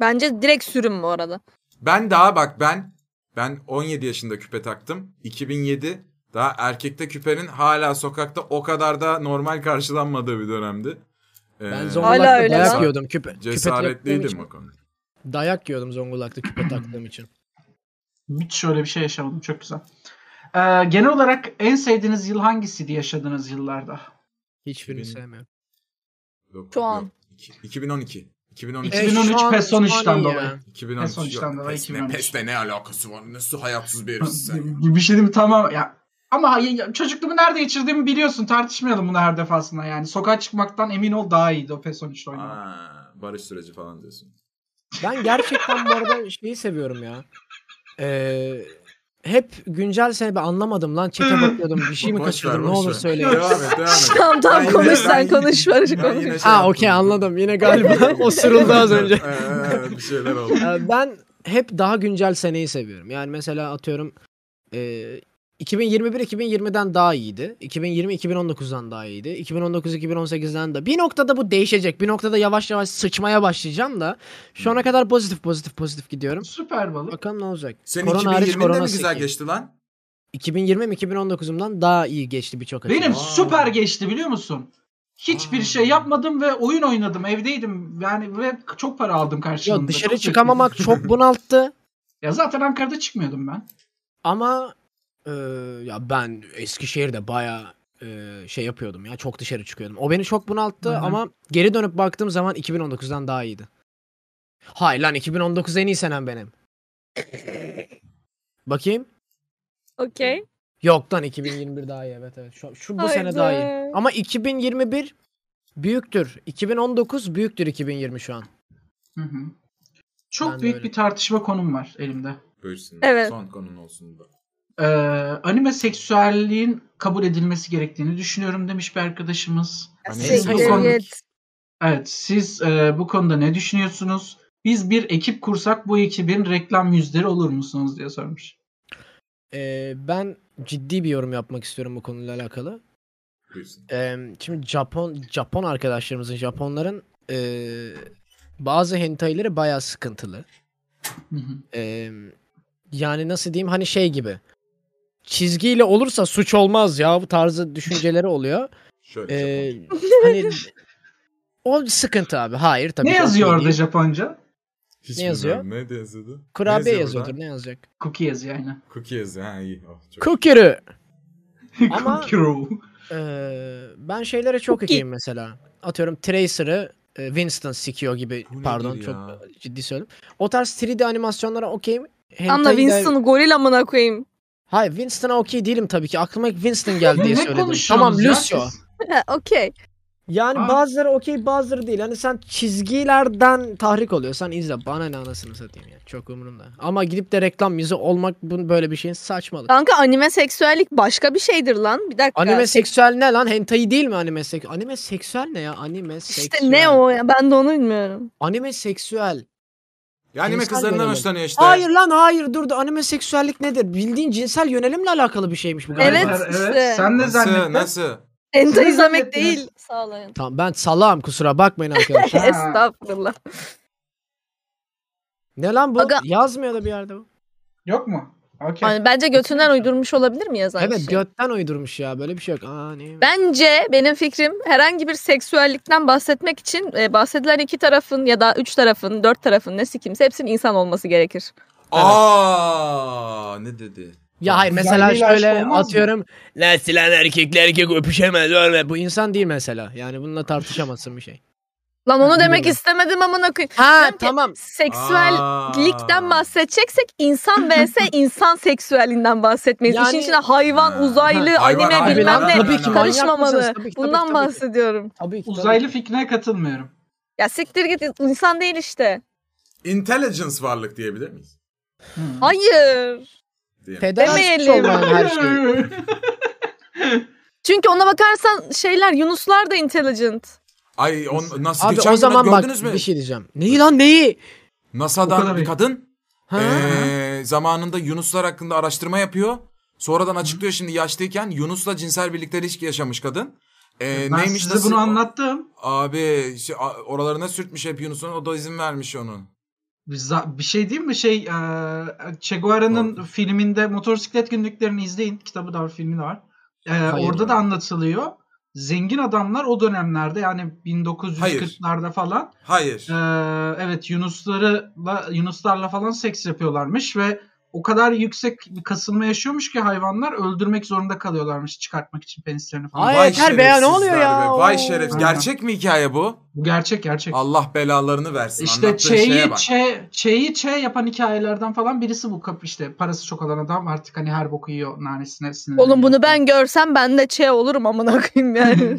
Speaker 5: Bence direkt sürün bu arada.
Speaker 2: Ben daha bak ben ben 17 yaşında küpe taktım. 2007 daha erkekte küpenin hala sokakta o kadar da normal karşılanmadığı bir dönemdi. Ee,
Speaker 4: Ben
Speaker 5: Hala
Speaker 4: Zonguldak'ta
Speaker 5: öyle
Speaker 4: dayak
Speaker 5: lan.
Speaker 4: yiyordum küpe. küpe taktığım
Speaker 2: Cesaretliydim
Speaker 4: için.
Speaker 2: o konuda.
Speaker 4: Dayak yiyordum Zonguldak'ta
Speaker 5: <laughs>
Speaker 4: küpe taktığım için.
Speaker 3: Hiç şöyle bir şey yaşamadım. Çok güzel. Ee, genel olarak en sevdiğiniz yıl hangisiydi yaşadığınız yıllarda?
Speaker 4: Hiçbirini
Speaker 2: Benim-
Speaker 4: sevmiyorum.
Speaker 2: Yok,
Speaker 5: Şu
Speaker 2: yok.
Speaker 5: an.
Speaker 2: İki- 2012. 2012.
Speaker 3: E, 2013
Speaker 4: şu an-
Speaker 3: PES
Speaker 4: şu an
Speaker 3: 13'ten
Speaker 4: iyi
Speaker 3: dolayı.
Speaker 4: ya.
Speaker 2: 2013.
Speaker 3: En sonuçtan
Speaker 2: yok.
Speaker 3: dolayı
Speaker 2: Pes ne-
Speaker 3: 2013.
Speaker 2: Pesle ne alakası var? Nasıl hayatsız bir herifsin sen? ya?
Speaker 3: bir şey diyeyim tamam ya. Ama ya- ya çocukluğumu nerede geçirdiğimi biliyorsun. Tartışmayalım bunu her defasında yani. Sokağa çıkmaktan emin ol daha iyiydi o PES 13'te oynamak.
Speaker 2: Aa, barış süreci falan diyorsun.
Speaker 4: Ben gerçekten bu arada şeyi seviyorum ya. Ee, hep güncel sebebi anlamadım lan. Çete bakıyordum. Bir şey mi
Speaker 2: Boş ver,
Speaker 4: kaçırdım? Ne
Speaker 2: boş
Speaker 4: olur
Speaker 2: ver.
Speaker 4: söyleyin.
Speaker 2: Devam et, devam et.
Speaker 5: <laughs> Tamam tamam
Speaker 2: Ben
Speaker 5: konuş
Speaker 2: yine- ben-
Speaker 5: sen konuş Barış
Speaker 2: ben
Speaker 5: konuş.
Speaker 2: yine şey
Speaker 4: Ha
Speaker 2: yaptım.
Speaker 4: okey anladım.
Speaker 2: <laughs>
Speaker 4: Yine galiba o sırıldı az önce.
Speaker 2: Ee, evet, bir şeyler oldu.
Speaker 4: Ee, ben hep daha güncel seneyi seviyorum. Yani mesela atıyorum e, 2021 2020'den daha iyiydi. 2020 2019'dan daha iyiydi. 2019 2018'den de. Bir noktada bu değişecek. Bir noktada yavaş yavaş sıçmaya başlayacağım da şu ana kadar pozitif pozitif pozitif gidiyorum.
Speaker 3: Süper balık.
Speaker 4: Bakalım ne olacak.
Speaker 2: Senin
Speaker 4: Korona hariç,
Speaker 2: 2020'den de mi
Speaker 4: korona
Speaker 2: güzel
Speaker 4: sekiz.
Speaker 2: geçti lan?
Speaker 4: 2020 mi 2019'umdan daha iyi geçti birçok açıdan.
Speaker 3: Benim
Speaker 2: Aa.
Speaker 3: süper geçti biliyor musun? Hiçbir şey yapmadım ve oyun oynadım. Evdeydim. Yani ve çok para aldım karşılığında.
Speaker 4: Yo, dışarı
Speaker 3: Çok
Speaker 4: çıkamamak
Speaker 3: mutluyum.
Speaker 4: çok bunalttı.
Speaker 3: Ya zaten Ankara'da çıkmıyordum ben.
Speaker 4: Ama e, ya ben Eskişehir'de baya şey yapıyordum ya çok dışarı çıkıyordum. O beni çok bunalttı
Speaker 3: Hı hı.
Speaker 4: ama geri dönüp baktığım zaman 2019'dan daha iyiydi. Hayır lan 2019 en iyi senem benim. Bakayım.
Speaker 5: Okey.
Speaker 4: Yok lan 2021 daha iyi evet evet. Şu, şu bu sene
Speaker 5: Haydi.
Speaker 4: daha iyi. Ama 2021 büyüktür. 2019 büyüktür 2020 şu an.
Speaker 3: Hı hı. Çok
Speaker 4: Ben de
Speaker 3: büyük
Speaker 4: öyle.
Speaker 3: bir tartışma konum var elimde.
Speaker 2: Buyursun.
Speaker 5: Evet.
Speaker 2: Son konun olsun bu.
Speaker 3: Ee, anime seksüelliğin kabul edilmesi gerektiğini düşünüyorum demiş bir arkadaşımız.
Speaker 2: Hani
Speaker 5: Şey,
Speaker 3: bu
Speaker 2: son-
Speaker 3: konu-
Speaker 5: evet.
Speaker 3: Evet siz e, bu konuda ne düşünüyorsunuz? Biz bir ekip kursak bu ekibin reklam yüzleri olur musunuz diye sormuş.
Speaker 4: Ee, ben ciddi bir yorum yapmak istiyorum bu konuyla alakalı.
Speaker 2: Buyursun.
Speaker 4: Eee, şimdi Japon Japon arkadaşlarımızın Japonların eee, bazı hentai'leri bayağı sıkıntılı.
Speaker 3: Hı hı.
Speaker 4: Eee, yani nasıl diyeyim hani şey gibi. Çizgiyle olursa suç olmaz ya bu tarzı düşünceleri oluyor.
Speaker 2: Şöyle. <laughs>
Speaker 4: Eee,
Speaker 2: Japonca.
Speaker 4: hani o sıkıntı abi. Hayır tabii.
Speaker 3: ne
Speaker 4: ki o
Speaker 3: yazıyor
Speaker 4: şey
Speaker 3: orada
Speaker 4: değil.
Speaker 3: Japonca?
Speaker 2: Hiç
Speaker 4: ne yazıyor?
Speaker 2: bilmiyorum. Ne yazıyordu?
Speaker 4: Kurabiye
Speaker 2: Ne
Speaker 4: yazıyordur
Speaker 2: burada?
Speaker 4: ne yazacak?
Speaker 3: Cookie yazıyor
Speaker 2: <laughs>
Speaker 3: aynen.
Speaker 2: Cookie yazıyor. Ha iyi. Oh, çok...
Speaker 4: Kukuru. Ama-
Speaker 3: Cookie roll.
Speaker 4: Eee, E, ben şeylere çok
Speaker 5: Cookie.
Speaker 4: ekeyim mesela. Atıyorum Tracer'ı e, Winston sikiyor gibi
Speaker 2: Bu nedir
Speaker 4: pardon
Speaker 2: ya?
Speaker 4: çok ciddi söylüyorum. O tarz 3D animasyonlara okeyim.
Speaker 5: Anla
Speaker 4: Hentai de-
Speaker 5: Winston'ı goril amına koyayım.
Speaker 4: Hayır Winston'a okey değilim tabii ki. Aklıma ilk Winston geldi diye söyledim. tamam
Speaker 3: konuşuyorsunuz ya
Speaker 4: Lucio.
Speaker 3: siz?
Speaker 5: Ha, Okey.
Speaker 4: Yani
Speaker 3: Ha.
Speaker 4: bazıları okey bazıları değil. Hani sen çizgilerden tahrik oluyorsan izle. Bana ne anasını satayım ya. Çok umurumda. Ama gidip de reklam yüzü olmak bu böyle bir şeyin saçmalık.
Speaker 5: Kanka anime seksüellik başka bir şeydir lan. Bir dakika.
Speaker 4: Anime seksüel ne lan? Hentai değil mi anime seksüel? Anime seksüel ne ya? Anime seksüel.
Speaker 5: İşte ne o ya ben de onu bilmiyorum.
Speaker 4: Anime seksüel.
Speaker 2: Ya anime
Speaker 4: Cinsel
Speaker 2: kızlarından
Speaker 4: yönelim.
Speaker 2: hoşlanıyor işte.
Speaker 4: Hayır lan hayır dur da anime seksüellik nedir? Bildiğin cinsel yönelimle alakalı bir şeymiş bu galiba.
Speaker 5: Evet,
Speaker 3: Evet,
Speaker 5: işte.
Speaker 3: Sen ne
Speaker 2: Nasıl?
Speaker 3: zannettin?
Speaker 2: Nasıl?
Speaker 5: Enta
Speaker 3: Siz
Speaker 5: izlemek
Speaker 3: zannettiniz.
Speaker 5: değil. Sağ olun.
Speaker 4: Tamam ben salağım kusura bakmayın
Speaker 5: <laughs>
Speaker 4: arkadaşlar.
Speaker 3: Ha.
Speaker 5: Estağfurullah.
Speaker 4: ne lan bu?
Speaker 5: Aga-
Speaker 4: Yazmıyor da bir yerde bu.
Speaker 3: Yok mu? Okey.
Speaker 5: Yani Hani bence götünden uydurmuş olabilir mi yazan
Speaker 4: Evet
Speaker 5: kişi?
Speaker 4: götten uydurmuş ya böyle bir şey yok. Aa, ne?
Speaker 5: Bence benim fikrim herhangi bir seksüellikten bahsetmek için e, bahsedilen iki tarafın ya da üç tarafın, dört tarafın nesi kimse hepsinin insan olması gerekir.
Speaker 2: Aa ne dedi?
Speaker 4: Ya hayır
Speaker 3: Güzel
Speaker 4: mesela
Speaker 3: değil, aşk
Speaker 4: şöyle
Speaker 3: olmaz mı?
Speaker 4: atıyorum. Nasıl lan erkekle erkek öpüşemez öyle. Bu insan değil mesela. Yani bununla tartışamazsın bir şey.
Speaker 5: Lan onu demek
Speaker 4: Biliyorum.
Speaker 5: istemedim amına koyayım.
Speaker 4: Ha
Speaker 5: Diyorum ki,
Speaker 4: tamam.
Speaker 5: Seksüellikten bahsedeceksek insan vs insan seksüelinden bahsetmeyiz.
Speaker 4: Yani-
Speaker 5: İşin içine hayvan,
Speaker 2: Ha,
Speaker 5: uzaylı,
Speaker 2: hayvan,
Speaker 5: anime
Speaker 2: hayvan,
Speaker 5: bilmem
Speaker 2: hayvan,
Speaker 5: ne
Speaker 2: tabii ki,
Speaker 4: manyak
Speaker 5: karışmamalı.
Speaker 4: mısınız? Tabii ki, tabii
Speaker 5: Bundan
Speaker 4: ki, tabii ki.
Speaker 5: bahsediyorum.
Speaker 4: Tabii ki,
Speaker 3: Uzaylı
Speaker 4: tabii ki.
Speaker 3: fikrine katılmıyorum.
Speaker 5: Ya siktir git insan değil işte.
Speaker 2: Intelligence varlık diyebilir miyiz?
Speaker 3: Hı.
Speaker 5: Hayır.
Speaker 2: Diyelim.
Speaker 4: Peder
Speaker 5: Demeyelim.
Speaker 4: olan her şey.
Speaker 5: Çünkü ona bakarsan şeyler Yunuslar da intelligent.
Speaker 2: Ay on, nasıl
Speaker 4: Abi
Speaker 2: geçen
Speaker 4: o zaman
Speaker 2: gün
Speaker 4: bak
Speaker 2: gördünüz mü?
Speaker 4: bir şey diyeceğim. Neyi lan neyi?
Speaker 3: O kadar
Speaker 2: NASA'dan bir
Speaker 3: iyi.
Speaker 2: kadın
Speaker 4: Ha?
Speaker 3: Ee?
Speaker 2: eee, zamanında Yunuslar hakkında araştırma yapıyor. Sonradan açıklıyor şimdi yaşlıyken Yunus'la cinsel birlikte ilişki yaşamış kadın. Eee,
Speaker 3: <laughs> Ben
Speaker 2: neymiş
Speaker 3: size
Speaker 2: nasıl-
Speaker 3: bunu anlattım.
Speaker 2: Abi şey, a- oralarına sürtmüş hep Yunus'un o da izin vermiş onun.
Speaker 3: Bir za- Bir şey diyeyim mi? Şey, e, Che Guevara'nın
Speaker 2: Doğru.
Speaker 3: filminde motosiklet günlüklerini izleyin. Kitabı da var, filmi de var. E,
Speaker 4: Hayır.
Speaker 3: orada da anlatılıyor. Zengin adamlar o dönemlerde yani 1940'larda falan
Speaker 2: Hayır.
Speaker 3: e, evet Yunuslarla Yunuslarla falan seks yapıyorlarmış ve o kadar yüksek bir kasılma yaşıyormuş ki hayvanlar öldürmek zorunda kalıyorlarmış çıkartmak için penislerini falan.
Speaker 4: Ay, yeter be ya, ne oluyor
Speaker 2: şerefsizler
Speaker 4: ya?
Speaker 2: be, Vay
Speaker 4: Oo.
Speaker 2: şeref.
Speaker 3: Aynen.
Speaker 2: Gerçek mi hikaye bu?
Speaker 3: Bu gerçek gerçek.
Speaker 2: Allah belalarını versin.
Speaker 3: İşte şey
Speaker 2: Anlattığı şeye
Speaker 3: çeyi,
Speaker 2: bak.
Speaker 3: çe, çeyi çe yapan hikayelerden falan birisi bu kap işte parası çok olan adam artık hani her boku yiyor nanesine
Speaker 2: Hmm.
Speaker 3: sinirleniyor.
Speaker 5: Oğlum bunu ben görsem ben de şey olurum amına
Speaker 2: <laughs>
Speaker 5: koyayım yani.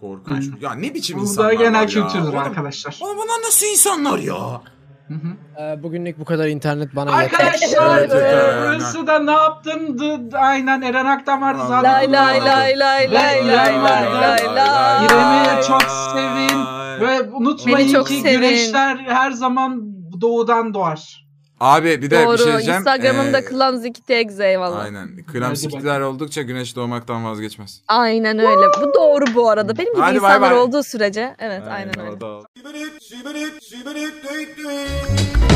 Speaker 2: Korkunç. Ya ne biçim insanlar
Speaker 3: Bunlar
Speaker 2: var
Speaker 3: genel
Speaker 2: ya?
Speaker 3: kültürdür
Speaker 2: Oğlum-
Speaker 3: arkadaşlar.
Speaker 2: Oğlum bunlar nasıl insanlar ya?
Speaker 3: Hı hı.
Speaker 4: Ee, bugünlük bu kadar internet bana yeter.
Speaker 3: Arkadaşlar
Speaker 2: Evet, evet,
Speaker 3: e,
Speaker 2: aynen.
Speaker 3: burası da ne yaptın? D- d- aynen Eren Aktan vardı
Speaker 2: Allah
Speaker 3: zaten.
Speaker 5: lay lay lay lay lay lay lay lay lay.
Speaker 3: İrem'i çok sevin. Ve
Speaker 5: Beni
Speaker 3: unutmayın
Speaker 5: çok
Speaker 3: ki
Speaker 5: sevin.
Speaker 3: güneşler her zaman doğudan doğar.
Speaker 2: Abi bir de bir şey
Speaker 5: Doğru.
Speaker 2: diyeceğim.
Speaker 5: Instagram'ımda
Speaker 2: Ee,
Speaker 5: Clumsy Kitty Eggs, eyvallah. Aynen.
Speaker 2: Aynen. Klamsikler oldukça güneş doğmaktan vazgeçmez.
Speaker 5: öyle. Bu doğru bu arada. Benim gibi
Speaker 2: Hadi bay
Speaker 5: insanlar
Speaker 2: bay.
Speaker 5: olduğu sürece. Evet aynen, öyle.
Speaker 2: orada al.